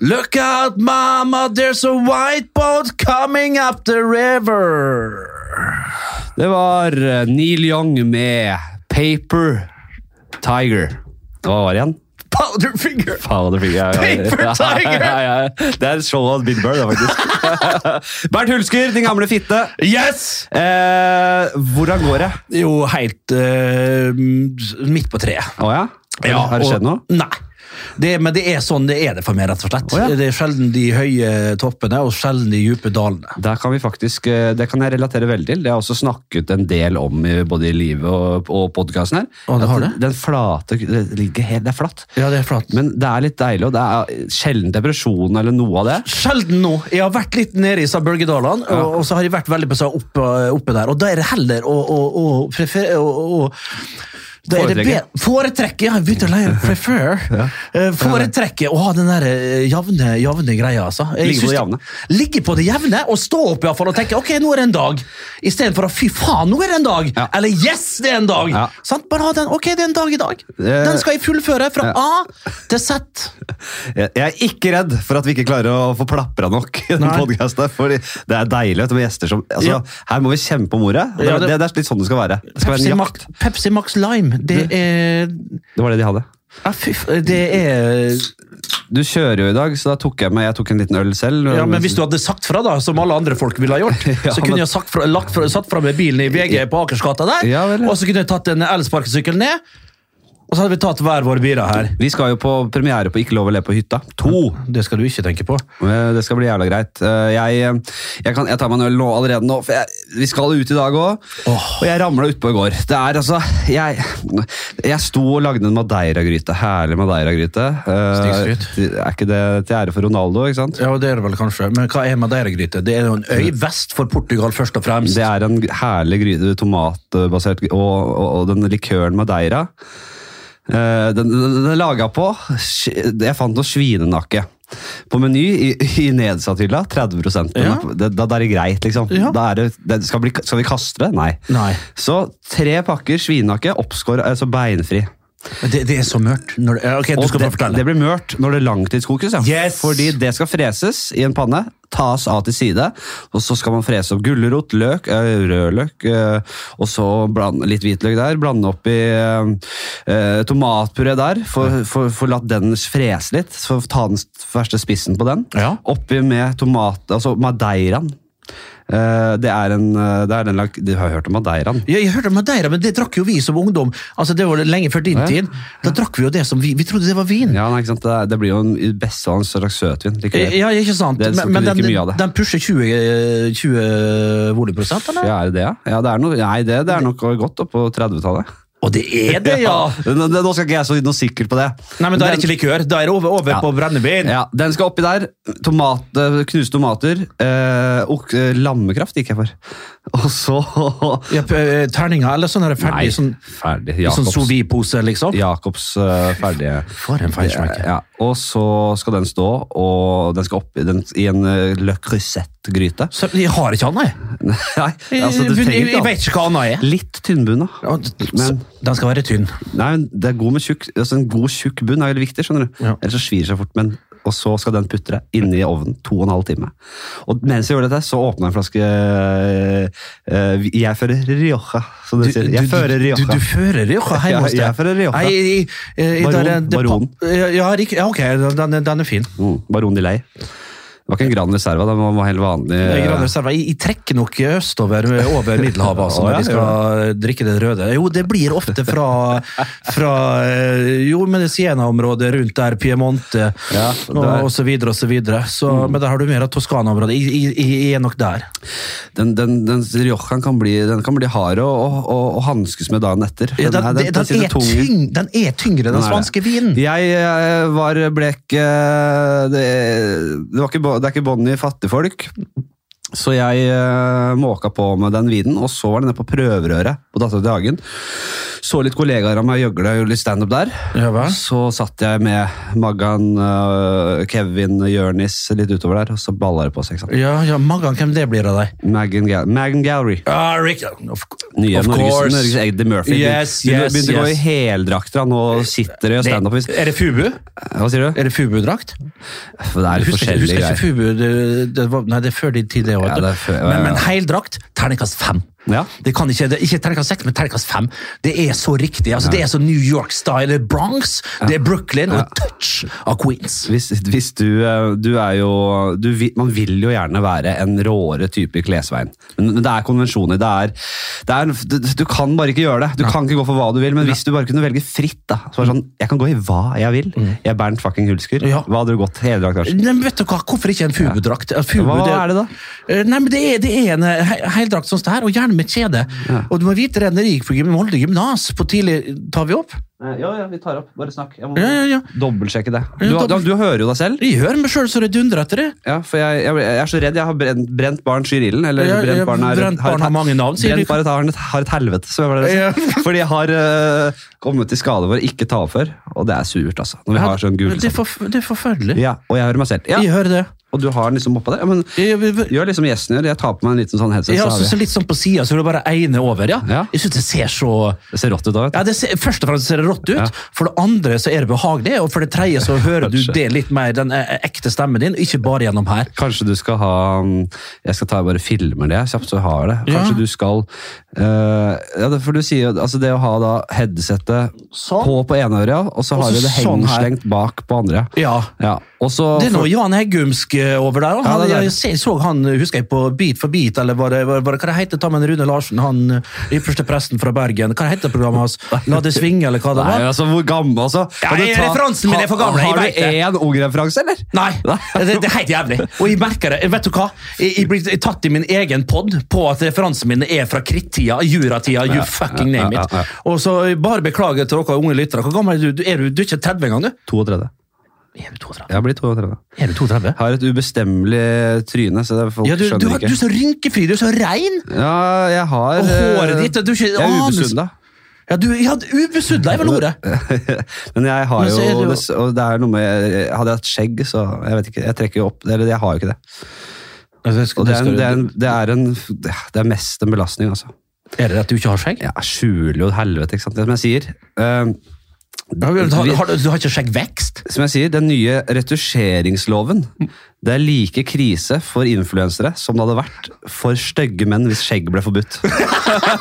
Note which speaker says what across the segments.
Speaker 1: Look out, mama, there's a white boat coming up the river.
Speaker 2: Det var eh, Neil Young med Paper Tiger. Hva var det igjen?
Speaker 1: Powderfinger!
Speaker 2: Faen, det fikk jeg.
Speaker 1: Paper Tiger!
Speaker 2: Ja, ja, ja. Det er showet av Big Bird, da, faktisk. Bernt Hulsker, din gamle fitte.
Speaker 1: Yes!
Speaker 2: Eh, hvordan går det?
Speaker 1: Jo, helt eh, midt på treet.
Speaker 2: Å ja? Har det
Speaker 1: og-
Speaker 2: skjedd noe?
Speaker 1: Nei. Det, men det er sånn det er det for meg, rett og slett.
Speaker 2: Å, ja.
Speaker 1: Det er sjelden de høye toppene, og sjelden de dype dalene.
Speaker 2: Der kan vi faktisk, eh, det kan jeg relatere veldig til. Det har jeg også snakket en del om i- både i livet og, og podkasten her.
Speaker 1: Å, det har
Speaker 2: At
Speaker 1: det?
Speaker 2: Den flate det ligger helt, Det er flatt.
Speaker 1: Ja, det er flatt.
Speaker 2: Men det er litt deilig, og det er sjelden depresjon eller noe av det.
Speaker 1: Sjelden nå. Jeg har vært litt nede i disse bølgedalene, og, og så har jeg vært veldig på seg oppe, oppe der. Og da er det heller å, å, å, prefer, å, å- å da er det
Speaker 2: Foretrekke.
Speaker 1: be- Foretrekke, ja. Jeg begynte å leie prefer. Eh, Foretrekke å ha den der eh, javne, javne greia, altså. Jeg
Speaker 2: Ligge på
Speaker 1: syns
Speaker 2: det
Speaker 1: det- Ligge på det jevne, og stå opp i hvert fall og tenke ok, nå er det en dag. Istedenfor å fy faen, nå er det en dag!
Speaker 2: Ja.
Speaker 1: Eller yes, det er en dag!
Speaker 2: Ja.
Speaker 1: Sant? Bare ha den. Ok, det er en dag i dag.
Speaker 2: Eh,
Speaker 1: Den skal jeg fullføre fra A til Z.
Speaker 2: Jeg jeg er ikke redd for at vi ikke klarer å få plapra nok i den
Speaker 1: Nei.
Speaker 2: podkasten. For det er deilig vet du, med gjester som altså,
Speaker 1: Ja.
Speaker 2: Her må vi kjempe om ordet. og Det,
Speaker 1: Ja,
Speaker 2: det,
Speaker 1: det-
Speaker 2: det, er litt sånn det skal være. Det skal være
Speaker 1: Pepsi,
Speaker 2: en
Speaker 1: Max,
Speaker 2: jakt.
Speaker 1: Pepsi Max Lime, det er
Speaker 2: Det var det de hadde.
Speaker 1: ja, fy, f- Det er
Speaker 2: Du kjører jo i dag, så da tok jeg meg jeg tok en liten øl selv.
Speaker 1: Ja, men hvis du hadde sagt fra, da, som alle andre folk ville ha gjort,
Speaker 2: Ja,
Speaker 1: så
Speaker 2: men-
Speaker 1: kunne jeg sagt fra, lagt fra, satt fra med bilen i VG på Akersgata der,
Speaker 2: Ja, vel, ja.
Speaker 1: og så kunne jeg tatt en elsparkesykkel ned, og så hadde vi tatt hver våre biler her.
Speaker 2: Vi skal jo på premiere på Ikke lov å le på hytta. To!
Speaker 1: Det skal du ikke tenke på.
Speaker 2: Eh, Det skal bli jævla greit. Eh, Jeg, jeg, kan, jeg tar meg en øl nå, allerede nå, for jeg, vi skal ut i dag òg.
Speaker 1: Åh.
Speaker 2: Og jeg ramla utpå i går. Det er altså Jeg, jeg sto og lagde en madeiragryte. Herlig madeiragryte. Eh,
Speaker 1: Snikskryt.
Speaker 2: til- Er ikke det til ære for Ronaldo, ikke sant?
Speaker 1: Ja, det er det vel kanskje, men hva er Madeira-gryte? Det er jo en øy vest for Portugal, først og fremst.
Speaker 2: Det er en herlig gryte, tomatbasert gry- og, og, og den likøren madeira. eh, Den, den, den er laga på sk- Jeg fant noe svinenakke. På Meny i, i nedsatt hylla, 30 Den er
Speaker 1: Ja.
Speaker 2: på- det, da, da er det greit, liksom.
Speaker 1: Ja.
Speaker 2: Da er det, det skal, bli, skal vi kaste det? Nei.
Speaker 1: Nei.
Speaker 2: Så tre pakker svinenakke, oppskåret, altså beinfri.
Speaker 1: Men det, det er så mørkt. Når det, ja, ok, du
Speaker 2: Og
Speaker 1: skal
Speaker 2: det,
Speaker 1: bare fortelle.
Speaker 2: det blir mørt når det langtidskokes. Ja.
Speaker 1: Yes!
Speaker 2: Fordi det skal freses i en panne, tas av til side, og så skal man frese opp gulrot, løk, eh, rødløk, eh, og så bland, litt hvitløk der. Blande opp i eh, eh, tomatpuré der, for, for, for latt den frese litt. Så ta den verste spissen på den.
Speaker 1: Ja.
Speaker 2: Oppi med tomat, altså madeiraen. Eh, det er en, eh, det er den lag, Du har hørt om madeiraen?
Speaker 1: Ja, jeg hørte om Madeira, men det drakk jo vi som ungdom. Altså, Det var lenge før din
Speaker 2: Ja.
Speaker 1: tid. Da drakk vi jo det som vi Vi trodde det var vin. Ja,
Speaker 2: Ja, nei, ikke sant? Det, er- det blir jo en, i beste av en slags søtvin. likevel.
Speaker 1: ja ikke sant?
Speaker 2: Det- så
Speaker 1: Men, men
Speaker 2: kunne
Speaker 1: den,
Speaker 2: vi ikke mye av det.
Speaker 1: den pusher 20, eh, 20 volumprosent, eller?
Speaker 2: Ja, er det det? ja? Ja, det er noe, nei, det, det er nok godt opp på 30-tallet.
Speaker 1: Og det er det, ja!
Speaker 2: Nå nå skal ikke jeg så noe sikker på det.
Speaker 1: Nei, men da er det
Speaker 2: Den-
Speaker 1: ikke likør. Da er det over, over
Speaker 2: Ja.
Speaker 1: på brennevin.
Speaker 2: ja, Den skal oppi der. Tomat, eh, knuste tomater. Eh, ok- eh, lammekraft gikk jeg for. Og så
Speaker 1: Ja, p- eh, terninger eller sånn her ferdig sånn,
Speaker 2: ferdig.
Speaker 1: sånn
Speaker 2: Jacobs,
Speaker 1: sous vide-pose, liksom.
Speaker 2: Jacobs eh, ferdige
Speaker 1: For en feinschmecker.
Speaker 2: Ja, og så skal den stå, og den skal oppi den, i en eh, le crusette-gryte.
Speaker 1: Så jeg har ikke annet, jeg.
Speaker 2: Nei, altså, du
Speaker 1: jeg,
Speaker 2: trenger
Speaker 1: jeg,
Speaker 2: ikke
Speaker 1: jeg
Speaker 2: alt.
Speaker 1: vet ikke hva annet er.
Speaker 2: Litt tynnbunna.
Speaker 1: Ja, d-
Speaker 2: Men-
Speaker 1: så- Den skal være tynn.
Speaker 2: Nei, men det er god med tjukk, altså En god tjukk bunn er veldig viktig, skjønner du.
Speaker 1: Ja.
Speaker 2: Ellers så svir det seg fort. Men, og så skal den putre inni ovnen to og en halv time. Og mens jeg gjør dette, så åpner jeg en flaske eh, Jeg fører Rioja, som
Speaker 1: Du,
Speaker 2: dere sier. Jeg fører
Speaker 1: du, du
Speaker 2: Rioja.
Speaker 1: fører Rioja hjemme hos deg?
Speaker 2: Ja, jeg fører Rioja.
Speaker 1: Nei, i- i- i-
Speaker 2: Baron-
Speaker 1: der er det
Speaker 2: Baron.
Speaker 1: pap- Ja, ja, rik- ja, ok, den, den- den er fin.
Speaker 2: Mm, Baron de Ley. Det var ikke en Gran Reserva, det var var helt vanlig.
Speaker 1: Jeg, grann reserva. jeg, jeg trekker nok østover over Middelhavet altså,
Speaker 2: Å,
Speaker 1: når
Speaker 2: ja,
Speaker 1: de skal drikke den røde. Jo, det blir ofte fra, fra eh, jo, men det Siena-området rundt der, Piemonte
Speaker 2: Ja,
Speaker 1: og,
Speaker 2: der. Mm.
Speaker 1: og så videre og så videre. Så, Men der har du mer av Toskana-området. Jeg, jeg, jeg, jeg er nok der.
Speaker 2: Den, den, den Riojaen kan bli, den kan bli hard å, å, å, å hanskes med dagen etter.
Speaker 1: Ja, den,
Speaker 2: her-
Speaker 1: den,
Speaker 2: sitter
Speaker 1: er
Speaker 2: tung i-
Speaker 1: tyng, den er tyngre, den
Speaker 2: Nei,
Speaker 1: spanske
Speaker 2: det-
Speaker 1: vinen.
Speaker 2: Jeg eh, var blek eh, Det, det, var ikke, bo- det er ikke bånd i fattigfolk. Så jeg eh, måka på med den vinen, og så var den nede på prøverøret på Dattera til Hagen. Så litt kollegaer av meg gjøgle og gjorde litt standup der.
Speaker 1: Ja, hva?
Speaker 2: Så satt jeg med Maggan, eh, Kevin, Jørnis litt utover der, og så balla det på seg. ikke sant?
Speaker 1: Ja, ja, Magan, hvem det blir av deg?
Speaker 2: Magan, Gal Magan Gallery.
Speaker 1: Ah, Rick, of,
Speaker 2: Nye
Speaker 1: of
Speaker 2: Norges,
Speaker 1: course.
Speaker 2: Norges Eddie Murphy.
Speaker 1: Yes,
Speaker 2: Begynte-
Speaker 1: yes,
Speaker 2: begynte å gå i
Speaker 1: yes.
Speaker 2: heldrakt, han, og sitter i standup.
Speaker 1: Det- Er det Fubu?
Speaker 2: Hva sier du?
Speaker 1: Er det Fubu-drakt?
Speaker 2: For det er litt
Speaker 1: Husker,
Speaker 2: forskjellige
Speaker 1: husker ikke
Speaker 2: greier.
Speaker 1: Fubu det, det var, Nei, det er før din tid, det
Speaker 2: Ja,
Speaker 1: òg.
Speaker 2: det er før- ja, ja.
Speaker 1: men, men heldrakt, terningkast fem.
Speaker 2: Ja.
Speaker 1: Det kan ikke, det er ikke terningkast seks, men terningkast fem. Det er så riktig. altså Det er så New York-style. Det er Bronx, det er Brooklyn og touch av Queens.
Speaker 2: Hvis, hvis du, eh, du er jo du, vil- Man vil jo gjerne være en råere type i klesveien. Men, men det er konvensjoner. Det er, det er, du, du kan bare ikke gjøre det. Du kan ikke gå for hva du vil, men hvis du bare kunne velge fritt da, så er det sånn, Jeg kan gå i hva jeg vil. Jeg er Bernt fucking Hulsker.
Speaker 1: Mm. Ja.
Speaker 2: Hva hadde du gått? Heldrakt, Lars?
Speaker 1: Nei, men vet du hva? Hvorfor ikke en fubudrakt? Ja.
Speaker 2: Hva er det da?
Speaker 1: Nei, men det er, det er en eh, he- heldrakt som det her, og gjerne med kjede. Og du må vite det, når jeg gikk på gym, Molde gymnas, på tidlig tar vi opp?
Speaker 2: Eh, Ja, ja, vi tar opp. Bare snakk. Jeg må
Speaker 1: Ja, ja, ja.
Speaker 2: dobbeltsjekke det. Du,
Speaker 1: Ja, dobbelt-
Speaker 2: du, du hører jo deg selv.
Speaker 1: Jeg hører meg sjøl så det dundrer etter det.
Speaker 2: Ja, for jeg, jeg, jeg er så redd jeg har brent, brent barn skyr ilden. Eller
Speaker 1: Ja, ja,
Speaker 2: brent barn, er,
Speaker 1: brent barn
Speaker 2: et-
Speaker 1: har mange navn, sier de.
Speaker 2: Brent barn har et, har et helvete, som jeg pleier å si. Fordi jeg har øh, kommet til skade for å ikke ta opp før, og det er surt, altså. Når vi har sånn gul
Speaker 1: det, er forf- det er forferdelig.
Speaker 2: Ja, og jeg hører meg selv. Ja,
Speaker 1: Jeg hører det.
Speaker 2: og du har den liksom oppå deg. Ja, men
Speaker 1: Jeg, jeg, jeg,
Speaker 2: gjør liksom gjesten gjør, jeg tar på meg en liten sånn headset,
Speaker 1: jeg,
Speaker 2: så har
Speaker 1: så
Speaker 2: vi.
Speaker 1: litt sånn på sida, så er det bare ene over. ja.
Speaker 2: Ja.
Speaker 1: Jeg syns det ser så
Speaker 2: Det ser rått ut da, vet du.
Speaker 1: Ja, det ser, Først og fremst ser det rått ut,
Speaker 2: Ja.
Speaker 1: for det andre så er det behagelig, og for det tredje så hører du
Speaker 2: Kanskje.
Speaker 1: det litt mer, den eh, ekte stemmen din, ikke bare gjennom her.
Speaker 2: Kanskje du skal ha mm, Jeg skal ta bare filmer det kjapt, så jeg har det. Kanskje
Speaker 1: Ja.
Speaker 2: du skal eh, Ja, det- for du sier jo altså det å ha da headsetet
Speaker 1: Sånn.
Speaker 2: på på ene øret, og så
Speaker 1: Og så
Speaker 2: har du det
Speaker 1: sånn her.
Speaker 2: hengslengt bak på andre.
Speaker 1: Ja.
Speaker 2: Ja, og så
Speaker 1: Det er noe Jan Heggumsk eh, over der. og Han,
Speaker 2: Ja, det er det.
Speaker 1: jeg se- så han, eh, husker jeg, på Beat for beat, eller var det, var, var det, hva det heter Tammen Rune Larsen, han eh, ypperste presten fra Bergen. Hva heter programmet hans? La det svinge, eller hva det
Speaker 2: Nei,
Speaker 1: var?
Speaker 2: altså, hvor gammel, altså?
Speaker 1: Ja,
Speaker 2: Kan du
Speaker 1: jeg-
Speaker 2: ta-
Speaker 1: referansen min er for
Speaker 2: Ha-
Speaker 1: gammel, jeg vet
Speaker 2: Har
Speaker 1: det.
Speaker 2: du én ung referanse, eller?
Speaker 1: Nei, det, det er helt jævlig. Og jeg merker det. Vet du hva? Jeg, jeg blir tatt i min egen pod på at referansen min er fra krittida, juratida, you fucking name
Speaker 2: ja,
Speaker 1: it.
Speaker 2: ja,
Speaker 1: Og så jeg bare beklager til dere unge lyttere. Hvor gammel er du? Du Er du, du er ikke 30 engang, du?
Speaker 2: 32.
Speaker 1: Er du 32?
Speaker 2: Jeg blir 32.
Speaker 1: Er du 32?
Speaker 2: Har et ubestemmelig tryne, så det, folk
Speaker 1: Ja, du, du,
Speaker 2: skjønner
Speaker 1: har- du
Speaker 2: ikke.
Speaker 1: er så rynkefri, du er så rein!
Speaker 2: Ja, jeg har
Speaker 1: Og håret
Speaker 2: eh,
Speaker 1: ditt, du er ikke
Speaker 2: Jeg er
Speaker 1: anelse-
Speaker 2: ubesudla.
Speaker 1: Ja, du, ja, ubesudla er vel ordet?
Speaker 2: Men jeg har
Speaker 1: Men så er
Speaker 2: jo,
Speaker 1: det jo-
Speaker 2: dess- og det er noe med Hadde jeg hatt skjegg, så Jeg vet ikke, jeg trekker jo opp Eller jeg har jo ikke det. Og det er, en, det, er en, det, er en, det er mest en belastning, altså.
Speaker 1: Er det at du ikke har skjegg?
Speaker 2: Jeg skjuler jo et helvete, ikke sant. Det er som jeg sier. eh,
Speaker 1: Har, har, har, du har ikke skjeggvekst?
Speaker 2: som jeg sier, Den nye retusjeringsloven Det er like krise for influensere som det hadde vært for stygge menn hvis skjegg ble forbudt.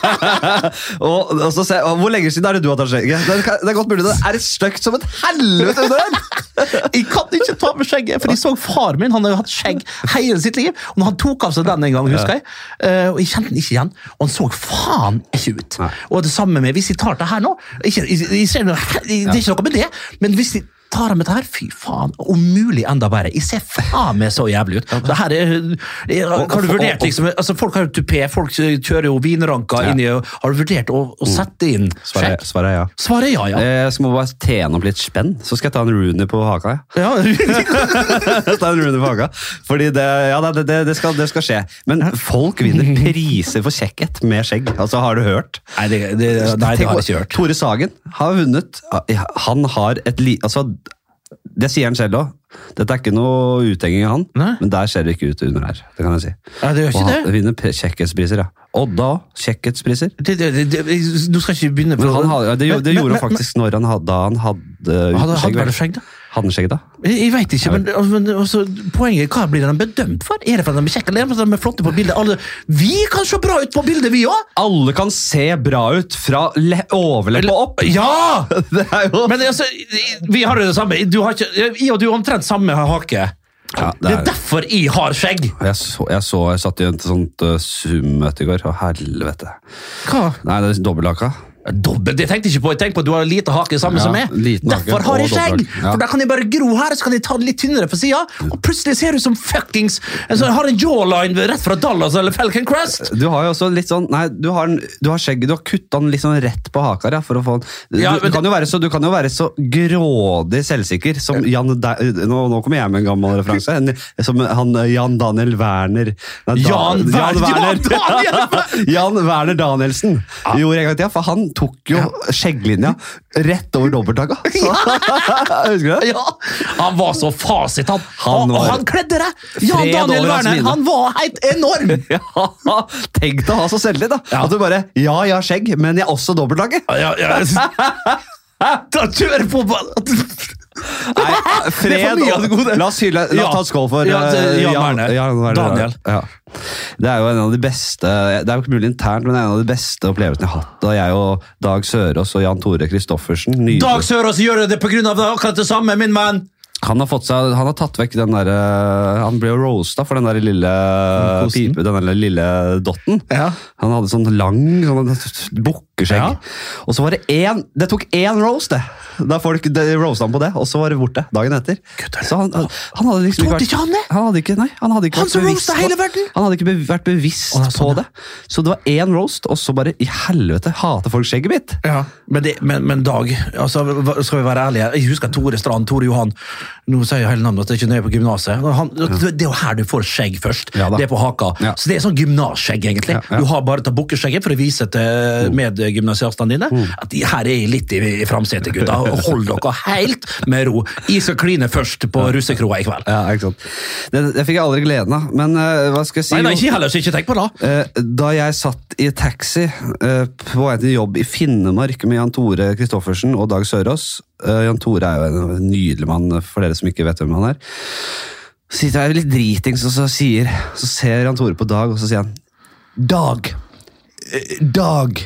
Speaker 2: og, og så ser jeg- og Hvor lenge siden er det du har tatt skjegg? Det er, det er godt mulig det er stygt som et helvete under den!
Speaker 1: Jeg kan ikke ta med skjegget, for jeg så far min, han har jo hatt skjegg hele sitt liv. Og når han tok av seg den en gang, husker jeg, eh, og jeg kjente den ikke igjen, og han så faen ikke ut.
Speaker 2: Nei.
Speaker 1: Og det samme med, hvis jeg tar det her nå, ikke, jeg, jeg ser noe, he- det er ikke noe med det, men hvis jeg tar med det her, fy faen, om mulig enda verre. Jeg ser faen meg så jævlig ut. Det her er, er har du vurdert liksom, altså folk har jo tupé, folk kjører jo vinranker
Speaker 2: Ja.
Speaker 1: inn i, har du vurdert å, å sette inn
Speaker 2: Svaret,
Speaker 1: skjegg?
Speaker 2: svaret er ja.
Speaker 1: Svaret Mm. er ja, ja.
Speaker 2: Eh, Jeg skal må bare tjene opp litt spenn, så skal jeg ta en Rooney på haka. Ja.
Speaker 1: ja.
Speaker 2: ta en Rooney på haka. Fordi det, ja, det, det, det, skal, det skal skje. Men folk vinner priser for kjekkhet med skjegg. Altså, har du hørt?
Speaker 1: Nei, det, det, nei, det har jeg ikke hørt.
Speaker 2: Tore Sagen har vunnet. Han har et li... Altså, det sier han selv òg. Dette er ikke noe uthenging av han,
Speaker 1: Nei.
Speaker 2: men der ser det ikke ut under her. Det kan jeg si.
Speaker 1: Ja, det gjør ikke
Speaker 2: Og han
Speaker 1: det.
Speaker 2: vinner pre- kjekkhetspriser, ja. Odda òg. Kjekkhetspriser.
Speaker 1: det, det, det, det Nå skal ikke vi begynne
Speaker 2: Men han, hadde- det, gjorde-
Speaker 1: Sånn.
Speaker 2: det
Speaker 1: Men-
Speaker 2: gjorde
Speaker 1: men-
Speaker 2: han faktisk når han hadde, da han hadde
Speaker 1: men- Hadde
Speaker 2: uten
Speaker 1: han
Speaker 2: vel?
Speaker 1: vært skjegg, da?
Speaker 2: Hadde han skjegg da?
Speaker 1: Jeg, jeg vet ikke, men, altså, men altså, poenget hva blir de bedømt for? Er det for at de er kjekke, eller er det for at de er flotte på bildet? Alle, vi kan se bra ut på bildet, vi òg!
Speaker 2: Alle kan se bra ut fra le- overleppa opp!
Speaker 1: Ja!
Speaker 2: Det er jo
Speaker 1: Men altså, vi har jo det samme. Du har ikke, jeg og du har omtrent samme hake.
Speaker 2: Ja, det
Speaker 1: det, er...
Speaker 2: er-
Speaker 1: derfor jeg har skjegg!
Speaker 2: jeg, så, jeg, så, jeg satt i et sånt uh, Zoom-møte i går, og helvete.
Speaker 1: Hva?
Speaker 2: Nei, det er dobbelthaka.
Speaker 1: Dobbelt, jeg tenkte jeg ikke på. Jeg tenkte på at du har lite hake, samme
Speaker 2: Ja,
Speaker 1: som meg.
Speaker 2: liten hake
Speaker 1: Derfor har jeg
Speaker 2: og
Speaker 1: skjegg!
Speaker 2: dobbelt. Ja.
Speaker 1: For da kan jeg bare gro her, så kan jeg ta det litt tynnere på sida, og plutselig ser du som fuckings altså, Jeg har en jawline rett fra Dallas eller Falcon Crest!
Speaker 2: Du har jo også litt sånn Nei, du har, en- du har skjegget Du har kutta den litt sånn rett på haka ja, for å få den du,
Speaker 1: Ja,
Speaker 2: du,
Speaker 1: men
Speaker 2: kan jo være så, du kan jo være så grådig selvsikker som Jan De, nå, nå kommer jeg med en gammel referanse. En, som han eh, Jan Daniel Werner Nei,
Speaker 1: Jan Wer- Jan
Speaker 2: Werner
Speaker 1: Daniel!
Speaker 2: Jan Werner Danielsen gjorde en gang i tida, for han tok jo skjegglinja rett over dobbelthaka. Så- Husker du det?
Speaker 1: Ja, Han var så fasit, han!
Speaker 2: Han
Speaker 1: Og-
Speaker 2: var-
Speaker 1: Og han kledde det! Jan
Speaker 2: Fred
Speaker 1: Daniel
Speaker 2: over hans
Speaker 1: Werner,
Speaker 2: minne.
Speaker 1: han var helt enorm!
Speaker 2: Ja, Tenk deg å ha så selvtillit, da! At du bare Ja, jeg har skjegg, men jeg har også dobbelthake.
Speaker 1: Ja, ja. Da kjører på ballen!
Speaker 2: Nei,
Speaker 1: Det er for
Speaker 2: fred
Speaker 1: mye av det
Speaker 2: og
Speaker 1: gode.
Speaker 2: La oss hylle La
Speaker 1: Ja.
Speaker 2: oss ta en skål for
Speaker 1: Ja,
Speaker 2: eh,
Speaker 1: det- Jan
Speaker 2: Jan-
Speaker 1: Werner.
Speaker 2: Jan
Speaker 1: Daniel.
Speaker 2: Ja. Det er jo en av de beste Det er jo ikke mulig internt, men det er en av de beste opplevelsene jeg har hatt da jeg og Dag Sørås og Jan Tore Christoffersen nydelig-
Speaker 1: Dag Sørås gjør det på grunn av det akkurat det samme, min mann!
Speaker 2: Han har fått seg Han har tatt vekk den derre Han ble jo roasta for den der lille
Speaker 1: kosten.
Speaker 2: pipe, den der lille dotten.
Speaker 1: Ja.
Speaker 2: Han hadde sånn lang sånn bukkeskjegg.
Speaker 1: Ja.
Speaker 2: Og så var det én Det tok én roast, det! Da folk de, roasta han på det, og så var det borte dagen etter.
Speaker 1: Gutter.
Speaker 2: Så han, han hadde liksom
Speaker 1: Tålte ikke han det?
Speaker 2: Han hadde ikke, nei, han hadde ikke
Speaker 1: Han
Speaker 2: vært
Speaker 1: som
Speaker 2: bevisst
Speaker 1: roasta
Speaker 2: på-
Speaker 1: hele verden?
Speaker 2: Han hadde ikke be, vært bevisst
Speaker 1: Å, nei, sånn,
Speaker 2: på
Speaker 1: ja.
Speaker 2: det. Så det var én roast, og så bare I helvete, hater folk skjegget mitt?
Speaker 1: Ja, men, det, men, men Dag, altså, hva- skal vi være ærlige Jeg husker Tore Strand, Tore Johan Nå sier jeg hele navnet at jeg ikke er nøye på gymnaset. Han- Det det er jo her du får skjegg først.
Speaker 2: Ja da.
Speaker 1: det er på haka.
Speaker 2: Ja.
Speaker 1: Så det er sånn gymnasskjegg, egentlig.
Speaker 2: Ja, Mm. ja.
Speaker 1: Du har bare tatt bukkeskjegget for å vise til medgymnasiastene dine
Speaker 2: Mm.
Speaker 1: at de- her er jeg litt i, i framsetet, gutta. Hold dere helt med ro. Jeg skal kline først på russekroa i kveld.
Speaker 2: Ja, ikke sant. Det, det fikk jeg aldri gleden av. Men eh, hva skal jeg si?
Speaker 1: Nei, nei,
Speaker 2: Jo-
Speaker 1: ikke heller, så ikke tenk på det.
Speaker 2: Eh, Da jeg satt i taxi eh, på vei til jobb i Finnemark med Jan Tore Christoffersen og Dag Sørås eh, Jan Tore er jo en nydelig mann, eh, for dere som ikke vet hvem han er. Så sitter jeg litt dritings, og så, sier, så ser Jan Tore på Dag, og så sier han Dag! Eh, Dag!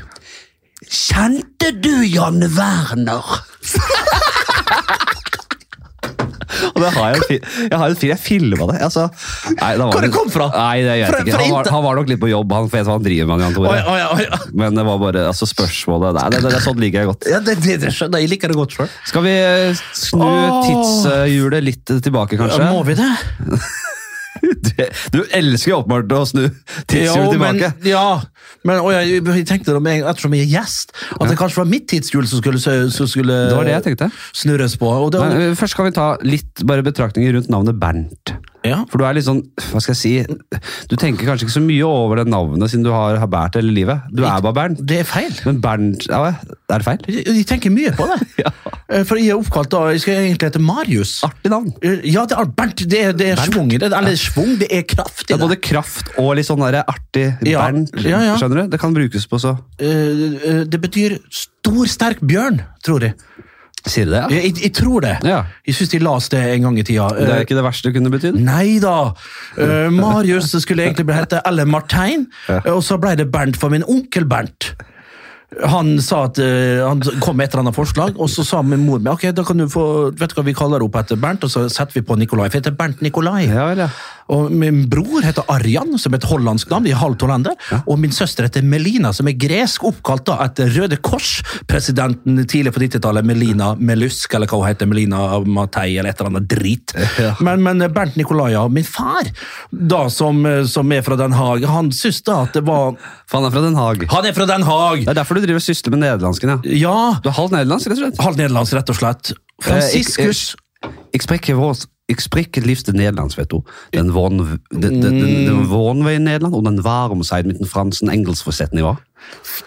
Speaker 2: Kjente du Jan Werner? Og det har jeg, en fi- jeg har en fil, jeg filma det. Altså, nei, da var
Speaker 1: Hvor det kom fra?
Speaker 2: Nei, det vet
Speaker 1: Fra-
Speaker 2: jeg ikke.
Speaker 1: fra
Speaker 2: Han var,
Speaker 1: inter-
Speaker 2: han var nok litt på jobb, han, for jeg vet hva han driver med, Jan Tore.
Speaker 1: Oi, oi, oi, oi.
Speaker 2: Men det var bare altså, spørsmålet Nei, det, det, det, Sånn liker jeg godt.
Speaker 1: Ja, det, det, det skjønner jeg. Jeg liker det godt sjøl.
Speaker 2: Skal vi eh, snu
Speaker 1: Åh.
Speaker 2: tidshjulet litt tilbake, kanskje?
Speaker 1: Må vi det?
Speaker 2: Det- Du elsker jo åpenbart å snu tidshjulet
Speaker 1: Jo, men- eh,
Speaker 2: tilbake.
Speaker 1: Ja, men og jeg, jeg tenkte det med, en gang, ettersom jeg er gjest, at det kanskje var mitt tidshjul som skulle, som skulle
Speaker 2: Det var det jeg tenkte.
Speaker 1: snurres på. Og det,
Speaker 2: Men, eh, først kan vi ta litt bare betraktninger rundt navnet Bernt.
Speaker 1: ja.
Speaker 2: For du er litt sånn, hva skal jeg si Du tenker kanskje ikke så mye over det navnet siden du har, har båret hele livet. Du er bare Bernt.
Speaker 1: det er feil.
Speaker 2: Men Bernt ja, Er det feil?
Speaker 1: Jeg, jeg tenker mye på det.
Speaker 2: Ja.
Speaker 1: Eh, For jeg er oppkalt da Jeg skal egentlig hete Marius.
Speaker 2: Artig navn.
Speaker 1: Eh, Ja, det er Bernt. Det er, det er
Speaker 2: Bernt.
Speaker 1: schwung i det. Eller schwung, det er kraft
Speaker 2: Det
Speaker 1: i
Speaker 2: er
Speaker 1: det.
Speaker 2: både kraft og litt sånn der artig
Speaker 1: Ja,
Speaker 2: Bernt.
Speaker 1: ja, ja.
Speaker 2: Skjønner du? Det kan brukes på så
Speaker 1: Eh, eh, Det betyr stor, sterk bjørn, tror jeg.
Speaker 2: Sier du det?
Speaker 1: Jeg, jeg, jeg tror det.
Speaker 2: Ja.
Speaker 1: Jeg syns de las det en gang i tida.
Speaker 2: Det
Speaker 1: Eh,
Speaker 2: er ikke det verste det kunne betydd.
Speaker 1: Nei da! Eh, Marius skulle egentlig bli hette Ellen Martein, eh, og så ble det Bernt for min onkel Bernt. Han sa at eh, han kom med et eller annet forslag, og så sa min mor meg, ok, da kan du få, vet du hva vi kaller opp etter Bernt, og så setter vi på Nikolai, for jeg heter Bernt Nikolai.
Speaker 2: Ja vel, ja.
Speaker 1: Og min bror heter Arjan, som er et hollandsk navn, de er halvt hollender. Og min søster heter Melina, som er gresk, oppkalt da etter Røde Kors-presidenten tidlig på 90-tallet, Melina Melusk, eller hva hun heter, Melina Matei, eller et eller annet drit.
Speaker 2: Ja.
Speaker 1: Men, men Bernt Nikolaja, min far, da som, som er fra Den Haag, han syns da at det var
Speaker 2: For han er fra Den Haag.
Speaker 1: Han er fra Den Haag!
Speaker 2: Det er derfor du driver og sysler med nederlandsken, ja.
Speaker 1: Ja!
Speaker 2: Du er halvt nederlandsk, rett og slett. Eh,
Speaker 1: Halvt nederlandsk, rett og slett. Franciscus
Speaker 2: Jeg sprekker vårt Jeg sprekker livs til nederlands, vet du. Den våren- den- den- den- den våren ved i Nederland, og den varme side med den fransen engelsforsetten i år.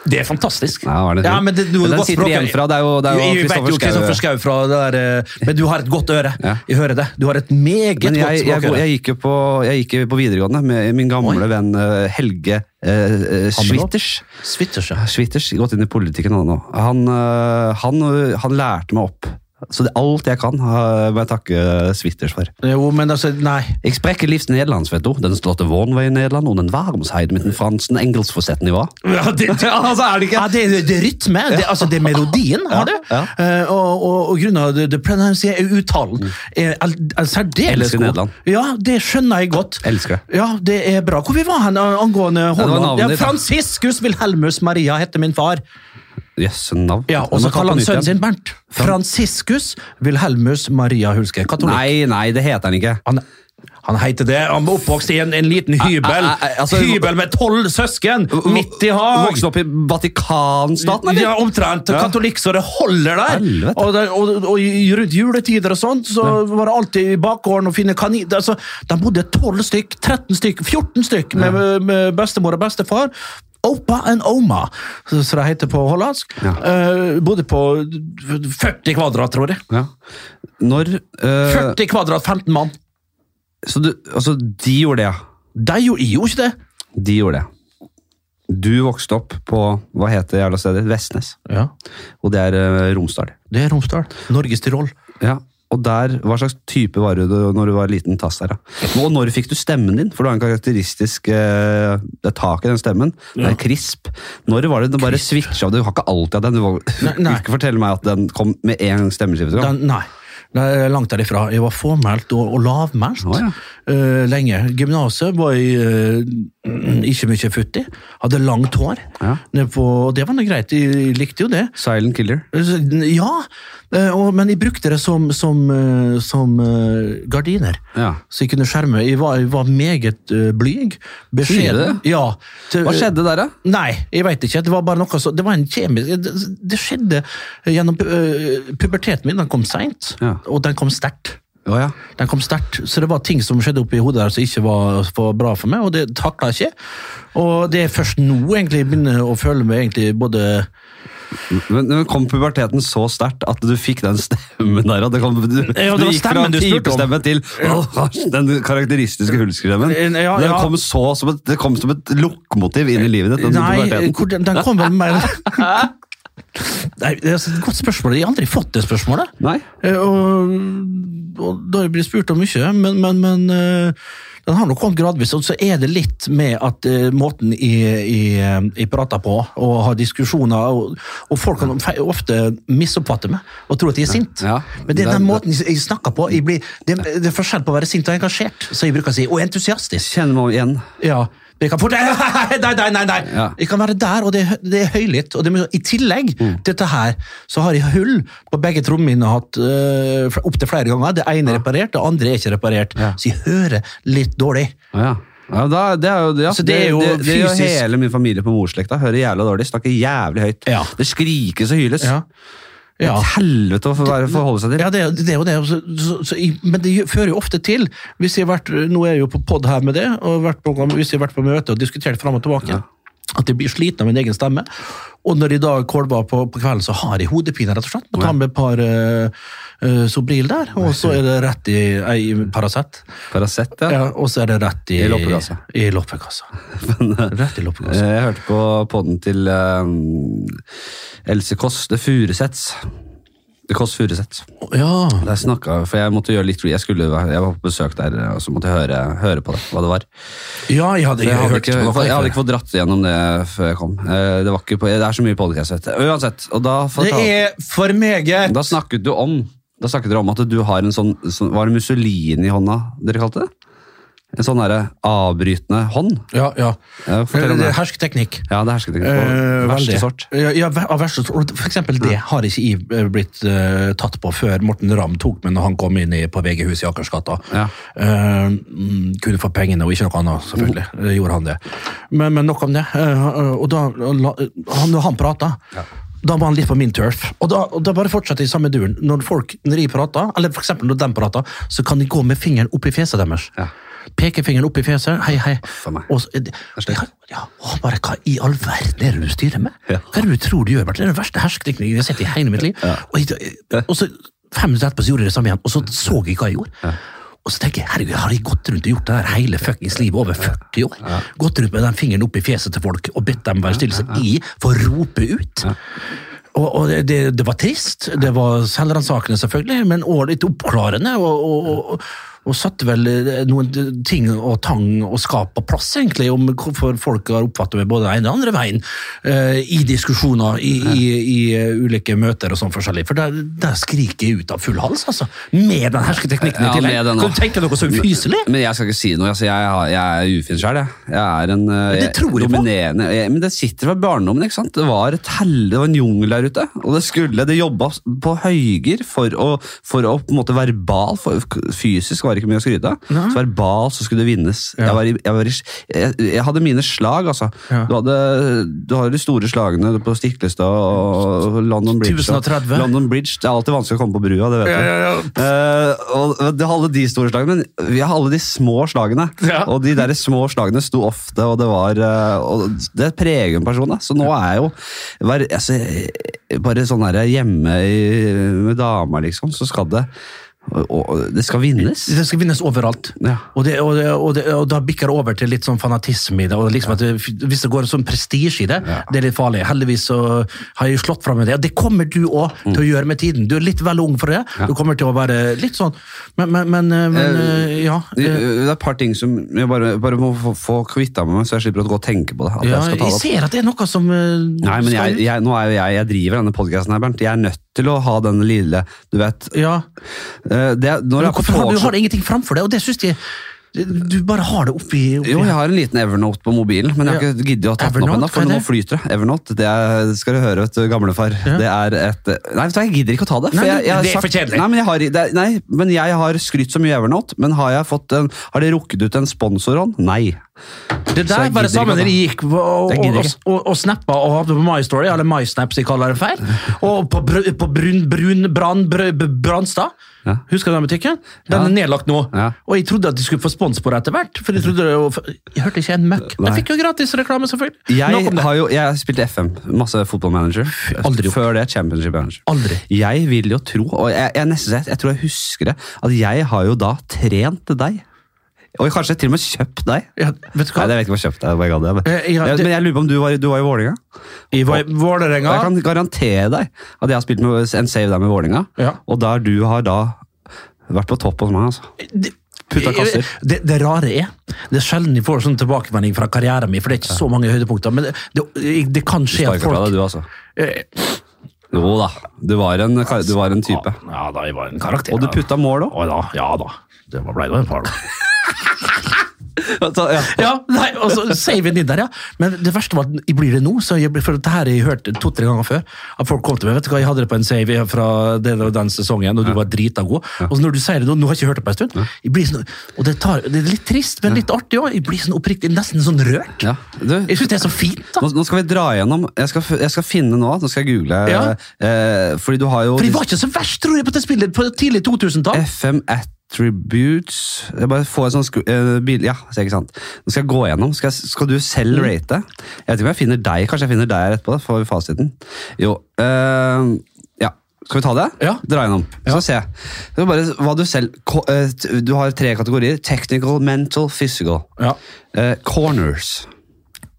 Speaker 1: Det er fantastisk.
Speaker 2: Ja, var det
Speaker 1: ja,
Speaker 2: fint?
Speaker 1: men det, du,
Speaker 2: Men den
Speaker 1: godt
Speaker 2: sitter
Speaker 1: språk-
Speaker 2: igjen fra- det er jo- det er jo
Speaker 1: Jeg vet jo
Speaker 2: Kristoffer Schau.
Speaker 1: Kristoffer Schau fra det der, eh, Men du har et godt øre.
Speaker 2: Ja.
Speaker 1: Jeg hører det. Du har et meget
Speaker 2: Men
Speaker 1: godt
Speaker 2: jeg, jeg,
Speaker 1: språkøre.
Speaker 2: jeg, gikk jo på, jeg gikk jo på videregående med min gamle venn eh, Helge eh, eh, Schwitters.
Speaker 1: Svitter seg.
Speaker 2: Schwitters, gått inn i politikken han nå. Han, øh, han, øh, han lærte meg opp. Så det, alt jeg kan, øh, må jeg takke Schwitters for.
Speaker 1: Jo, men altså, nei.
Speaker 2: Jeg sprekker livs nederlands, vet du. Den slåtte Vornvei i Nederland, og den varmsheid med den fransen engelsforsetten i var.
Speaker 1: Ja, det,
Speaker 2: altså, er det
Speaker 1: ja, det, er- det er rytme. Det, altså, det er melodien, har du.
Speaker 2: Ja,
Speaker 1: Eh, og, og, og grunnen av det, det pronuncier uttalen er, al- al- særdeles
Speaker 2: Mm. Elsker
Speaker 1: god.
Speaker 2: Nederland.
Speaker 1: Ja, det skjønner jeg godt.
Speaker 2: Elsker det.
Speaker 1: Ja, det er bra. Hvor vi var han eh, angående
Speaker 2: var
Speaker 1: Holland?
Speaker 2: navnet
Speaker 1: Ja,
Speaker 2: ditt, da.
Speaker 1: Franciscus Wilhelmus Maria heter min far.
Speaker 2: Jøss, en navn.
Speaker 1: Ja, Og så
Speaker 2: Nå må jeg ta
Speaker 1: kaller
Speaker 2: på
Speaker 1: han
Speaker 2: nytt
Speaker 1: sønnen
Speaker 2: igjen.
Speaker 1: sin Bernt. Franciscus Wilhelmus Maria Hulske. Katolikk.
Speaker 2: Nei, nei, det heter han ikke.
Speaker 1: Han, han heter det. Han var oppvokst i en, en liten hybel.
Speaker 2: Æ, æ, æ, altså-
Speaker 1: hybel med tolv søsken midt i Haag.
Speaker 2: Voksen opp i Vatikanstaten, eller?
Speaker 1: Ja, omtrent. Katolikk så det holder der.
Speaker 2: Helvete.
Speaker 1: Og, det- og, og i- rundt juletider og sånt, så var det alltid i bakgården å finne kanin... Altså, de bodde 12 stykk, 13 stykk, 14 stykk med, med bestemor og bestefar. Opa and Oma, som det heter på hollandsk. Eh, bodde på 40 kvadrat, tror jeg.
Speaker 2: Ja. Når øh,
Speaker 1: 40 kvadrat, 15 mann.
Speaker 2: Så du Altså, de gjorde det, ja.
Speaker 1: De gjorde jo ikke det.
Speaker 2: De gjorde det. Du vokste opp på hva heter jævla stedet? Vestnes.
Speaker 1: Ja.
Speaker 2: Og det er eh, Romsdal.
Speaker 1: Det er Romsdal. Norges Tyrol.
Speaker 2: Ja. Og der, Hva slags type var du da- når du var liten tass her, da? Og når fikk du stemmen din? For du har en karakteristisk eh, Det er tak i den stemmen. Den er krisp. Når var det den bare switcha? Du har ikke alltid hatt den. Du var,
Speaker 1: Nei, nei.
Speaker 2: Ikke fortell meg at den kom med en gang stemmeskifte. kom.
Speaker 1: Den, nei. Det er langt derifra. Jeg var formelt og, og lavmælt
Speaker 2: Å, ja.
Speaker 1: eh, lenge. Gymnaset var jeg eh, ikke mye futt i. Hadde langt hår.
Speaker 2: Ja.
Speaker 1: Ned på, og det var noe greit, jeg likte jo det.
Speaker 2: Silent killer.
Speaker 1: Så, Ja, eh, og, men jeg brukte det som, som, eh, som eh, gardiner.
Speaker 2: Ja.
Speaker 1: Så jeg kunne skjerme. Jeg var, jeg var meget eh, blyg. Beskjeden.
Speaker 2: Sier
Speaker 1: Ja, til-
Speaker 2: Hva skjedde der, da?
Speaker 1: Nei, jeg veit ikke. Det var bare noe så, det var en kjemisk Det, det skjedde gjennom pu- øh, puberteten min. Den kom seint,
Speaker 2: Ja.
Speaker 1: og den kom sterkt.
Speaker 2: Å ja.
Speaker 1: Den kom sterkt, Så det var ting som skjedde oppi hodet der som ikke var for bra for meg, og det takla jeg ikke. Og det er først nå egentlig jeg begynner å føle meg egentlig både
Speaker 2: Men, men kom puberteten så sterkt at du fikk den stemmen der? At det kom, du,
Speaker 1: Ja, det
Speaker 2: du
Speaker 1: var
Speaker 2: gikk fra
Speaker 1: stemmen du spurte om.
Speaker 2: pipestemme til åh, den karakteristiske hulskestemmen?
Speaker 1: Ja, ja.
Speaker 2: Den kom så som et, det kom som et lokomotiv inn i livet ditt? Den
Speaker 1: Nei,
Speaker 2: puberteten.
Speaker 1: hvor, den, den kom vel mer Nei, det er et godt spørsmål. Jeg har aldri fått det spørsmålet.
Speaker 2: Nei?
Speaker 1: Eh, Og, og da har jeg blitt spurt om mye, men, men, men eh, den har nok kommet gradvis. Og så er det litt med at eh, måten jeg, jeg, jeg prater på og har diskusjoner, og, og folk kan fe- ofte misoppfatte meg og tro at jeg er sint.
Speaker 2: Ja.
Speaker 1: Men det er den
Speaker 2: Det-
Speaker 1: måten jeg snakker på. Jeg blir, det, det er forskjell på å være sint og engasjert, så jeg bruker å si, og entusiastisk.
Speaker 2: Kjenner meg igjen.
Speaker 1: Ja. Jeg kan fort Nei, nei, nei! nei.
Speaker 2: Ja.
Speaker 1: Jeg kan være der, og det, er hø- det er høylytt. Og det, er mye- I tillegg
Speaker 2: Mm.
Speaker 1: til dette her, så har jeg hull på begge trommehinnene hatt øh, fl- opptil flere ganger. Det ene er reparert, det andre er ikke reparert.
Speaker 2: Ja.
Speaker 1: Så jeg hører litt dårlig.
Speaker 2: Å Ja. Ja, da, det er jo, ja,
Speaker 1: Så det er jo
Speaker 2: det, det,
Speaker 1: fysisk-
Speaker 2: gjør hele min familie på morsslekta. Hører jævla dårlig, snakker jævlig høyt.
Speaker 1: Ja.
Speaker 2: Det skrikes og hyles.
Speaker 1: Ja. Ja.
Speaker 2: Et helvete å få være- forholde seg til.
Speaker 1: Ja, det, er- det er jo det. Så, så, så, i- men det gjør- fører jo ofte til, hvis jeg har vært, nå er jeg jo på pod her med det, og vært på, hvis jeg har vært på møte og diskutert fram og tilbake, at jeg blir sliten av min egen stemme. Og når jeg da kolver på, på kvelden, så har jeg hodepine, rett og slett. Må ta med et par eh, eh, Sobril der, og så er det rett i ei Paracet.
Speaker 2: Paracet, ja.
Speaker 1: Ja, og så er det rett i,
Speaker 2: I loppekassa.
Speaker 1: I loppekassa. rett i
Speaker 2: Eh,
Speaker 1: loppekassa.
Speaker 2: Jeg hørte på podden til eh, Else Kåss, det Furuseths. Det Kåss Furuseths.
Speaker 1: Ja.
Speaker 2: Der snakket, for jeg måtte gjøre litt, jeg, skulle, jeg var på besøk der, eh, og så måtte jeg høre, høre på det, hva det var.
Speaker 1: ja, jeg hadde,
Speaker 2: Jeg,
Speaker 1: jeg
Speaker 2: hadde
Speaker 1: hørte på
Speaker 2: ikke,
Speaker 1: noe
Speaker 2: jeg hadde
Speaker 1: før.
Speaker 2: ikke fått dratt gjennom det før jeg kom. Eh, Det, var ikke på, det er så mye podcast, vet du. Uansett, og da,
Speaker 1: Det
Speaker 2: fortal-
Speaker 1: er for meget!
Speaker 2: da snakket du om, da snakket dere om at du har en sånn, sånn var det Mussolini i hånda, dere kalte det? En sånn der avbrytende hånd.
Speaker 1: Ja, ja.
Speaker 2: Ja, fortell om
Speaker 1: Det
Speaker 2: det.
Speaker 1: er Hersketeknikk.
Speaker 2: Ja, det hersket ikke på.
Speaker 1: Eh,
Speaker 2: Verste
Speaker 1: veldig.
Speaker 2: sort.
Speaker 1: Ja, ja, ver- av verste sort. Og For eksempel det har ikke jeg eh, blitt eh, tatt på før Morten Ramm tok meg når han kom inn i, på VG-huset i Akersgata.
Speaker 2: Ja.
Speaker 1: Eh, mm, kunne få pengene og ikke noe annet, selvfølgelig.
Speaker 2: Oh.
Speaker 1: Eh, gjorde han det. Men, men nok om det. Eh, eh, og da, og la- han, når han prata, da var han litt på min turf. Og da, og da bare fortsetter jeg i samme duren. Når folk, når jeg prater, eller for eksempel når de prater, så kan de gå med fingeren opp i fjeset deres.
Speaker 2: Ja.
Speaker 1: Pekefingeren opp i fjeset. Hei, hei.
Speaker 2: for meg.
Speaker 1: Og så, det, det, ja, og bare, hva i all verden er det du styrer med?
Speaker 2: Ja.
Speaker 1: Hva er det du tror du gjør? Bert? Det er den verste hersketeknikken jeg har sett i hele mitt liv. Og, jeg, eh, og så fem minutter etterpå så gjorde jeg det samme igjen, og så så jeg hva jeg gjorde. Og så tenker jeg, herregud, har jeg gått rundt og gjort det her hele fuckings livet over 40 år? Gått rundt med den fingeren opp i fjeset til folk og bedt dem være stille, så jeg får rope ut? Og, og det, det, det var trist, det var selvransakende selvfølgelig, men også litt oppklarende. Og, og, og, og satte vel eh, noen d- ting og tang og skap på plass, egentlig, om hvorfor folk har oppfattet meg både den ene og den andre veien eh, i diskusjoner, i, i, i eh, ulike møter og sånn forskjellig. For der, der skriker jeg ut av full hals, altså. Med den hersketeknikken i
Speaker 2: Ja,
Speaker 1: tillegg.
Speaker 2: med den
Speaker 1: Kan
Speaker 2: også.
Speaker 1: du tenke deg noe så ufyselig?
Speaker 2: Men jeg skal ikke si noe. Altså, jeg, har- jeg er ufin sjøl, jeg. Jeg er en eh,
Speaker 1: det tror jeg på.
Speaker 2: dominerende jeg, Men det sitter fra barndommen. ikke sant? Det var et helle, det var en jungel der ute. Og det skulle, det jobba på høyger for å, for å på en måte verbal for Fysisk var det ikke mye å skryte av. Så verbal så skulle det vinnes. Jeg, var, i- jeg, var, i- jeg, jeg hadde mine slag, altså.
Speaker 1: Ja.
Speaker 2: Du, hadde, du har de store slagene på Stiklestad og London Bridge. og-
Speaker 1: 1030.
Speaker 2: London Bridge, Det er alltid vanskelig å komme på brua, det vet du.
Speaker 1: Ja, ja, ja.
Speaker 2: Eh, og det hadde de store slagene, men vi har alle de små slagene.
Speaker 1: Ja.
Speaker 2: Og de der små slagene sto ofte, og det var eh, og Det preger en person, da. Så nå er jeg jo hver, altså, Bare sånn her hjemme i, med dama, liksom, så skal det Og, og det skal vinnes.
Speaker 1: Det skal vinnes overalt.
Speaker 2: Ja.
Speaker 1: Og, det, og, det, og, det, og da bikker det over til litt sånn fanatisme i det. og liksom at det, Hvis det går en sånn prestisje i det, det er litt farlig. Heldigvis så har jeg slått fram med det. Og det kommer du òg
Speaker 2: Mm.
Speaker 1: til å gjøre med tiden. Du er litt vel ung for det. Du kommer til å være litt sånn Men, men, men, men eh, ja.
Speaker 2: Det
Speaker 1: eh,
Speaker 2: det er et par ting som jeg bare, bare må få, få kvitta med meg, så jeg slipper å gå og tenke på det. At
Speaker 1: ja
Speaker 2: jeg skal
Speaker 1: jeg
Speaker 2: ta det opp.
Speaker 1: ser at det er noe som eh,
Speaker 2: Nei, men jeg,
Speaker 1: skal ut.
Speaker 2: jeg, nå er jo jeg, jeg driver denne podkasten her, Bernt. Jeg er nødt til å ha denne lille Du vet
Speaker 1: ja.
Speaker 2: eh, det, er- Når jeg er på
Speaker 1: Hvorfor har
Speaker 2: tog,
Speaker 1: du
Speaker 2: så
Speaker 1: har ingenting framfor deg? Og det syns jeg Du bare har det oppi, oppi.
Speaker 2: jo, jeg har en liten Evernote på mobilen, men jeg har ikke giddet å ta den opp
Speaker 1: Evernote,
Speaker 2: ennå. For
Speaker 1: hva er
Speaker 2: nå
Speaker 1: det?
Speaker 2: flyter det. Evernote, det er, skal du høre, vet du, gamlefar. Det er et Nei, vet du hva, jeg gidder ikke å ta det.
Speaker 1: Nei,
Speaker 2: jeg, jeg har
Speaker 1: det er for kjedelig.
Speaker 2: Nei, men jeg har, det er, nei, men jeg har skrytt så mye Evernote, men har jeg fått en Har det rukket ut en sponsorhånd? Nei.
Speaker 1: Det
Speaker 2: Så
Speaker 1: der
Speaker 2: jeg
Speaker 1: var det
Speaker 2: gidder
Speaker 1: samme
Speaker 2: ikke å
Speaker 1: dere
Speaker 2: ta-
Speaker 1: gikk og, og,
Speaker 2: Jeg gidder
Speaker 1: og,
Speaker 2: ikke.
Speaker 1: og, og snappa og hadde på MyStory, eller MySnaps, jeg kaller det feil, og på, br på Brun, brun Brann Br- Br- Brannstad.
Speaker 2: Ja.
Speaker 1: Husker du den butikken? Den er nedlagt nå.
Speaker 2: Ja.
Speaker 1: Og jeg trodde at de skulle få spons på det etter hvert. For jeg, trodde det var, jeg hørte ikke en møkk.
Speaker 2: Nei.
Speaker 1: Jeg fikk jo gratis reklame, selvfølgelig. Nok om
Speaker 2: Jeg
Speaker 1: det.
Speaker 2: har jo jeg har spilt FM, masse fotballmanager.
Speaker 1: aldri gjort.
Speaker 2: Før det Championship Manager.
Speaker 1: Aldri.
Speaker 2: Jeg vil jo tro, og jeg, jeg, nesten, jeg, jeg tror jeg husker det, at jeg har jo da trent deg. Og kanskje til og med kjøpt deg.
Speaker 1: Ja, vet du hva?
Speaker 2: Nei, jeg vet ikke om jeg kjøpt deg. bare jeg ga deg, Men,
Speaker 1: Eh, ja,
Speaker 2: Jeg-
Speaker 1: det-
Speaker 2: men jeg lurer på om du var, du var i Vålinga?
Speaker 1: Jeg var i
Speaker 2: Og Jeg
Speaker 1: Vålerenga.
Speaker 2: kan garantere deg at jeg har spilt med, en save der med Vålinga,
Speaker 1: Ja.
Speaker 2: og der du har da vært på topp hos meg. altså.
Speaker 1: Det-
Speaker 2: Putta kasser.
Speaker 1: Det, det rare er det er sjelden jeg får sånn tilbakemelding fra karrieren min, for det er ikke så mange høydepunkter. Men det, det, det kan skje at
Speaker 2: Sparker fra deg,
Speaker 1: folk
Speaker 2: du, altså.
Speaker 1: Eh,
Speaker 2: Jo da, du var en, du var en type.
Speaker 1: Ja, da jeg var en karakter.
Speaker 2: Og du
Speaker 1: da.
Speaker 2: putta mål òg.
Speaker 1: Å da, ja da. Det var- ble da en par, da.
Speaker 2: Ja.
Speaker 1: Ja, nei, og så save den inn der, ja. Men det verste var at jeg blir det nå, så jeg, blir- for det her har jeg hørt to-tre ganger før. At folk kom til meg, vet du hva, jeg hadde det på en save fra den og den sesongen, og du var drita god. Og så når du sier det nå, nå har jeg ikke hørt det på en stund, jeg blir sånn, og det, tar, det er litt trist, men litt artig òg. Jeg blir sånn oppriktig, nesten sånn rørt.
Speaker 2: Ja, du,
Speaker 1: Jeg syns det er så fint, da.
Speaker 2: Nå, nå skal vi dra gjennom jeg skal, f- jeg skal finne nå, nå skal jeg google
Speaker 1: Ja.
Speaker 2: eh, Fordi du har jo
Speaker 1: For jeg var
Speaker 2: disse
Speaker 1: ikke så verst, tror jeg, på det spillet på tidlig 2000-tall.
Speaker 2: FM attributes Jeg bare får et sånt skru- eh, bil, Ja, så ikke sant Nå skal jeg gå gjennom, skal, jeg, skal du selv
Speaker 1: Mm.
Speaker 2: rate? Jeg vet ikke om jeg finner deg, kanskje jeg finner deg her etterpå da, Får vi fasiten Jo, eh, ja skal vi ta det?
Speaker 1: Ja.
Speaker 2: Dra gjennom. Så se. Det er bare hva du selv... ko- eh, t- Du har tre kategorier. Technical, mental, physical.
Speaker 1: Ja.
Speaker 2: Eh, corners.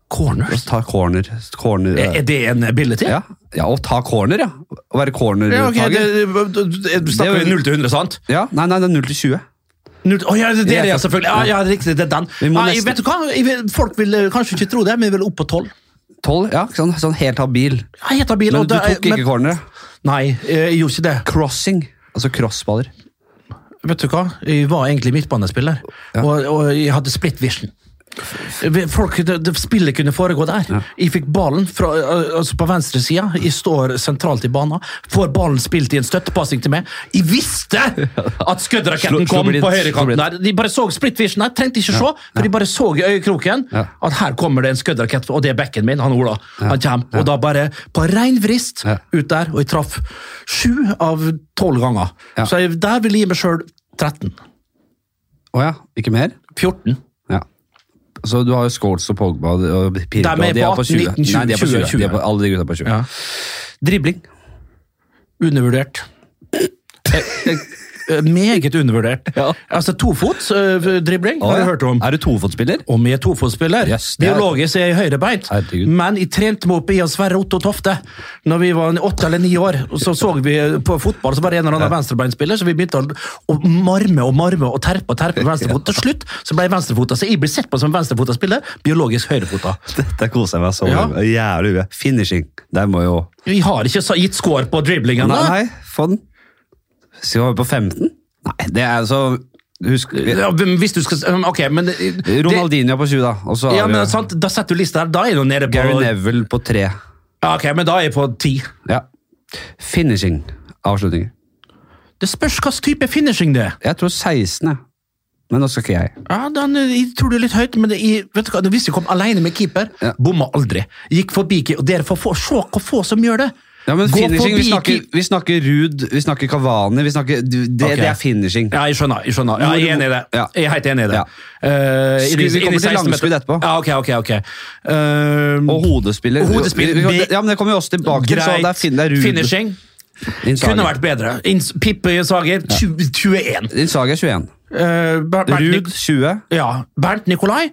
Speaker 1: Corners.
Speaker 2: Ta corner. corner eh.
Speaker 1: Er er det en ability?
Speaker 2: Ja, ja og ta corner, ja. Å
Speaker 1: Ja,
Speaker 2: være
Speaker 1: ok,
Speaker 2: corner-tager.
Speaker 1: det,
Speaker 2: Ja,
Speaker 1: det, du snakker
Speaker 2: Det er
Speaker 1: jo
Speaker 2: jo-
Speaker 1: 0 til 100, sant?
Speaker 2: Nei, nei, det er 0 til 20.
Speaker 1: Null, Å, ja, det, det er det,
Speaker 2: Ja.
Speaker 1: ja, selvfølgelig. Ja, ja, det er riktig, det er den.
Speaker 2: Vi må
Speaker 1: Nei,
Speaker 2: nesten-
Speaker 1: vet du hva? Jeg vil, folk vil eh, kanskje ikke tro det, men jeg vil opp på 12.
Speaker 2: 12, ja, ikke sånn, sånn helt habil.
Speaker 1: Jeg heter bil,
Speaker 2: Men
Speaker 1: og
Speaker 2: du
Speaker 1: det er-
Speaker 2: tok ikke
Speaker 1: men-
Speaker 2: corner.
Speaker 1: Nei, eh, jeg gjorde ikke det.
Speaker 2: Crossing, altså crossballer.
Speaker 1: Vet du hva? Jeg var egentlig midtbanespiller, og, og jeg hadde split vision. Folk, det, det, spillet kunne foregå der. Jeg fikk ballen fra, eh, altså på venstre sida. Jeg står sentralt i banen. Får ballen spilt i en støttepassing til meg. Jeg visste at
Speaker 2: Slo-
Speaker 1: skuddraketten
Speaker 2: slo
Speaker 1: kom
Speaker 2: blind,
Speaker 1: på
Speaker 2: slo blind.
Speaker 1: høyrekanten! der. De bare så split vision der. Trengte ikke se, for de bare så i øyekroken
Speaker 2: Ja.
Speaker 1: at her kommer det en skuddrakett, og det er bekken min, han Ola. Han kommer. Og da bare på rein vrist
Speaker 2: Ja.
Speaker 1: ut der, og jeg traff sju av tolv ganger.
Speaker 2: Ja.
Speaker 1: Så jeg, der vil jeg gi meg sjøl 13.
Speaker 2: Å ja, ikke mer?
Speaker 1: 14.
Speaker 2: Ja. Så du har jo Scholes og Pogba og Pirlo.
Speaker 1: De er på
Speaker 2: 20.
Speaker 1: 19, 20,
Speaker 2: Nei, de er på 20.
Speaker 1: 20.
Speaker 2: De er på, alle de gutta er på 20.
Speaker 1: Ja.
Speaker 2: Dribling.
Speaker 1: Undervurdert. Eh, eh, Meget undervurdert.
Speaker 2: Ja.
Speaker 1: Altså tofots eh, dribling,
Speaker 2: Å,
Speaker 1: har
Speaker 2: ja.
Speaker 1: du hørt om.
Speaker 2: Er du tofotsspiller?
Speaker 1: Om jeg er tofotsspiller.
Speaker 2: Yes, det er-
Speaker 1: Biologisk er jeg høyrebeint,
Speaker 2: Herregud.
Speaker 1: men jeg trente meg opp i av Sverre Otto Tofte Når vi var en åtte eller ni år. og Så så vi på fotball, så var det en eller annen venstrebeinspiller, så vi begynte å, å marme og marme og terpe og terpe med venstrefot. Til slutt så ble jeg venstrefota, så jeg blir sett på som venstrefota spiller. Biologisk høyrefota.
Speaker 2: Dette koser jeg meg så
Speaker 1: Ja.
Speaker 2: mye med. Jævlig mye. Finishing. Der må jo
Speaker 1: Vi har ikke så- gitt score på driblingen.
Speaker 2: Nei,
Speaker 1: da.
Speaker 2: nei få den. Skal vi på 15? Nei, det er så Husk
Speaker 1: Ja, men hvis du skal um, Ok, men det-
Speaker 2: Ronaldinho er på 20, da. Og så
Speaker 1: det- Ja,
Speaker 2: har vi
Speaker 1: men sant, Da setter du lista her. Da er du nede på
Speaker 2: Gary Neville på 3.
Speaker 1: Ja, Ok, men da er jeg på ti.
Speaker 2: Ja. Finishing. Avslutninger.
Speaker 1: Det spørs hva slags type finishing det er.
Speaker 2: Jeg tror 16, jeg. Men nå skal ikke jeg.
Speaker 1: Ja, den, eh, jeg tror det er litt høyt, men det, jeg, vet du hva, hvis jeg kom alene med keeper,
Speaker 2: Ja.
Speaker 1: bomma aldri. Gikk forbi keeper. og Dere får få, se hvor få som gjør det.
Speaker 2: Ja, men
Speaker 1: Gå
Speaker 2: finishing, Vi
Speaker 1: forbi
Speaker 2: snakker,
Speaker 1: keep-
Speaker 2: vi snakker Ruud, vi snakker Kavani vi snakker, du- det,
Speaker 1: Ok.
Speaker 2: det er finishing.
Speaker 1: Ja, jeg skjønner. Jeg, skjønner. Ja, jeg er enig i det.
Speaker 2: Ja.
Speaker 1: Jeg er helt enig i det.
Speaker 2: Ja.
Speaker 1: Eh, i de-
Speaker 2: Skulle vi
Speaker 1: i de
Speaker 2: komme til
Speaker 1: 16 meter-
Speaker 2: langskudd etterpå?
Speaker 1: Ja, ok, ok, ok. Eh,
Speaker 2: Og hodespiller.
Speaker 1: Hodespiller.
Speaker 2: Vi- vi- Ja, men Det kommer vi også tilbake til. så
Speaker 1: Greit.
Speaker 2: det er, fin, det er Ruud.
Speaker 1: Finishing.
Speaker 2: Insager.
Speaker 1: Kunne vært bedre. Inns- Pippe Sager, 20, 21.
Speaker 2: Insager 21.
Speaker 1: Eh, Ber- Bernt,
Speaker 2: Ruud
Speaker 1: Nik
Speaker 2: 20.
Speaker 1: ja. Bernt Nikolai,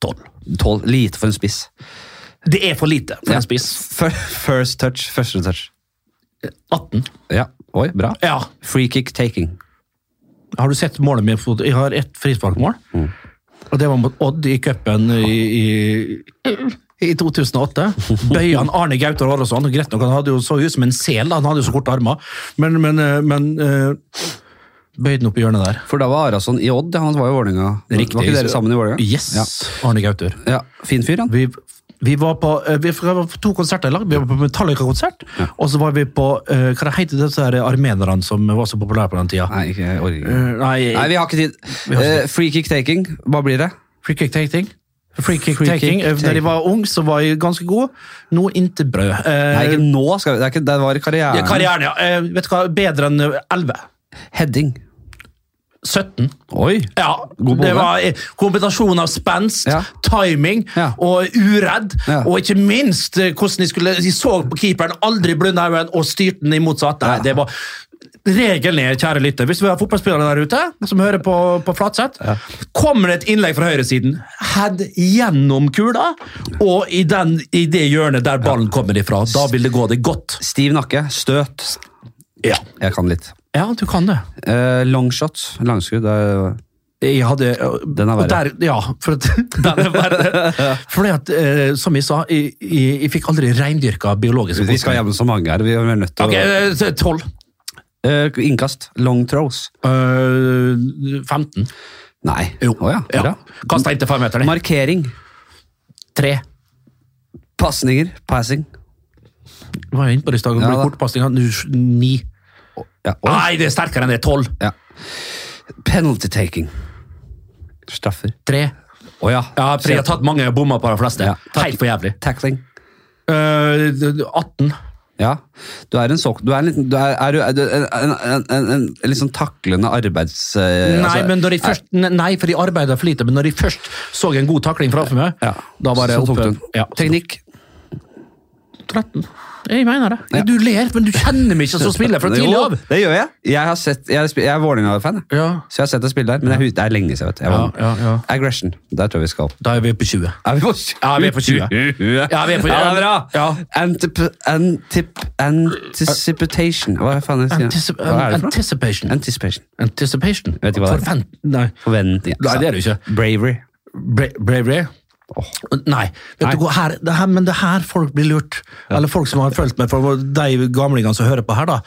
Speaker 1: 12.
Speaker 2: 12. Lite for en spiss.
Speaker 1: Det er for lite for
Speaker 2: Ja.
Speaker 1: en spiss.
Speaker 2: Fir- First touch, første touch.
Speaker 1: 18.
Speaker 2: Ja. Oi, bra.
Speaker 1: Ja.
Speaker 2: Free kick taking.
Speaker 1: Har du sett målet mitt? fot- Jeg har ett frisparkmål. Og det var mot Odd i cupen i, i, i 2008. Bøya han Arne Gautar Aarosson. Greit nok, han hadde jo så ut som en sel, da. han hadde jo så korte armer. Men, men, eh, men eh, bøyde den opp i hjørnet der.
Speaker 2: For da var Arason i Odd, han var i Vålerenga.
Speaker 1: Riktig.
Speaker 2: Var ikke dere sammen i Vålerenga?
Speaker 1: Yes,
Speaker 2: Ja.
Speaker 1: Arne Gautur.
Speaker 2: ja. Fin fyr, han.
Speaker 1: Vi, vi var på eh, vi var på to konserter i lag. Vi var på Metallica-konsert, og så var vi på eh, Hva det heter disse her armenerne som var så populære på den tida?
Speaker 2: Nei, ikke jeg orker ikke.
Speaker 1: Eh, Nei,
Speaker 2: Nei, vi har ikke tid.
Speaker 1: har ikke
Speaker 2: Eh, free kick taking, hva blir det?
Speaker 1: Free kick taking. Free kick
Speaker 2: Free kick
Speaker 1: taking. Eh, Da
Speaker 2: taking.
Speaker 1: jeg var ung, så var jeg ganske god. Nå intet brød. Eh,
Speaker 2: Nei, ikke nå skal vi, det, er ikke, det var karrieren.
Speaker 1: ja, karrieren, ja. Eh, vet du hva, bedre enn eh, 11.
Speaker 2: Heading.
Speaker 1: 17.
Speaker 2: Oi!
Speaker 1: Ja,
Speaker 2: God
Speaker 1: det
Speaker 2: bolle.
Speaker 1: var eh, kombinasjon av spenst,
Speaker 2: Ja.
Speaker 1: timing
Speaker 2: Ja.
Speaker 1: og uredd,
Speaker 2: Ja.
Speaker 1: og ikke minst eh, hvordan de skulle De så på keeperen, aldri blunda øynene og styrte den i motsatt. Nei,
Speaker 2: Ja.
Speaker 1: det var Regelen er, kjære lytter, hvis vi har fotballspillere der ute som hører på, på Flatseth, kommer det et innlegg fra høyresiden, head gjennom kula, og i, den, i det hjørnet der ballen kommer ifra. Da vil det gå det godt.
Speaker 2: Stiv nakke. Støt.
Speaker 1: Ja,
Speaker 2: Jeg kan litt.
Speaker 1: ja du kan det.
Speaker 2: Eh, Longshot. Langskudd. det er-
Speaker 1: Jeg hadde,
Speaker 2: Den er
Speaker 1: og
Speaker 2: verre.
Speaker 1: Der, ja, for at, den er verre. Fordi at, eh, som jeg sa, jeg, jeg, jeg fikk aldri reindyrka biologiske
Speaker 2: Vi skal
Speaker 1: kvoter.
Speaker 2: gjennom så mange her. Vi er nødt til
Speaker 1: Ok, eh, så 12.
Speaker 2: å Eh, Innkast. Long throws.
Speaker 1: eh, 15.
Speaker 2: Nei.
Speaker 1: Jo.
Speaker 2: Å ja.
Speaker 1: Ja.
Speaker 2: Bra.
Speaker 1: Kasta inntil femmeteren.
Speaker 2: Markering.
Speaker 1: 3.
Speaker 2: Pasninger. Passing.
Speaker 1: Var jo inne på det i stad.
Speaker 2: Ja, da.
Speaker 1: Kortpasninga 9.
Speaker 2: Ja. oi.
Speaker 1: Nei, det er sterkere enn det. 12.
Speaker 2: Ja. Penalty taking. Straffer.
Speaker 1: 3.
Speaker 2: Å ja.
Speaker 1: Ja, for jeg har tatt mange bommer på de fleste.
Speaker 2: Ja.
Speaker 1: Helt for jævlig.
Speaker 2: Tackling.
Speaker 1: Eh, 18.
Speaker 2: Ja. Du er en såk... Du er en liten du er, er, du- er du en, en, en, en, en litt sånn taklende arbeids... eh,
Speaker 1: Nei,
Speaker 2: altså-
Speaker 1: men når jeg først, nei, for jeg arbeider for lite, men når jeg først så en god takling framfor meg,
Speaker 2: ja.
Speaker 1: da var det
Speaker 2: Så tok
Speaker 1: oppe.
Speaker 2: du den.
Speaker 1: Ja.
Speaker 2: Teknikk.
Speaker 1: 13. Jeg mener det.
Speaker 2: Ja.
Speaker 1: Du ler, men du kjenner meg ikke som spiller fra tidlig
Speaker 2: Jo,
Speaker 1: av.
Speaker 2: Det gjør jeg. Jeg, har sett, jeg, sp- jeg er Vålerenga-fan, jeg.
Speaker 1: Ja.
Speaker 2: så jeg har sett deg spille der. Men jeg, hus- det er lenge siden. vet du. Jeg var-
Speaker 1: Ja, ja, ja.
Speaker 2: Aggression. Der tror jeg vi skal opp.
Speaker 1: Da er vi på 20.
Speaker 2: Er vi på
Speaker 1: Ja, vi er på 20. Ja, vi er på-
Speaker 2: Ja, det er bra!
Speaker 1: Ja.
Speaker 2: Antip, antip, anticipation Hva faen er det? jeg sier?
Speaker 1: Anticip
Speaker 2: Hva er det for noe?
Speaker 1: anticipation.
Speaker 2: Anticipation.
Speaker 1: Anticipation.
Speaker 2: Vet ikke hva det er.
Speaker 1: Forvent... Nei.
Speaker 2: Forventning.
Speaker 1: Nei, det er det ikke.
Speaker 2: Bravery.
Speaker 1: Bra bravery.
Speaker 2: Åh.
Speaker 1: Nei. Vet du hva, her, det her, men det her folk blir lurt. Eller folk som har følt meg, for de gamlingene som hører på her, da.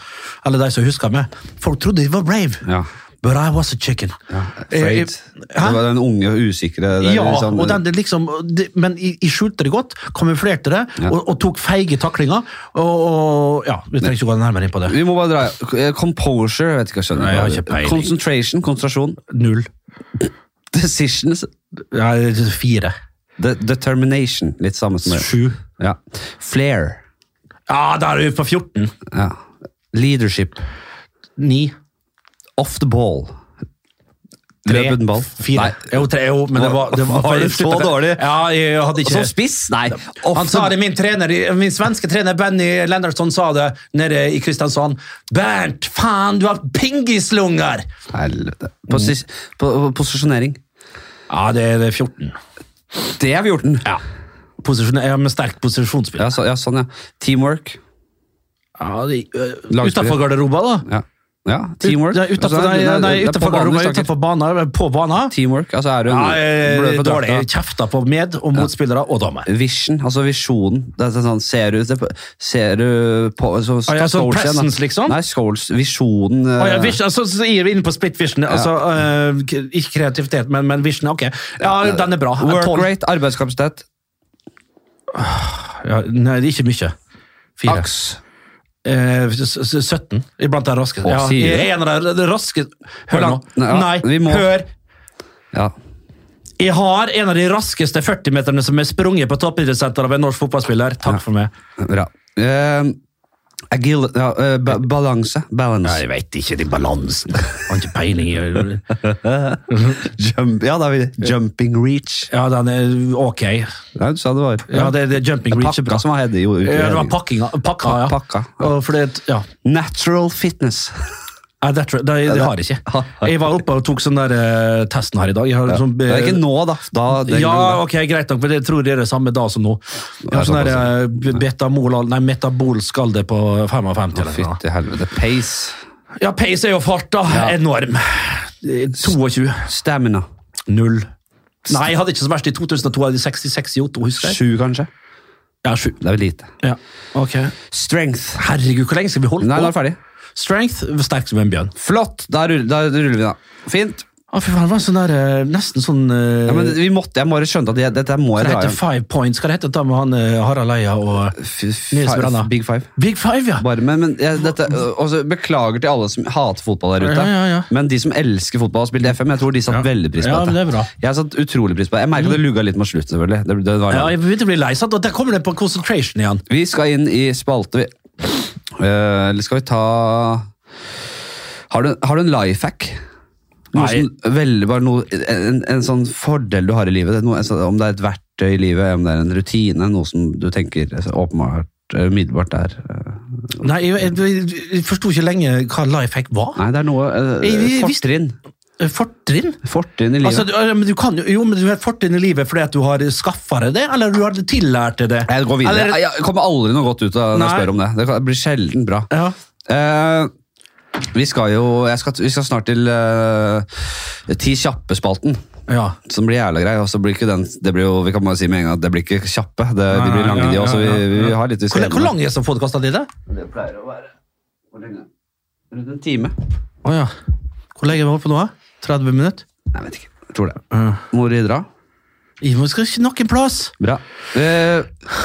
Speaker 1: Eller de som husker meg. Folk trodde jeg var brave.
Speaker 2: Ja.
Speaker 1: But I was a chicken. Eh, eh,
Speaker 2: Afraid. Det
Speaker 1: Hæ?
Speaker 2: var den unge og usikre det er
Speaker 1: Ja,
Speaker 2: liksom-
Speaker 1: og den, det liksom, det, men jeg jeg skjulte det godt, kamuflerte det, og, og tok feige taklinger. Og, og ja, Vi trenger ikke gå nærmere inn på det.
Speaker 2: Vi må bare dra eh, Composure, jeg vet ikke hva jeg skjønner.
Speaker 1: Nei, jeg har ikke peiling.
Speaker 2: Concentration, konsentrasjon.
Speaker 1: Null.
Speaker 2: Decisions.
Speaker 1: Ja, fire.
Speaker 2: De determination. Litt samme som det.
Speaker 1: Sju.
Speaker 2: Ja. Flair.
Speaker 1: Ja, da er vi på 14.
Speaker 2: Ja. Leadership.
Speaker 1: Ni.
Speaker 2: Off the ball.
Speaker 1: Tre.
Speaker 2: Løp uten ball.
Speaker 1: Fire.
Speaker 2: Nei.
Speaker 1: Jo, tre, jo, men det var, det var,
Speaker 2: Var det så dårlig? Altså,
Speaker 1: Ja, jeg hadde ikke
Speaker 2: Som spiss? Nei. Off
Speaker 1: Han
Speaker 2: the-
Speaker 1: sa det, min trener, min svenske trener Benny Lennertsson sa det nede i Kristiansand. Bernt, faen, du har pingislungar!
Speaker 2: Helvete. Posis po- posisjonering.
Speaker 1: Ja, det er det er 14.
Speaker 2: Det er 14.
Speaker 1: Ja. Posisjon, ja, med sterkt posisjonsspill.
Speaker 2: Ja, så, ja, sånn, ja. Teamwork.
Speaker 1: Ja, de, øh,
Speaker 2: Lagspill.
Speaker 1: utenfor garderoba, da.
Speaker 2: Ja. ja. Teamwork. Altså,
Speaker 1: Ut- Nei, utenfor, nei, Altså, nei,
Speaker 2: det er på
Speaker 1: utenfor
Speaker 2: banen
Speaker 1: garderoba,
Speaker 2: vi snakker.
Speaker 1: utenfor banen, på banen.
Speaker 2: Teamwork. Altså, er du en
Speaker 1: Ja, eh,
Speaker 2: blød på
Speaker 1: dårlig.
Speaker 2: drakta?
Speaker 1: Kjefta på med- og motspillere og dommer.
Speaker 2: Vision, altså visjonen. Det er sånn, ser du, det, ser du på så,
Speaker 1: Ah, ja,
Speaker 2: ta
Speaker 1: sånn
Speaker 2: Scholes igjen, da.
Speaker 1: presence, liksom?
Speaker 2: Nei, Scholes. Visjonen.
Speaker 1: Å ja,
Speaker 2: eh,
Speaker 1: vision, altså, så gir vi inn på split vision. Altså, øh, k- ikke kreativitet, men, men vision. Ok, ja, den er bra.
Speaker 2: Work
Speaker 1: Tolv.
Speaker 2: rate, arbeidskapasitet,
Speaker 1: Ja, nei, det er ikke mye. Fire.
Speaker 2: aks.
Speaker 1: Eh, s- s- 17. Iblant de raskeste.
Speaker 2: Å,
Speaker 1: Ja,
Speaker 2: sier du?
Speaker 1: jeg er en av de raskeste Hør nå.
Speaker 2: Nei, ja,
Speaker 1: Nei,
Speaker 2: vi må-
Speaker 1: hør.
Speaker 2: Ja.
Speaker 1: Jeg har en av de raskeste 40-meterne som er sprunget på toppidrettssenteret av en norsk fotballspiller. Takk for meg.
Speaker 2: Bra. Eh, Agil, ja, eh, ba balanse. Balance.
Speaker 1: Jeg veit ikke den balansen. Har ikke peiling. i-
Speaker 2: Jump, ja, da er vi jumping reach.
Speaker 1: Ja, den er ok.
Speaker 2: Nei, du sa det var
Speaker 1: Ja, det, det Jumping Reach er bra.
Speaker 2: pakka som var hede, jo, ute i
Speaker 1: Ja, det var
Speaker 2: helgen.
Speaker 1: pakkinga, pakka, ja.
Speaker 2: Pakka, ja.
Speaker 1: Og For det, ja.
Speaker 2: Natural fitness.
Speaker 1: Nei, det, tror jeg- det, det har jeg ikke. Jeg var oppe og tok sånn der eh, testen her i dag. Jeg har, sånn,
Speaker 2: Det er ikke nå, da. da den
Speaker 1: Ja,
Speaker 2: gangen,
Speaker 1: ok, greit nok, men jeg tror det er det samme da som nå. Jeg har
Speaker 2: Det er
Speaker 1: sånn der eh, betamol, nei, metabol skal det på 55
Speaker 2: da.
Speaker 1: eller noe.
Speaker 2: Fytti helvete. Pace.
Speaker 1: Ja, pace er jo fart da, enorm. Eh, 22.
Speaker 2: Stamina.
Speaker 1: 0. Nei, jeg hadde ikke så verst i 2002, hadde jeg 66 i Otto, husker jeg.
Speaker 2: Sju, kanskje.
Speaker 1: Ja, 7.
Speaker 2: Det er vel lite.
Speaker 1: Ja, ok.
Speaker 2: Strength.
Speaker 1: Herregud, hvor lenge skal vi holde
Speaker 2: Nei, nå er
Speaker 1: på?
Speaker 2: det ferdig.
Speaker 1: Strength, sterk som en bjørn.
Speaker 2: Flott! Da ruller, da ruller vi, da. Fint.
Speaker 1: Å, fy faen, det var sånn der, eh, nesten sånn... eh,
Speaker 2: Ja, men vi måtte, jeg må bare skjønte at jeg, dette må jeg
Speaker 1: det
Speaker 2: dra
Speaker 1: heter Five Points, hva det heter da med han eh, Harald Eia og Nils Branna?
Speaker 2: igjen. Big five.
Speaker 1: Big Five, ja.
Speaker 2: Bare, men, men jeg, dette, øh, også, Beklager til alle som hater fotball der ute,
Speaker 1: Ja, ja, ja.
Speaker 2: men de som elsker fotball og spiller FM, jeg tror de satt
Speaker 1: Ja.
Speaker 2: veldig pris på
Speaker 1: Ja, men det
Speaker 2: dette.
Speaker 1: er bra. Mm.
Speaker 2: Jeg satt utrolig pris på det. Jeg merket det lugga litt mot slutt, selvfølgelig. Det, det var
Speaker 1: Ja, jeg begynte å bli lei, sant? Og der kommer det på concentration igjen.
Speaker 2: Vi skal inn i spalte, vi. Eh, Eller skal vi ta Har du, har du en life hack? Noe
Speaker 1: Nei.
Speaker 2: som, veldig, bare noe, en, en sånn fordel du har i livet? Det er Noe, en sånn- om det er et verktøy i livet, om det er en rutine, noe som du tenker altså, åpenbart eh, umiddelbart er eh,
Speaker 1: Nei, jeg, jeg, jeg forsto ikke lenge hva life hack var.
Speaker 2: Nei, det er noe eh,
Speaker 1: Jeg- jeg visste-
Speaker 2: Fortrinn.
Speaker 1: Fortrinn?
Speaker 2: Fortrinn i livet.
Speaker 1: Altså, du, ja, men du kan, jo- jo, men du har fortrinn i livet fordi at du har skaffa deg det, eller du har tillært deg det.
Speaker 2: jeg går videre.
Speaker 1: Eller,
Speaker 2: Jeg kommer aldri noe godt ut av når jeg
Speaker 1: Nei.
Speaker 2: spør om det. Det blir sjelden bra.
Speaker 1: ja.
Speaker 2: Eh, vi skal jo jeg skal, Vi skal snart til eh, Ti kjappe-spalten,
Speaker 1: ja.
Speaker 2: som blir jævla grei. Og så blir ikke den det blir jo, Vi kan bare si med en gang at det blir ikke kjappe. Det, de blir lange,
Speaker 1: Ja,
Speaker 2: de
Speaker 1: ja,
Speaker 2: òg. Så
Speaker 1: ja,
Speaker 2: vi,
Speaker 1: ja,
Speaker 2: vi
Speaker 1: ja.
Speaker 2: har litt vi
Speaker 1: Hvor,
Speaker 2: skal
Speaker 1: hvor
Speaker 2: gjennom.
Speaker 1: lang er sånn podkast av de, da?
Speaker 2: Det pleier å være Hvor lenge? Rundt en time.
Speaker 1: Å ja. Hvor lenge har vi holdt på nå? da? 30 minutter?
Speaker 2: Nei, jeg vet ikke. Jeg tror det. Må vi dra?
Speaker 1: Vi må skal ikke noen plass!
Speaker 2: Bra. Eh,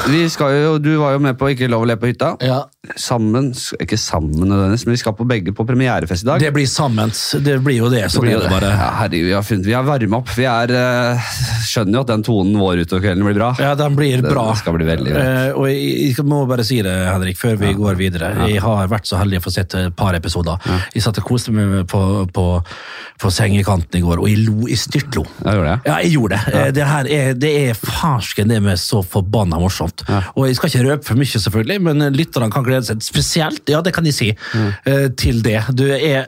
Speaker 2: vi skal jo, du var jo med på Ikke lov å le på hytta.
Speaker 1: Ja.
Speaker 2: Sammen Ikke sammen nødvendigvis, men vi skal på begge på premierefest i dag.
Speaker 1: Det blir sammen. Det blir jo det. Sånn
Speaker 2: blir
Speaker 1: er
Speaker 2: jo
Speaker 1: det bare.
Speaker 2: Ja, herregud, vi har, funnet, vi har varmet opp. Vi er, eh, skjønner jo at den tonen vår utover kvelden blir bra.
Speaker 1: Ja, den blir
Speaker 2: Den
Speaker 1: bra.
Speaker 2: skal bli veldig bra.
Speaker 1: Eh, og jeg, jeg må bare si det, Henrik, før vi går videre. Jeg har vært så heldig å få sett et par episoder. Jeg satt og koste meg på, på, på sengekanten i går, og jeg lo i styrtlo.
Speaker 2: Ja, gjorde det.
Speaker 1: Ja, jeg gjorde det. Eh, Det, her er, det er farsken det med så forbanna morsomt. Og jeg skal ikke røpe for mye, selvfølgelig, men lytterne kan glede seg spesielt, ja, det kan jeg si, eh, til det. Du er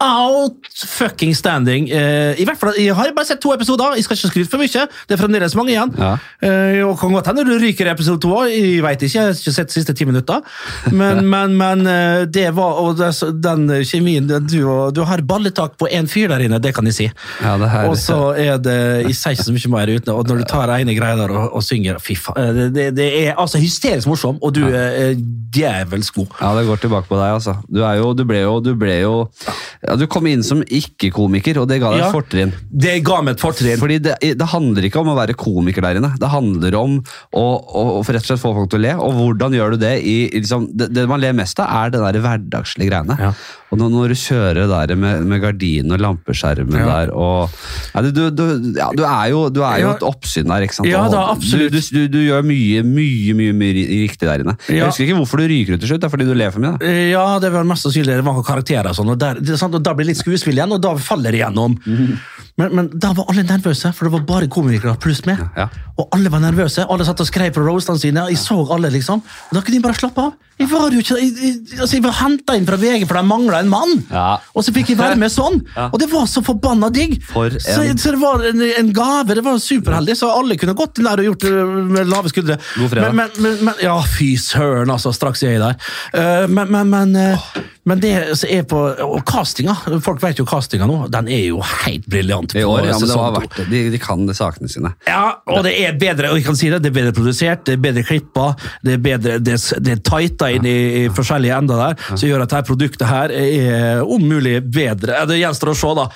Speaker 1: out fucking standing. Eh, I hvert fall, Jeg har bare sett to episoder, jeg skal ikke skryte for mye. Det er fremdeles mange igjen.
Speaker 2: Ja.
Speaker 1: Eh, og kan godt hende du ryker i episode to òg, jeg veit ikke. Jeg har ikke sett de siste ti minutter. Men, men, men eh, det var Og det, den kjemien den du, og- du har balletak på én fyr der inne, det kan jeg si.
Speaker 2: Ja, det her-
Speaker 1: og så er det Jeg sier ikke så mye mer uten Og når du tar ene greia der og, og synger Fy faen. eh, Det, det, det er altså hysterisk morsom, og du er eh, djevelsk god.
Speaker 2: Ja, det går tilbake på deg, altså. Du, er jo, du ble jo, du ble jo ja, Du kom inn som ikke-komiker, og det ga deg
Speaker 1: Ja.
Speaker 2: et fortrinn.
Speaker 1: Det ga meg et fortrinn.
Speaker 2: Fordi det, det handler ikke om å være komiker der inne. Det handler om å, å, å rett og slett få folk til å le. Og hvordan gjør du det i i liksom, det, det man ler mest av, er det der hverdagslige greiene.
Speaker 1: Ja.
Speaker 2: Og når, når du kjører det der med, med gardinen og lampeskjermen
Speaker 1: Ja.
Speaker 2: der og Nei, du, du, du, ja, du er jo, du er jo
Speaker 1: Ja.
Speaker 2: et oppsyn der, ikke sant?
Speaker 1: Ja,
Speaker 2: Og
Speaker 1: da, absolutt.
Speaker 2: Du, du, du, du gjør mye, mye, mye, mye ri- riktig der inne. Jeg
Speaker 1: Ja.
Speaker 2: husker ikke hvorfor du ryker ut til slutt. Det er fordi du ler for mye. da.
Speaker 1: Eh, Ja, det var mest sannsynlig det var noen karakterer og sånn, og, der, det er sant, og da blir det litt skuespill igjen, og da faller det igjennom.
Speaker 2: Mhm.
Speaker 1: Men, men da var alle nervøse, for det var bare komikere pluss meg.
Speaker 2: Ja.
Speaker 1: Og alle var nervøse, alle satt og skrev på roastene sine, jeg så alle liksom. Og da kunne de bare slappe av. Jeg var jo ikke, jeg, jeg, altså jeg var hentet inn fra VG, for de manglet en mann.
Speaker 2: Ja.
Speaker 1: Og så fikk jeg være med sånn,
Speaker 2: Ja.
Speaker 1: og det var så forbannet digg.
Speaker 2: For
Speaker 1: Så,
Speaker 2: en-
Speaker 1: så det var en, en gave, det var superheldig, så alle kunne gått inn der og gjort det med lave skuldre.
Speaker 2: God fredag.
Speaker 1: Men, men, men, men, ja, fy søren, altså. Straks er jeg der. Eh, men, men, men, eh, men det som er på Og castinga. Folk vet jo castinga nå. Den er jo helt briljant.
Speaker 2: I
Speaker 1: på
Speaker 2: år, ja, men det
Speaker 1: sesong
Speaker 2: var
Speaker 1: to.
Speaker 2: verdt det. De, de kan det sakene sine.
Speaker 1: Ja, og det er bedre og jeg kan si det, det er bedre produsert, det er bedre klippa, det er bedre, det er, det er tighta inn i, i forskjellige ender der, som gjør at dette produktet her er om mulig bedre. Ja, Det gjenstår å se, da.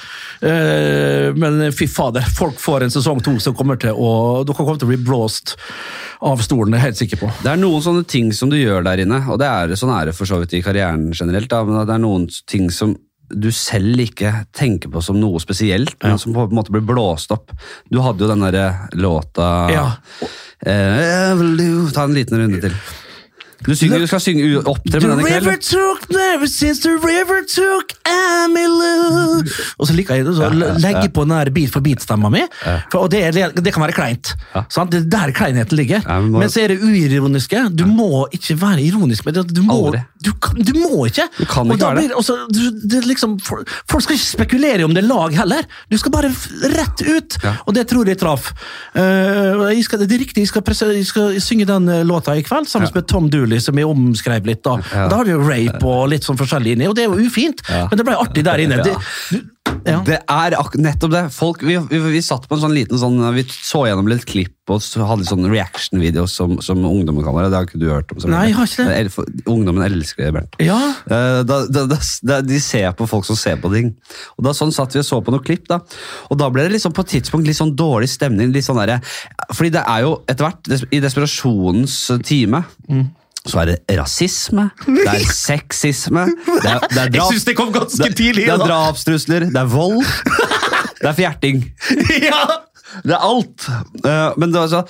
Speaker 1: Eh, Men fy fader, folk får en sesong to som kommer til å Dere kommer til å bli blåst av stolen, det er jeg helt sikker på.
Speaker 2: Det er noen sånne ting som du gjør der inne, og det er sånn er det for så vidt i karrieren generelt, da, men at det er noen ting som du selv ikke tenker på som noe spesielt, men som på en måte blir blåst opp. Du hadde jo den derre låta
Speaker 1: Ja.
Speaker 2: eh, Evelu- Ta en liten runde til. Du, synger, du skal synge u- opptre med den i kveld.
Speaker 1: took never since the river took I'm in love. Og så liker jeg det, så legger på den der bit for bit-stemma mi. For, og det, er- det kan være kleint. Sant? Det er der kleinheten ligger.
Speaker 2: Ja, men
Speaker 1: men,
Speaker 2: må-
Speaker 1: så er det uironiske. Du må ikke være ironisk med det. Du må,
Speaker 2: Aldri.
Speaker 1: du, kan- du må ikke.
Speaker 2: Du kan
Speaker 1: og
Speaker 2: ikke
Speaker 1: da
Speaker 2: være det.
Speaker 1: blir- og så- Altså, du- det er liksom, folk, folk skal ikke spekulere i om det er lag heller. Du skal bare f- rett ut.
Speaker 2: Ja.
Speaker 1: Og det tror jeg traff. Eh, og jeg skal, det er riktig, jeg skal, prese, jeg skal synge den eh, låta i kveld sammen med Tom Dooley, som jeg omskrev litt. da.
Speaker 2: Ja.
Speaker 1: Og Da har vi jo rape og litt sånn forskjellig inni, og det er jo ufint,
Speaker 2: Ja.
Speaker 1: men det ble artig der inne. Det, du, ja.
Speaker 2: Det er ak nettopp det. Folk, vi, vi, vi satt på en sånn liten sånn Vi så gjennom litt klipp og så hadde sånn reaction-video som, som ungdommen kaller det. Det har ikke du hørt om. selvfølgelig.
Speaker 1: Nei, jeg har ikke det.
Speaker 2: Men el- for- Ungdommen elsker det, Bernt.
Speaker 1: ja.
Speaker 2: Eh, Da, da, da, da, de ser på folk som ser på ting. Og da sånn satt vi og så på noen klipp, da. Og da ble det liksom på et tidspunkt litt sånn dårlig stemning. Litt sånn derre- fordi det er jo etter hvert, des i desperasjonens eh, time
Speaker 1: Mm.
Speaker 2: Så er det rasisme, det er sexisme, det er, det er drap
Speaker 1: synes det kom ganske
Speaker 2: det-
Speaker 1: tidlig,
Speaker 2: Det er
Speaker 1: da.
Speaker 2: drapstrusler, det er vold, det er fjerting. Det er alt. Eh, Men det, altså,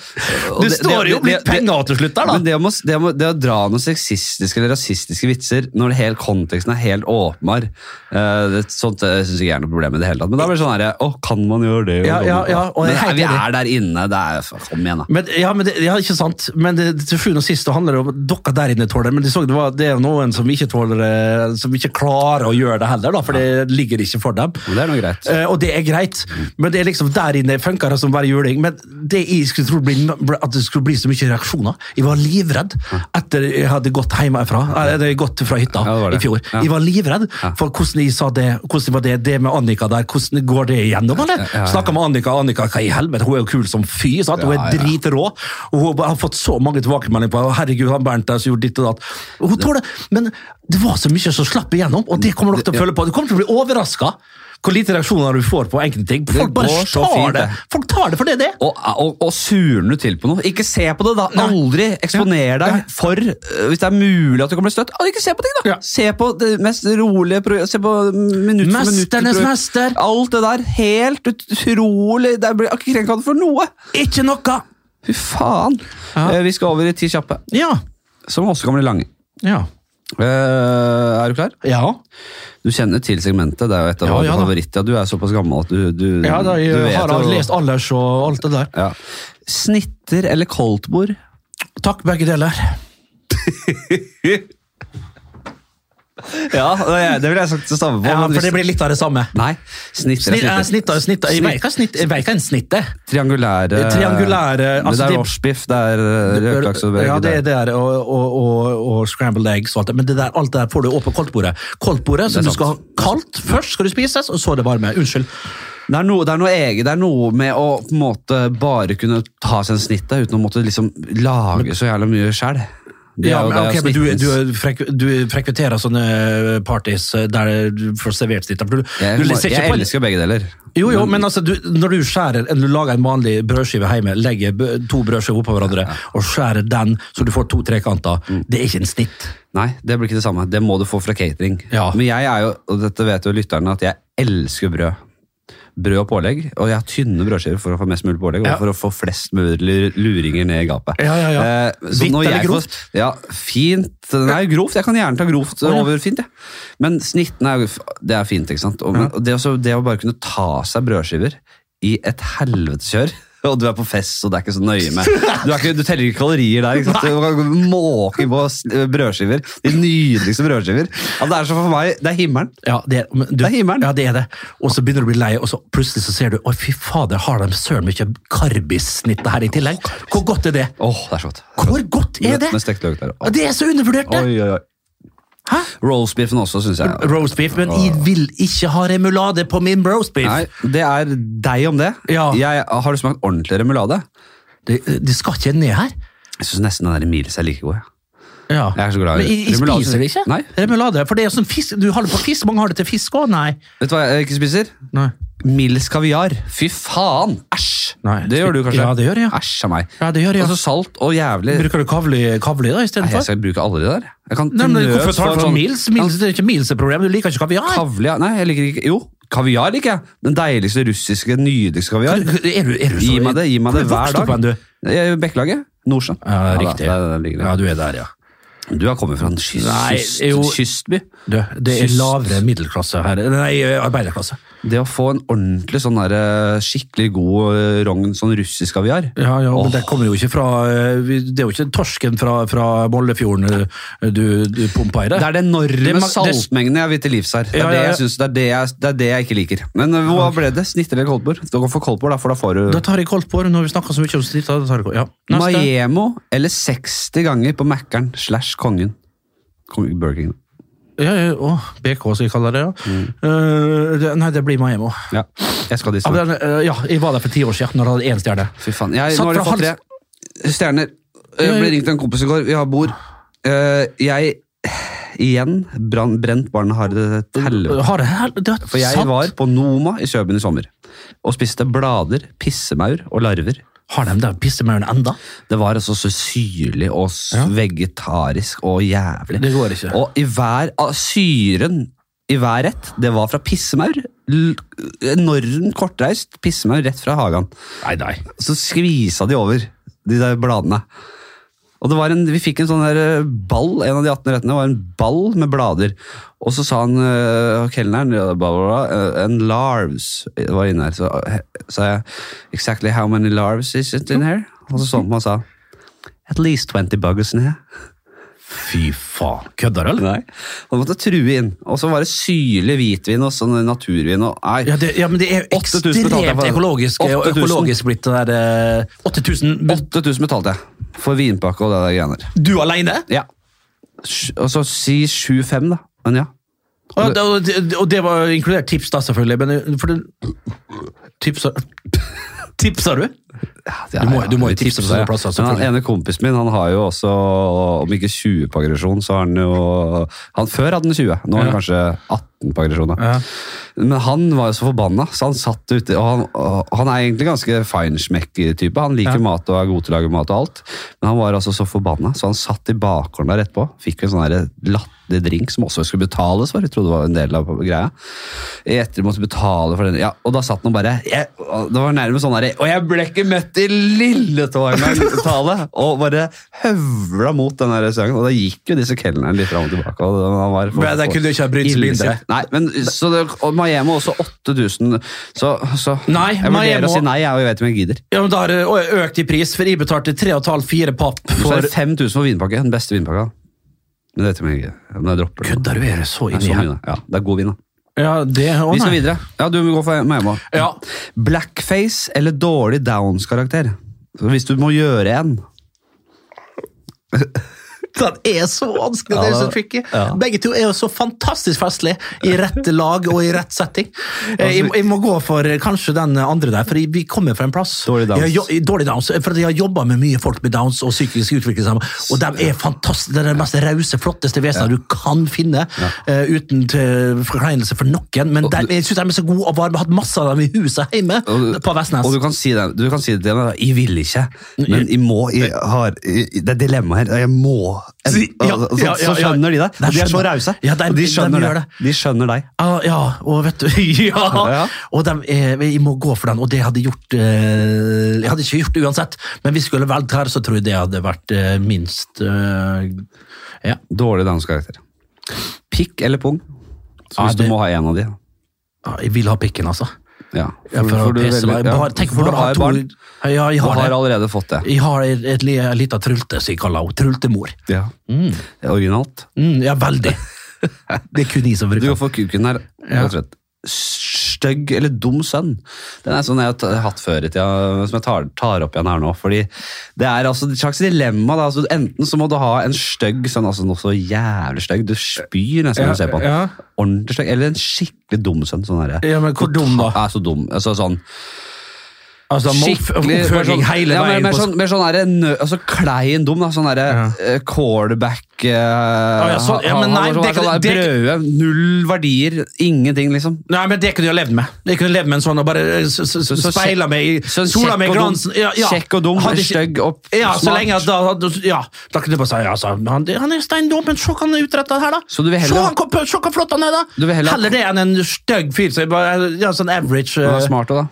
Speaker 2: og
Speaker 1: Du
Speaker 2: det-
Speaker 1: står
Speaker 2: det-
Speaker 1: jo om
Speaker 2: det-
Speaker 1: litt
Speaker 2: det-
Speaker 1: penger til slutt der, da.
Speaker 2: men det å, må- det, å, det å dra noen sexistiske eller rasistiske vitser når det hele konteksten er helt åpenbar, eh, det, sånt eh, synes jeg ikke er noe problem i det hele tatt. Men da blir det sånn herre Å, kan man gjøre det?
Speaker 1: Ja, ja, ja, og jeg
Speaker 2: Men
Speaker 1: er helt
Speaker 2: vi
Speaker 1: enig.
Speaker 2: er der inne. Det er, kom igjen, da.
Speaker 1: Men, ja, men det, ja, ikke sant. Men det, til sjuende og sist det handler det om at dere der inne tåler det, men de så det, var, det er noen som ikke tåler det, som ikke klarer å gjøre det heller, da, for det ligger ikke for dem.
Speaker 2: Men Det er noe greit.
Speaker 1: Eh, og det er greit, men det er liksom der inne funker det som bare juling. Men det jeg skulle tro bli, at det skulle bli så mye reaksjoner Jeg var livredd etter jeg hadde gått hjemmefra, eller gått fra hytta
Speaker 2: Ja, det var det.
Speaker 1: i fjor.
Speaker 2: Ja.
Speaker 1: Jeg var livredd for hvordan jeg sa det, hvordan var det, det med Annika der, hvordan går det igjennom, eller?
Speaker 2: ja.
Speaker 1: Snakket med Annika, Annika, hva i helvete, hun er jo kul som fy, sant? Hun
Speaker 2: Ja,
Speaker 1: er
Speaker 2: ja.
Speaker 1: dritrå, og hun har fått så mange tilbakemeldinger på, herregud, han Bernt der som gjorde ditt og datt. Hun tåler, men det var så mye som slapp igjennom, og det kommer dere til å føle på. Du kommer til å bli overrasket hvor lite reaksjoner du får på enkelte ting. Folk bare
Speaker 2: går så
Speaker 1: tar
Speaker 2: fint,
Speaker 1: det.
Speaker 2: det.
Speaker 1: Folk tar det for det det er.
Speaker 2: Og, og, og surner du til på noe? Ikke se på det, da!
Speaker 1: Nei.
Speaker 2: Aldri eksponer
Speaker 1: Nei.
Speaker 2: deg for eh, Hvis det er mulig at du kan bli støtt, ah, ikke se på ting, da!
Speaker 1: Ja.
Speaker 2: Se på det mest rolige pro- Se på minutt for minutt.
Speaker 1: Mesternes mester.
Speaker 2: Alt det der. Helt utrolig. Det blir ikke krenka for noe.
Speaker 1: Ikke noe!
Speaker 2: Fy faen!
Speaker 1: Ja.
Speaker 2: Eh, Vi skal over i ti kjappe,
Speaker 1: Ja.
Speaker 2: som også kan bli lange.
Speaker 1: Ja.
Speaker 2: Eh, er du klar?
Speaker 1: Ja.
Speaker 2: Du kjenner til segmentet. Det er jo et av
Speaker 1: Ja,
Speaker 2: våre
Speaker 1: ja da.
Speaker 2: favoritter. Du er såpass gammel at du, du,
Speaker 1: Ja, da, jeg
Speaker 2: du
Speaker 1: har
Speaker 2: jo-
Speaker 1: lest Allers og alt det der.
Speaker 2: Ja. Snitter eller koldtbord?
Speaker 1: Takk, begge deler.
Speaker 2: Ja, det er- det ville jeg sagt det samme på.
Speaker 1: Ja,
Speaker 2: men
Speaker 1: for
Speaker 2: hvis-
Speaker 1: det blir litt av det samme.
Speaker 2: Nei, snitter
Speaker 1: Snitt,
Speaker 2: er
Speaker 1: eh,
Speaker 2: snitter.
Speaker 1: snitt, og snitt, jeg vet hva snitt- jeg vet hva en snitt er.
Speaker 2: Triangulære
Speaker 1: Triangulære,
Speaker 2: Men Det
Speaker 1: altså,
Speaker 2: er
Speaker 1: det-
Speaker 2: rorsbiff, det er eh, røkelaks og
Speaker 1: Ja, det er
Speaker 2: det.
Speaker 1: det der, og, og, og, og scrambled eggs og alt det. Men det der, alt det der får du opp på koldtbordet. Koldtbordet som
Speaker 2: Det er
Speaker 1: du skal ha
Speaker 2: sant.
Speaker 1: kaldt. Først skal du spises, og så er det varme. Unnskyld.
Speaker 2: Det er, noe, det er noe eget. Det er noe med å på en måte bare kunne ta seg en snitt der, uten å måtte liksom lage så jævla mye sjæl. Det er
Speaker 1: Ja,
Speaker 2: jo-
Speaker 1: men,
Speaker 2: det er
Speaker 1: ok,
Speaker 2: jo
Speaker 1: men du,
Speaker 2: snittens-
Speaker 1: du, frek, du frekventerer sånne parties der du får servert snitt. Du,
Speaker 2: Jeg,
Speaker 1: du
Speaker 2: må-
Speaker 1: ser
Speaker 2: jeg
Speaker 1: ikke på
Speaker 2: elsker begge deler.
Speaker 1: Jo, jo, men altså, du, når du skjærer, eller du lager en vanlig brødskive hjemme, legger b- to brødskiver oppå hverandre og skjærer den så du får to trekanter,
Speaker 2: Mm.
Speaker 1: det er ikke en snitt.
Speaker 2: Nei, det blir ikke det samme. Det må du få fra catering.
Speaker 1: Ja.
Speaker 2: Men jeg er jo, og dette vet jo lytterne, at jeg elsker brød. Brød og pålegg, og jeg har tynne brødskiver for å få mest mulig pålegg,
Speaker 1: Ja.
Speaker 2: og for å få flest mulig luringer ned i gapet.
Speaker 1: Ja, ja, ja.
Speaker 2: Eh, så
Speaker 1: Hvitt
Speaker 2: når
Speaker 1: eller
Speaker 2: jeg får-
Speaker 1: grovt?
Speaker 2: Ja, fint. Nei, grovt. Jeg kan gjerne ta grovt
Speaker 1: ja.
Speaker 2: over fint, jeg. Men snitten er, jo f- det er fint, ikke sant? Og, men, og det, også, det å bare kunne ta seg brødskiver i et helveteskjør, og du er på fest, og det er ikke så nøye med. Du, er ikke, du teller ikke kalorier der, ikke sant? Du kan måke på s- brødskiver. De nydeligste brødskiver. Ja, det er så for meg, det er himmelen.
Speaker 1: Ja, det er, men du,
Speaker 2: Det er himmelen.
Speaker 1: Ja, det er det. Og så begynner du å bli lei, og så plutselig så ser du Å, fy fader, har de søren mye karbissnitt her i tillegg? Hvor godt er det?
Speaker 2: Åh, det er så godt.
Speaker 1: Hvor godt er det?
Speaker 2: Med stekt løk der.
Speaker 1: Ja, Det er så undervurdert, det!
Speaker 2: Oi, oi, oi.
Speaker 1: Hæ?
Speaker 2: Roastbiffen også, synes jeg.
Speaker 1: Roast beef, men jeg vil ikke ha remulade på min roast beef.
Speaker 2: Nei, det er deg om det.
Speaker 1: Ja.
Speaker 2: Jeg, har du smakt ordentlig remulade?
Speaker 1: Det, det skal ikke ned her.
Speaker 2: Jeg synes nesten den der miles er like god, ja.
Speaker 1: Ja.
Speaker 2: Jeg er så glad i
Speaker 1: Men jeg, jeg
Speaker 2: remulade.
Speaker 1: spiser det ikke.
Speaker 2: Nei.
Speaker 1: Remulade. For det er sånn fisk, du har det på fisk. Mange har det til fisk òg. Nei.
Speaker 2: Vet du hva jeg ikke spiser?
Speaker 1: Nei.
Speaker 2: Mils kaviar. Fy faen! Æsj!
Speaker 1: Nei,
Speaker 2: Det gjør du kanskje?
Speaker 1: ja, det gjør jeg, ja.
Speaker 2: Æsj av meg.
Speaker 1: Ja, det gjør jeg.
Speaker 2: Og så salt og jævlig.
Speaker 1: Bruker du kavli, kavli da
Speaker 2: Nei, jeg
Speaker 1: istedenfor?
Speaker 2: skal bruke aldri det der. Jeg kan
Speaker 1: Nei, men
Speaker 2: til
Speaker 1: hvorfor
Speaker 2: nød
Speaker 1: tar
Speaker 2: få en
Speaker 1: du fra
Speaker 2: sånn-
Speaker 1: Mils? Mils det er ikke Mils problem. Du liker ikke kaviar.
Speaker 2: Kavli, ja. Nei, jeg liker ikke Jo, kaviar liker jeg. Den deiligste russiske, nydeligste kaviar.
Speaker 1: Er du, er du så,
Speaker 2: Gi meg det gi meg det
Speaker 1: Hvor
Speaker 2: hver
Speaker 1: vokste du
Speaker 2: dag.
Speaker 1: på en, du?
Speaker 2: Jeg er i Bekkelaget. Nordsjøen.
Speaker 1: Ja,
Speaker 2: da,
Speaker 1: riktig.
Speaker 2: der- der ligger det.
Speaker 1: du er der, ja.
Speaker 2: Du har kommet fra en kyst,
Speaker 1: Nei,
Speaker 2: kyst,
Speaker 1: jo.
Speaker 2: kystby.
Speaker 1: Du, det er
Speaker 2: Kyst.
Speaker 1: lavere middelklasse her. Nei, arbeiderklasse.
Speaker 2: Det å få en ordentlig sånn der, eh, skikkelig god eh, rogn, sånn russisk aviar
Speaker 1: Ja, ja, men det kommer jo ikke fra eh, vi- Det er jo ikke torsken fra, fra Mollefjorden eh, du, du pumper i det.
Speaker 2: Det er den enorme
Speaker 1: Det ma- det-
Speaker 2: saltmengden jeg vil til livs her. Det er,
Speaker 1: Ja, ja,
Speaker 2: det,
Speaker 1: ja.
Speaker 2: jeg synes, det, er det, jeg, det er det jeg ikke liker. Men eh, hva ble det? Snitt eller koldtbord? Du kan få koldtbord, da, for da får
Speaker 1: Da
Speaker 2: du
Speaker 1: tar jeg koldtbord når vi snakker så mye om snitt. da tar jeg kold- Ja. Neste.
Speaker 2: Maiemo eller 60 ganger på Mækkern slash Kongen. Kong- Burger King.
Speaker 1: Ja, ja, å, BK, skal vi kalle det. Ja. Eh, det nei, det blir Maiemo.
Speaker 2: Ja, jeg skal dit
Speaker 1: Ja,
Speaker 2: snart.
Speaker 1: men, eh, ja, jeg var der for ti år siden, når jeg hadde én stjerne.
Speaker 2: Fy faen. Jeg,
Speaker 1: Satt
Speaker 2: nå har de
Speaker 1: fra
Speaker 2: fått
Speaker 1: Hals-
Speaker 2: tre stjerner. Jeg
Speaker 1: Ja,
Speaker 2: ble
Speaker 1: ja.
Speaker 2: ringt av en kompis i går. Vi har bord. Eh, jeg Igjen brann, brent barnet har det et helvete.
Speaker 1: Har det her, det er
Speaker 2: For jeg
Speaker 1: sant.
Speaker 2: var på Noma i Kjøben i sommer og spiste blader, pissemaur og larver.
Speaker 1: Har de den pissemauren enda?
Speaker 2: Det var altså så syrlig og s-
Speaker 1: Ja.
Speaker 2: vegetarisk og jævlig.
Speaker 1: Det går ikke.
Speaker 2: Og i hver, ah, syren i hver rett, det var fra pissemaur. L- Enorm kortreist pissemaur rett fra hagen.
Speaker 1: Nei, nei.
Speaker 2: Så skvisa de over de der bladene. Og det var en, Vi fikk en sånn der eh, ball, en av de 18 rettene var en ball med blader. Og så sa han eh, kelneren ja, bla, bla, bla, eh, En larves var inne her. Så eh, sa jeg exactly how many larves is it in here? Og så så han på meg og sa at least 20 buggers in here.
Speaker 1: Fy faen. Kødder du, eller?
Speaker 2: Nei. Og måtte true inn. Og så var det syrlig hvitvin og sånn naturvin. og nei.
Speaker 1: Ja, det, ja, men det er jo
Speaker 2: 8000 betalte jeg
Speaker 1: ekstremt
Speaker 2: for det.
Speaker 1: økologisk, og
Speaker 2: 8000.
Speaker 1: økologisk blitt det der eh, 8000 bet-
Speaker 2: 8000 betalte jeg for vinpakke og det der greiene der.
Speaker 1: Du aleine?
Speaker 2: Ja. Sj- Og så si 7-5, da. Men ja.
Speaker 1: Og, det- og, det- og det var inkludert tips, da, selvfølgelig. Men eh, for det, tipsa Tipsa du?
Speaker 2: det
Speaker 1: Du må-
Speaker 2: er-
Speaker 1: du må jo
Speaker 2: vi
Speaker 1: tipse på
Speaker 2: tipser,
Speaker 1: sånne
Speaker 2: ja.
Speaker 1: plasser,
Speaker 2: Men
Speaker 1: selvfølgelig.
Speaker 2: han ene kompisen min han har jo også, om ikke 20 på aggresjon, så har han jo han, Før hadde han 20, nå har han
Speaker 1: Ja.
Speaker 2: kanskje 18 på aggresjon. da.
Speaker 1: Ja.
Speaker 2: Men han var jo så forbanna, så han satt ute. Og han, og han er egentlig ganske feinschmeck-type. Han liker
Speaker 1: Ja.
Speaker 2: mat og er god til å lage mat og alt. Men han var altså så forbanna, så han satt i bakgården der etterpå. Fikk en sånn der latterlig drink som også skulle betales for. Jeg trodde det var en del av greia. Etter måtte betale for den. Ja, og da satt han og bare jeg, og Det var nærmest sånn derre Og jeg ble ikke møtt i lilletåa engang! Tale! Og bare høvla mot den der restauranten. Og da gikk jo disse kelnerne litt fram og tilbake. Og han var
Speaker 1: Men de kunne jo ikke ha brydd seg mindre.
Speaker 2: Nei, men så det, og Miami også 8000 Så, så
Speaker 1: Nei,
Speaker 2: jeg vurderer
Speaker 1: Miami-
Speaker 2: å si nei, jeg, og jeg vet ikke om jeg gidder.
Speaker 1: Ja, men Da har det ø- økt i pris, for jeg betalte 3,5-4 papp
Speaker 2: Så er
Speaker 1: for
Speaker 2: det 5000 for vinpakke. Den beste vinpakka. Men det vet jeg om jeg gidder. Men jeg dropper det.
Speaker 1: Kødder du? Er det så
Speaker 2: Det er
Speaker 1: inni
Speaker 2: så
Speaker 1: her?
Speaker 2: mye, da. Ja, det er god vin, da.
Speaker 1: Ja, det, å,
Speaker 2: Vi skal
Speaker 1: nei.
Speaker 2: videre. Ja, du må gå for Miami.
Speaker 1: Ja.
Speaker 2: Blackface eller dårlig Downs-karakter? Så Hvis du må gjøre en
Speaker 1: Den er så vanskelig, det er så tricky.
Speaker 2: Ja.
Speaker 1: Begge to er jo så fantastisk festlige i rett lag og i rett setting. Eh,
Speaker 2: altså-
Speaker 1: Jeg, jeg må gå for eh, kanskje den andre der, for vi kommer fra en plass.
Speaker 2: Dårlig Downs.
Speaker 1: Jeg, har jo- dårlig downs, eh, for jeg har jobba med mye folk med downs og psykisk utviklingshemmede, og de er fantastiske. Det er de mest rause, flotteste vesenene du kan finne, eh, uten til forkleinelse for noen. Men de, jeg syns de er så gode og varme. Har hatt masse av dem i huset hjemme
Speaker 2: Og-
Speaker 1: på Vestnes.
Speaker 2: Og du kan si det, du kan si det til meg, da. jeg vil ikke, men jeg må, jeg har, jeg, det er dilemma her, jeg må.
Speaker 1: Si- ja,
Speaker 2: så,
Speaker 1: ja, ja,
Speaker 2: så skjønner de det,
Speaker 1: De
Speaker 2: og de er så
Speaker 1: skjønner.
Speaker 2: rause.
Speaker 1: Ja, de-
Speaker 2: Og de
Speaker 1: de
Speaker 2: skjønner
Speaker 1: gjør
Speaker 2: det. De skjønner deg.
Speaker 1: Ja, Ah, ja, og vet du Ja!
Speaker 2: Ja.
Speaker 1: Og dem er, vi må gå for den, og det hadde jeg gjort eh, Jeg hadde ikke gjort det uansett, men vi skulle valgt her, så tror jeg det hadde vært eh, minst eh, Ja.
Speaker 2: Dårlig danskarakter. Pikk eller pung? Så
Speaker 1: Ja,
Speaker 2: hvis
Speaker 1: Ah, det-
Speaker 2: du må ha en av de. da.
Speaker 1: Ja, Jeg vil ha pikken, altså.
Speaker 2: Ja,
Speaker 1: Ja, for,
Speaker 2: for
Speaker 1: å
Speaker 2: du
Speaker 1: pisse
Speaker 2: velger-
Speaker 1: meg.
Speaker 2: ja,
Speaker 1: Bare, tenk
Speaker 2: for du
Speaker 1: bare å ha
Speaker 2: har
Speaker 1: to
Speaker 2: barn,
Speaker 1: Ja, jeg
Speaker 2: og
Speaker 1: har
Speaker 2: har
Speaker 1: det.
Speaker 2: allerede fått det.
Speaker 1: Jeg har et, et, li- en liten trulte, som jeg kaller henne. Trultemor.
Speaker 2: Ja. Det er Originalt.
Speaker 1: Mm, ja, veldig. Det er kun jeg som
Speaker 2: Du
Speaker 1: bruker
Speaker 2: går
Speaker 1: den.
Speaker 2: for kuken her.
Speaker 1: Ja.
Speaker 2: rett og slett. Stygg eller dum sønn. Den er sånn jeg har t- hatt før i tida, som jeg tar, tar opp igjen her nå. Fordi det er altså et slags dilemma. Da. Altså, enten så må du ha en stygg sønn, altså noe så jævlig stygg, du spyr nesten når du ser på han.
Speaker 1: Ja, ja.
Speaker 2: Ordentlig stygg. Eller en skikkelig dum sønn. Sånn herre.
Speaker 1: Ja, men hvor dum, da?
Speaker 2: Ja, så dum. Altså sånn
Speaker 1: Altså,
Speaker 2: Skikkelig
Speaker 1: Skikkelig
Speaker 2: bare sånn-
Speaker 1: hele
Speaker 2: ja,
Speaker 1: veien.
Speaker 2: men, men
Speaker 1: på
Speaker 2: sånn, mer sånn derre nø- altså, klein dum, da. Sånn derre eh, quarterback eh,
Speaker 1: ja, sånn- ja,
Speaker 2: han-
Speaker 1: men
Speaker 2: han
Speaker 1: nei,
Speaker 2: var
Speaker 1: det
Speaker 2: sånn
Speaker 1: kan-
Speaker 2: der
Speaker 1: det-
Speaker 2: Brøde, null verdier, ingenting, liksom.
Speaker 1: Nei, men det kunne jeg levd med. Jeg kunne levd med en sånn og bare eh, s- s-
Speaker 2: så
Speaker 1: speila
Speaker 2: kjekk-
Speaker 1: meg i
Speaker 2: sånn
Speaker 1: sola
Speaker 2: kjekk
Speaker 1: meg i
Speaker 2: og dum-
Speaker 1: glansen. Ja, ja.
Speaker 2: kjekk og dum,
Speaker 1: Hadde ikke-
Speaker 2: stygg og
Speaker 1: Ja, så
Speaker 2: smart.
Speaker 1: lenge at da, hadde- ja, da kunne jeg bare si ja, altså, han, han er steindum, men se hva han er utretta her, da.
Speaker 2: Så du vil heller-
Speaker 1: se han kom på, se hva flott han er, da.
Speaker 2: Du vil heller-
Speaker 1: det enn en stygg fyr som er bare ja, sånn average.
Speaker 2: Han
Speaker 1: eh,
Speaker 2: er smart òg, da.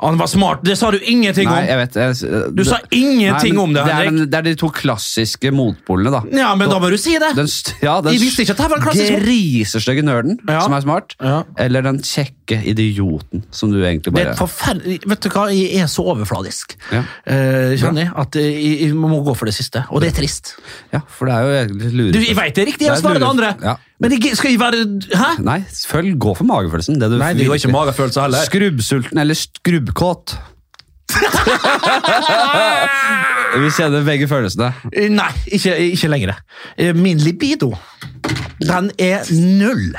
Speaker 1: Han var smart! Det sa du ingenting
Speaker 2: Nei,
Speaker 1: om!
Speaker 2: jeg vet jeg,
Speaker 1: Du sa ingenting
Speaker 2: Nei, men
Speaker 1: om det,
Speaker 2: det er,
Speaker 1: Henrik!
Speaker 2: den- det er de to klassiske motpolene, da.
Speaker 1: Ja, men da må du si det!
Speaker 2: Den, st- ja, den
Speaker 1: Jeg visste ikke at det var en klassisk mot-
Speaker 2: grisestygge nerden
Speaker 1: Ja.
Speaker 2: som er smart,
Speaker 1: Ja.
Speaker 2: eller den kjekke idioten som du egentlig
Speaker 1: Det er
Speaker 2: bare
Speaker 1: et forferdelig Vet du hva, jeg er så overfladisk.
Speaker 2: Ja.
Speaker 1: Eh, kjenner jeg at jeg, jeg må gå for det siste. Og det er trist.
Speaker 2: Ja, for det er jo egentlig lure.
Speaker 1: Du, jeg veit det er riktig, jeg
Speaker 2: Det er
Speaker 1: svarer det andre!
Speaker 2: lure- ja.
Speaker 1: Men jeg, skal jeg være Hæ?
Speaker 2: Nei, følg, gå for magefølelsen. Det du
Speaker 1: Nei, det var ikke magefølelse heller.
Speaker 2: Skrubbsulten eller skrubbkåt. Vi kjenner begge følelsene.
Speaker 1: Eh, Nei, ikke, ikke lenger. Eh, Min libido, den er null.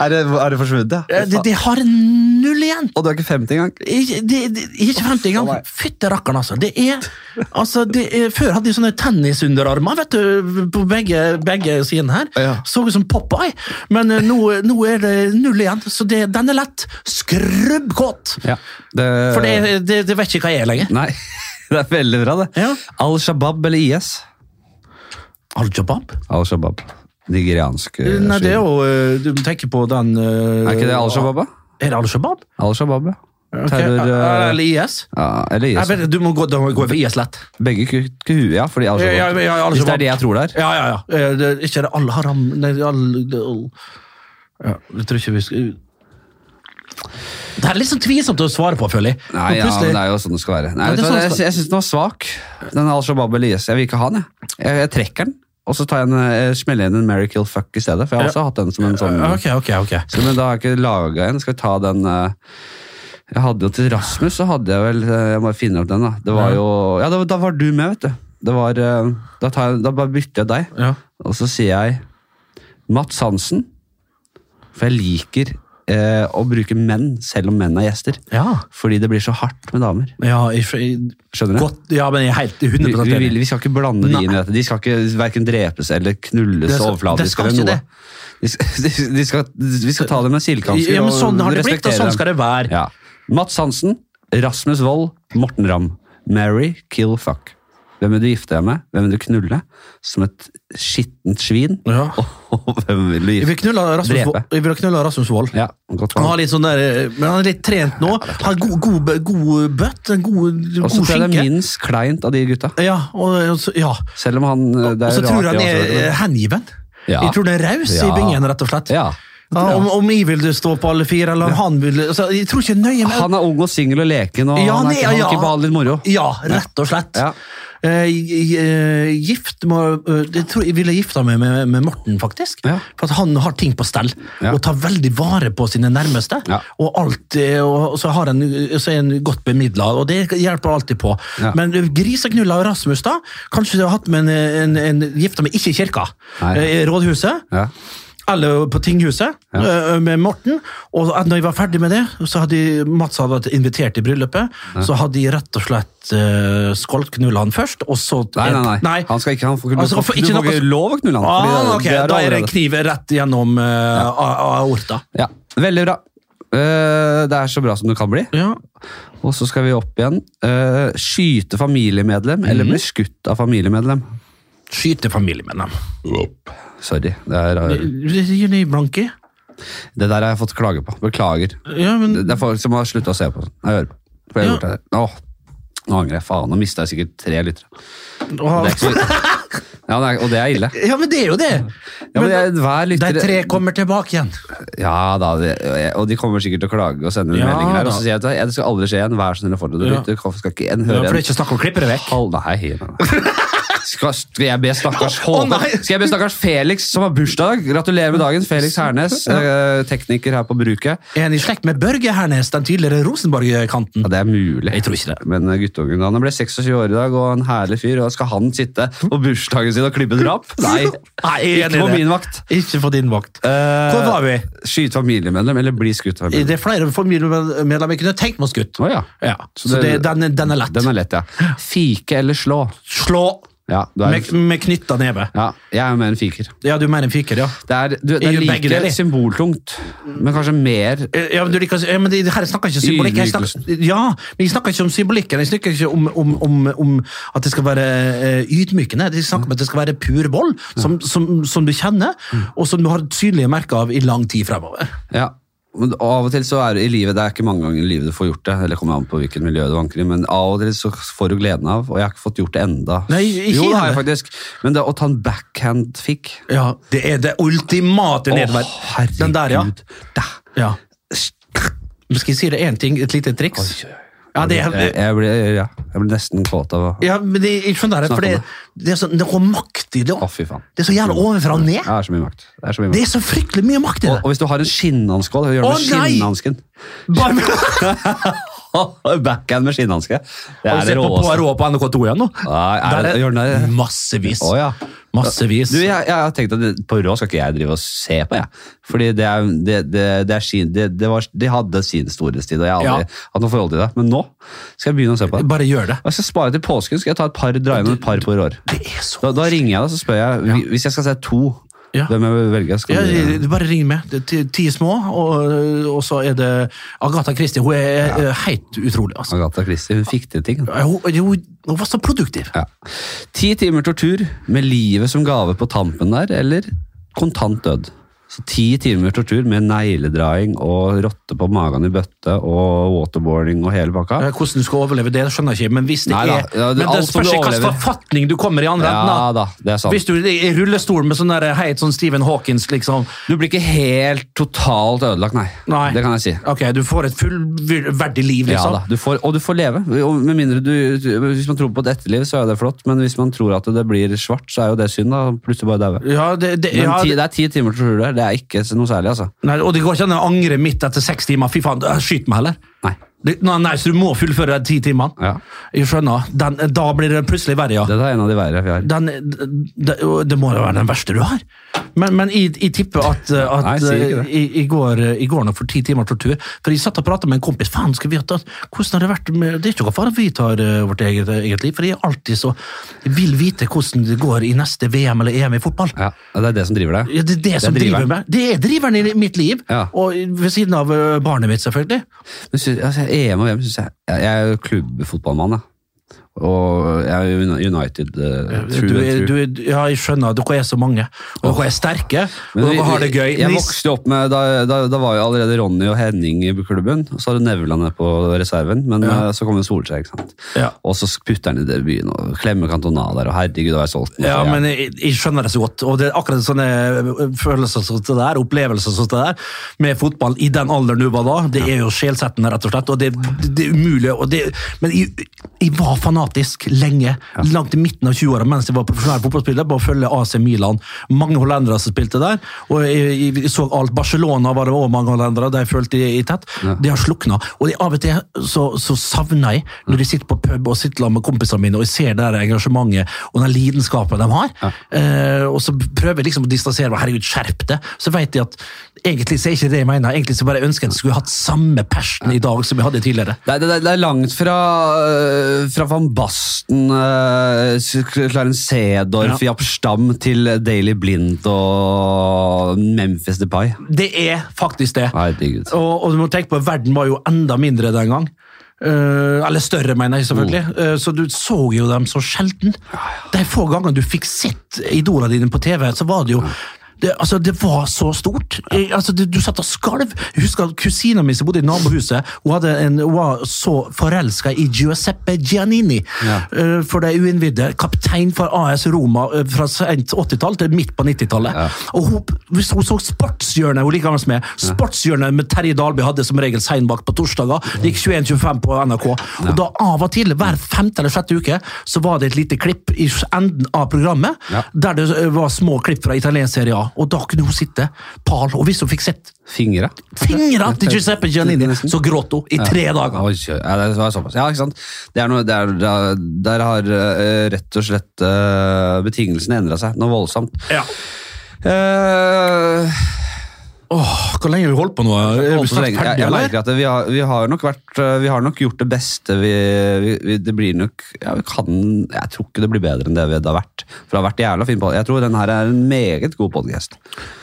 Speaker 2: Er det, er det forsvunnet, ja?
Speaker 1: Eh, Det, det har null igjen.
Speaker 2: Og du er ikke 50 engang?
Speaker 1: Ikke- Det, det, ikke 50 engang.
Speaker 2: nei.
Speaker 1: Fytte rakkeren, altså. Det er, altså det er, før hadde de sånne tennisunderarmer vet du, på begge, begge sidene her.
Speaker 2: Ja.
Speaker 1: Så ut som Popeye, men eh, nå, nå er det null igjen. Så det, den er lett. Skrubbkåt!
Speaker 2: Ja. Det,
Speaker 1: For det, det, det vet ikke hva jeg er lenger.
Speaker 2: Nei, det er veldig bra, det.
Speaker 1: Ja.
Speaker 2: Al Shabaab eller IS?
Speaker 1: Al-Jabab?
Speaker 2: Al Shabaab. Nigeriansk eh,
Speaker 1: Nei, det er
Speaker 2: regime.
Speaker 1: jo eh, Du tenker på den eh,
Speaker 2: Er ikke det Al Shabaab, da?
Speaker 1: Er det Al-Shabaab?
Speaker 2: Al Shabaab, ja.
Speaker 1: Ok,
Speaker 2: Terror eh,
Speaker 1: Eller IS?
Speaker 2: ja, Eller
Speaker 1: Jeg
Speaker 2: IS.
Speaker 1: vet, du må gå, du må gå for IS lett.
Speaker 2: Begge ku- kuer, ja. Fordi Al
Speaker 1: Ja, ja,
Speaker 2: Shabaab
Speaker 1: ja, Al
Speaker 2: Hvis det
Speaker 1: Shabaab.
Speaker 2: er det jeg tror det er.
Speaker 1: Ja, ja, ja. Eh, Det, er ikke det Al-Haram Nei, det er al... det er al ja, jeg tror ikke vi skal Det her er litt sånn tvilsomt å svare på, føler jeg.
Speaker 2: Nei,
Speaker 1: Og
Speaker 2: ja,
Speaker 1: plutselig-
Speaker 2: men det er jo sånn det skal være. Nei,
Speaker 1: Ja, det er
Speaker 2: vet du
Speaker 1: sånn
Speaker 2: hva,
Speaker 1: det
Speaker 2: jeg
Speaker 1: skal-
Speaker 2: jeg syns den var svak, den Al Shabaab eller IS. Jeg vil ikke ha den, jeg. Jeg, jeg trekker den, og så tar jeg en, eh, smeller jeg inn en Mary Kill Fuck i stedet. For jeg har også hatt den som en sånn
Speaker 1: Ok, ok, ok.
Speaker 2: så, Men da har jeg ikke laga en. Skal vi ta den eh, Jeg hadde jo til Rasmus, så hadde jeg vel eh, Jeg må finne opp den, da. Det var jo Ja, da, da var du med, vet du. Det var eh, Da, tar jeg, da bare bytter jeg deg.
Speaker 1: Ja.
Speaker 2: Og så sier jeg Mats Hansen. For jeg liker eh, å bruke menn, selv om menn er gjester.
Speaker 1: Ja,
Speaker 2: Fordi det blir så hardt med damer.
Speaker 1: ja jeg, jeg,
Speaker 2: Skjønner du?
Speaker 1: Godt, ja, men jeg er helt 100
Speaker 2: Vi, vi, vil-
Speaker 1: enig.
Speaker 2: vi skal ikke blande de
Speaker 1: Nei.
Speaker 2: inn i dette. De skal ikke hverken drepes eller knulles
Speaker 1: Det skal- det
Speaker 2: overfladisk
Speaker 1: skal
Speaker 2: eller
Speaker 1: ikke
Speaker 2: noe.
Speaker 1: det.
Speaker 2: De skal, de, de skal, vi skal ta det med silkehansker
Speaker 1: Ja, men sånn har det blitt, og sånn skal det være.
Speaker 2: Ja. Mats Hansen, Rasmus Wold, Morten Ramm. Mary, kill, fuck. Hvem vil du gifte deg med? Hvem vil du knulle? Som et skittent svin?
Speaker 1: Ja.
Speaker 2: Og hvem vil du
Speaker 1: Jeg vil
Speaker 2: gifte
Speaker 1: knulle Rasmus,
Speaker 2: Drepe.
Speaker 1: Wo- jeg vil knulle Rasmus Wold.
Speaker 2: Ja, godt
Speaker 1: Han
Speaker 2: valg.
Speaker 1: har litt sånn der, eh, men han er litt trent nå. Han har god, god, god bøtt, en god,
Speaker 2: Og så
Speaker 1: god
Speaker 2: tror jeg det
Speaker 1: skinke.
Speaker 2: er minst kleint av de gutta.
Speaker 1: Ja, og, og så, ja.
Speaker 2: Selv om han eh,
Speaker 1: Og
Speaker 2: det er
Speaker 1: så tror jeg han
Speaker 2: rart det
Speaker 1: er
Speaker 2: også,
Speaker 1: eh, hengiven.
Speaker 2: Ja.
Speaker 1: Jeg tror han er raus i
Speaker 2: Ja.
Speaker 1: bingen, rett og slett.
Speaker 2: Ja.
Speaker 1: Ja, om, om jeg vil stå på alle fire, eller om han vil altså, Jeg tror ikke nøye med
Speaker 2: Han er ung og singel og leken, og
Speaker 1: Ja, han
Speaker 2: han, er,
Speaker 1: er-
Speaker 2: ikke- han
Speaker 1: ja.
Speaker 2: kan ikke behandle litt moro.
Speaker 1: Ja, rett og slett.
Speaker 2: Ja.
Speaker 1: Eh, g- eh, gift må, eh, Jeg tror jeg ville gifta meg med, med Morten, faktisk.
Speaker 2: Ja.
Speaker 1: For at han har ting på stell,
Speaker 2: Ja.
Speaker 1: og tar veldig vare på sine nærmeste.
Speaker 2: Ja.
Speaker 1: Og, alt, eh, og og så, har en, så er han godt bemidla, og det hjelper alltid på.
Speaker 2: Ja.
Speaker 1: Men eh, Griseknulla og Rasmus, da? Kanskje jeg har hatt med en, en, en gifta meg ikke i kirka,
Speaker 2: Nei.
Speaker 1: eh, i rådhuset.
Speaker 2: Ja.
Speaker 1: Eller på Tinghuset eh, med Morten. Og at når jeg var ferdig med det, så hadde jeg- Mats hadde vært invitert i bryllupet. Så hadde jeg rett og slett uh, skålknulla han først, og så
Speaker 2: Nei, nei, nei, Han skal ikke, han får,
Speaker 1: Altså,
Speaker 2: du,
Speaker 1: for
Speaker 2: får,
Speaker 1: ikke
Speaker 2: du får
Speaker 1: noe-
Speaker 2: ikke lov å knulle han. fordi
Speaker 1: Ah,
Speaker 2: det-
Speaker 1: ok,
Speaker 2: det er
Speaker 1: Da er det
Speaker 2: allerede.
Speaker 1: kniv rett gjennom eh, a- a- aorta.
Speaker 2: Ja, Veldig bra. Eh, det er så bra som det kan bli.
Speaker 1: Ja.
Speaker 2: Og så skal vi opp igjen. Eh, skyte familiemedlem eller
Speaker 1: Mhm.
Speaker 2: bli skutt av familiemedlem?
Speaker 1: Skyte familiemedlem.
Speaker 2: Sorry. Det, er,
Speaker 1: Gi ny blanke.
Speaker 2: det der har jeg fått klage på. Beklager.
Speaker 1: Ja, men
Speaker 2: Det er folk som har slutta å se på. Jeg hører på. For jeg har
Speaker 1: Ja.
Speaker 2: gjort det. Åh, nå angrer jeg. Faen, nå mista jeg sikkert tre lyttere.
Speaker 1: å,
Speaker 2: Det er ikke så- Ja, det er, og det er ille.
Speaker 1: Ja, men det er jo det!
Speaker 2: Ja,
Speaker 1: men,
Speaker 2: men jeg, hver lytter,
Speaker 1: de tre kommer tilbake igjen.
Speaker 2: Ja da, det- og de kommer sikkert til å klage og sende
Speaker 1: Ja,
Speaker 2: meldinger her. Og
Speaker 1: da.
Speaker 2: så sier jeg at det skal aldri skje igjen. Vær så snill å fortsette å
Speaker 1: Ja.
Speaker 2: lytte. Hvorfor skal ikke
Speaker 1: Ja,
Speaker 2: en høre
Speaker 1: for det er
Speaker 2: en
Speaker 1: ikke snakk om å klippe det vekk.
Speaker 2: halv Nei, nei, nei. Skal, skal jeg be stakkars
Speaker 1: Å,
Speaker 2: Håkon
Speaker 1: nei.
Speaker 2: Skal jeg be stakkars Felix, som har bursdag? Gratulerer med dagen, Felix Hernes. eh, Tekniker her på bruket.
Speaker 1: Er han i slekt med Børge Hernes, den tidligere Rosenborg-kanten?
Speaker 2: Ja, det er mulig.
Speaker 1: Jeg tror ikke det.
Speaker 2: Men eh, guttungen han ble 26 år i dag og en herlig fyr. Og skal han sitte på bursdagen sin og klippe drap? Nei.
Speaker 1: Nei, jeg er enig
Speaker 2: Ikke
Speaker 1: i
Speaker 2: på
Speaker 1: det.
Speaker 2: min vakt.
Speaker 1: Ikke på din vakt. Hvor var vi?
Speaker 2: Skyte familiemedlem eller bli skutt? av familiemedlem.
Speaker 1: Det er flere familiemedlemmer jeg kunne tenkt meg skutt.
Speaker 2: Å ja.
Speaker 1: Ja, så
Speaker 2: Så
Speaker 1: det,
Speaker 2: det-
Speaker 1: den, den er lett.
Speaker 2: Den er lett, ja. Fike eller slå?
Speaker 1: Slå
Speaker 2: Ja, du er,
Speaker 1: med, med knytta neve.
Speaker 2: ja jeg er med en fiker.
Speaker 1: Ja, du er mer enn fiker, ja.
Speaker 2: Det er, du, det
Speaker 1: Jeg
Speaker 2: er
Speaker 1: gjør begge deler.
Speaker 2: like symboltungt, men kanskje mer
Speaker 1: Eh, Ja, men, du liker, ja, men det, det her snakker ikke om symbolikk. Jeg snakker, ja, men jeg snakker ikke om symbolikken. Jeg snakker ikke om, om, om, om at det skal være eh, ydmykende. Jeg snakker om at det skal være pur vold, Mm. som, som, som du kjenner, og som du har synlige merker av i lang tid fremover.
Speaker 2: Ja. men av og til så er det i livet, det er ikke mange ganger i livet du får gjort det, eller kommer an på hvilket miljø du vanker i, men av og til så får du gleden av, og jeg har ikke fått gjort det enda.
Speaker 1: Nei, ikke
Speaker 2: jo, det har jeg
Speaker 1: heller.
Speaker 2: faktisk, men det å ta en backhand fikk,
Speaker 1: Ja, det er det ultimate nedvær. Den der, ja.
Speaker 2: Da.
Speaker 1: ja. Men skal jeg si deg én ting? Et lite triks? Ja, det er,
Speaker 2: Jeg, jeg, blir, ja, jeg blir nesten kåt av å
Speaker 1: ja, men det, ikke sånn der, for det, det er sånn, det går makt i det
Speaker 2: Å,
Speaker 1: òg.
Speaker 2: fy faen.
Speaker 1: Det er så jævla ovenfra og
Speaker 2: Det
Speaker 1: ned.
Speaker 2: er så mye makt. Det er så mye
Speaker 1: Det
Speaker 2: makt.
Speaker 1: er så fryktelig mye makt i
Speaker 2: Og, og
Speaker 1: det.
Speaker 2: hvis du har en skinnhanske òg, gjør du
Speaker 1: Å,
Speaker 2: med
Speaker 1: nei!
Speaker 2: skinnhansken.
Speaker 1: Bare med, har
Speaker 2: Backhand med skinnhanske. Det
Speaker 1: du
Speaker 2: er det
Speaker 1: sett på
Speaker 2: råeste.
Speaker 1: Poirot på NRK2 igjen nå?
Speaker 2: Nei, er det- gjør den det?
Speaker 1: massevis.
Speaker 2: Å, ja.
Speaker 1: Massevis.
Speaker 2: Du, jeg, jeg har tenkt at det- Poirot skal ikke jeg drive og se på, jeg. Fordi det, er, det, det, det, er sin, det, det var, de hadde sin storhetstid, og jeg har aldri
Speaker 1: Ja.
Speaker 2: hatt noe forhold til det. Men nå skal jeg begynne å se på det.
Speaker 1: Bare gjør det.
Speaker 2: Og Jeg skal spare til påsken, skal jeg ta et par, dra inn et par Poirot.
Speaker 1: Det er så
Speaker 2: Da, da ringer jeg deg, så spør jeg hvi- hvis jeg skal se to,
Speaker 1: Ja.
Speaker 2: hvem jeg vil velge. Skal
Speaker 1: Ja,
Speaker 2: du,
Speaker 1: det- det bare ring med. Det er ti, ti små, og, og så er det Agatha Christie. Hun er eh, helt utrolig. Altså.
Speaker 2: Agatha Christie, hun fikk til ting.
Speaker 1: Hun, hun, hun var så produktiv.
Speaker 2: Ja. Ti timer tortur med livet som gave på tampen der, eller kontant død. Så ti timer tortur med negledraing og rotte på magen i bøtte og waterboarding og hele pakka.
Speaker 1: Eh, Hvordan du skal overleve det, det skjønner jeg ikke, men hvis det
Speaker 2: Nei da,
Speaker 1: er
Speaker 2: ja,
Speaker 1: Men
Speaker 2: det-
Speaker 1: det
Speaker 2: alt som
Speaker 1: spørs
Speaker 2: du
Speaker 1: ikke hvilken
Speaker 2: overlever.
Speaker 1: forfatning du kommer i andre
Speaker 2: Ja
Speaker 1: enden.
Speaker 2: da, det er
Speaker 1: da.
Speaker 2: sant.
Speaker 1: Hvis du er i rullestol med sånn der, heit sånn Stephen Hawkins, liksom.
Speaker 2: Du blir ikke helt totalt ødelagt, nei.
Speaker 1: Nei.
Speaker 2: Det kan jeg si.
Speaker 1: Ok, du får et fullverdig liv,
Speaker 2: Ja
Speaker 1: liksom.
Speaker 2: da, du får, Og du får leve. Og med mindre du, hvis man tror på et etterliv, så er jo det flott, men hvis man tror at det blir svart, så er jo det synd. da, Plutselig bare daue.
Speaker 1: Ja, det, det,
Speaker 2: Men
Speaker 1: ja,
Speaker 2: ti, det er ti timer tortur der. Det er ikke noe særlig, altså.
Speaker 1: nei, og det går ikke an å angre midt etter seks timer. Fy faen, øh, skyt meg heller.
Speaker 2: Nei.
Speaker 1: Det, nei, nei, så du må fullføre de ti timene.
Speaker 2: Ja.
Speaker 1: Jeg skjønner. Den, da blir det plutselig verre, ja.
Speaker 2: Det er en av de verre vi har.
Speaker 1: Den, det, det må jo være den verste du har. Men, men jeg, jeg tipper at, eh, at
Speaker 2: Nei, jeg sier ikke det.
Speaker 1: i, i går, eh, i går nå for ti timer tortur For jeg satt og prata med en kompis. Faen, skal vi ha tatt Hvordan har det vært med Det er ikke noe fare at vi tar eh, vårt eget, eget liv, for jeg er alltid så jeg vil vite hvordan det går i neste VM eller EM i fotball.
Speaker 2: Ja, Det er det som driver deg.
Speaker 1: Ja, det er det, som driver
Speaker 2: driveren.
Speaker 1: meg. Det er driveren i mitt liv,
Speaker 2: Ja.
Speaker 1: og ved siden av eh, barnet mitt, selvfølgelig.
Speaker 2: Men synes, altså, EM og VM synes jeg Jeg jeg er jo klubbfotballmann, da. Og jeg er jo Uni- United eh,
Speaker 1: Du,
Speaker 2: through and
Speaker 1: er-
Speaker 2: through.
Speaker 1: du, er- ja, jeg skjønner. Dere er så mange, og dere er sterke, og
Speaker 2: Men vi-
Speaker 1: dere har det gøy.
Speaker 2: Jeg
Speaker 1: Men
Speaker 2: vokste jo opp med, da, da, da var jo allerede Ronny og Henning i klubben, og så hadde Nevland nede på reserven, men
Speaker 1: Ja.
Speaker 2: eh, så kom jo Solskjær, ikke sant.
Speaker 1: Ja.
Speaker 2: Og så putter han i debuten, og klemmer Cantona der, og herregud, da var jeg solgt.
Speaker 1: Ja, men jeg, jeg skjønner det så godt. Og det er akkurat sånne ø, følelser som det der, opplevelser som det der, med fotball i den alderen du var da, det er jo sjelsettende, rett og slett. Og det, det er umulig. Og det, men jeg, jeg var fanatisk lenge, langt i midten av 20-åra mens jeg var profesjonell fotballspiller, på å følge AC Milan. Mange hollendere som spilte der, og jeg, jeg, jeg så alt. Barcelona var det også mange hollendere, de følte jeg i tett. De har slukna. Og det, av og til så, så savner jeg, når jeg sitter på pub og sitter sammen med kompisene mine, og jeg ser det der engasjementet og den lidenskapen de har, eh, og så prøver jeg liksom å distansere meg, herregud, skjerp det, så vet jeg at egentlig så er ikke det jeg mener, egentlig så bare ønsker jeg at jeg skulle hatt samme passion i dag som jeg hadde tidligere.
Speaker 2: Det er, det, er, det er langt fra, øh, fra Van Basten, øh, Clarence Sedorf,
Speaker 1: Ja.
Speaker 2: Japp Stam til Daily Blind og Memphis Depay.
Speaker 1: Det er faktisk det.
Speaker 2: Herregud.
Speaker 1: Og, og du må tenke på, verden var jo enda mindre den gang. Eh, eller større, mener jeg selvfølgelig. Eh, så du så jo dem så sjelden. De få gangene du fikk sett idolene dine på TV, så var det jo det, altså, det var så stort. Eh, Altså, du, du satt og skalv. Jeg husker at kusina mi som bodde i nabohuset, hun, hadde en, hun var så forelska i Giuseppe Giannini.
Speaker 2: Ja.
Speaker 1: Eh, for de uinnvidde. Kaptein for AS Roma eh, fra sent 80-tall til midt på 90-tallet. Og hun, hvis hun så Sportshjørnet, hun liker gammel som meg, Sportshjørnet med Terje Dalby hadde som regel seinbakk på torsdager. Det gikk 21.25 på NRK. Og da av og til, hver femte eller sjette uke, så var det et lite klipp i enden av programmet
Speaker 2: Ja.
Speaker 1: der det eh, var små klipp fra italiensk serie A. Og da kunne hun sitte pal, og hvis hun fikk sett
Speaker 2: Fingre.
Speaker 1: fingrene til Giuseppe Giannini,
Speaker 2: Nesten.
Speaker 1: så gråt hun i tre dager.
Speaker 2: Oi, kjø- ja, det var såpass. Ja, ikke sant? Det er noe, der, der, der har øh, rett og slett øh, betingelsene endra seg noe voldsomt.
Speaker 1: Ja.
Speaker 2: Eh,
Speaker 1: Åh, hvor lenge har vi holdt på nå? Er vi
Speaker 2: holdt på så
Speaker 1: snart
Speaker 2: lenge. Jeg,
Speaker 1: ferdige,
Speaker 2: jeg
Speaker 1: eller?
Speaker 2: merker at vi har, vi, har nok vært, øh, vi har nok gjort det beste vi, vi, vi Det blir nok ja, vi kan, Jeg tror ikke det blir bedre enn det vi det har vært. For det har vært jævla fin pod- Jeg tror den her er en meget god podkast.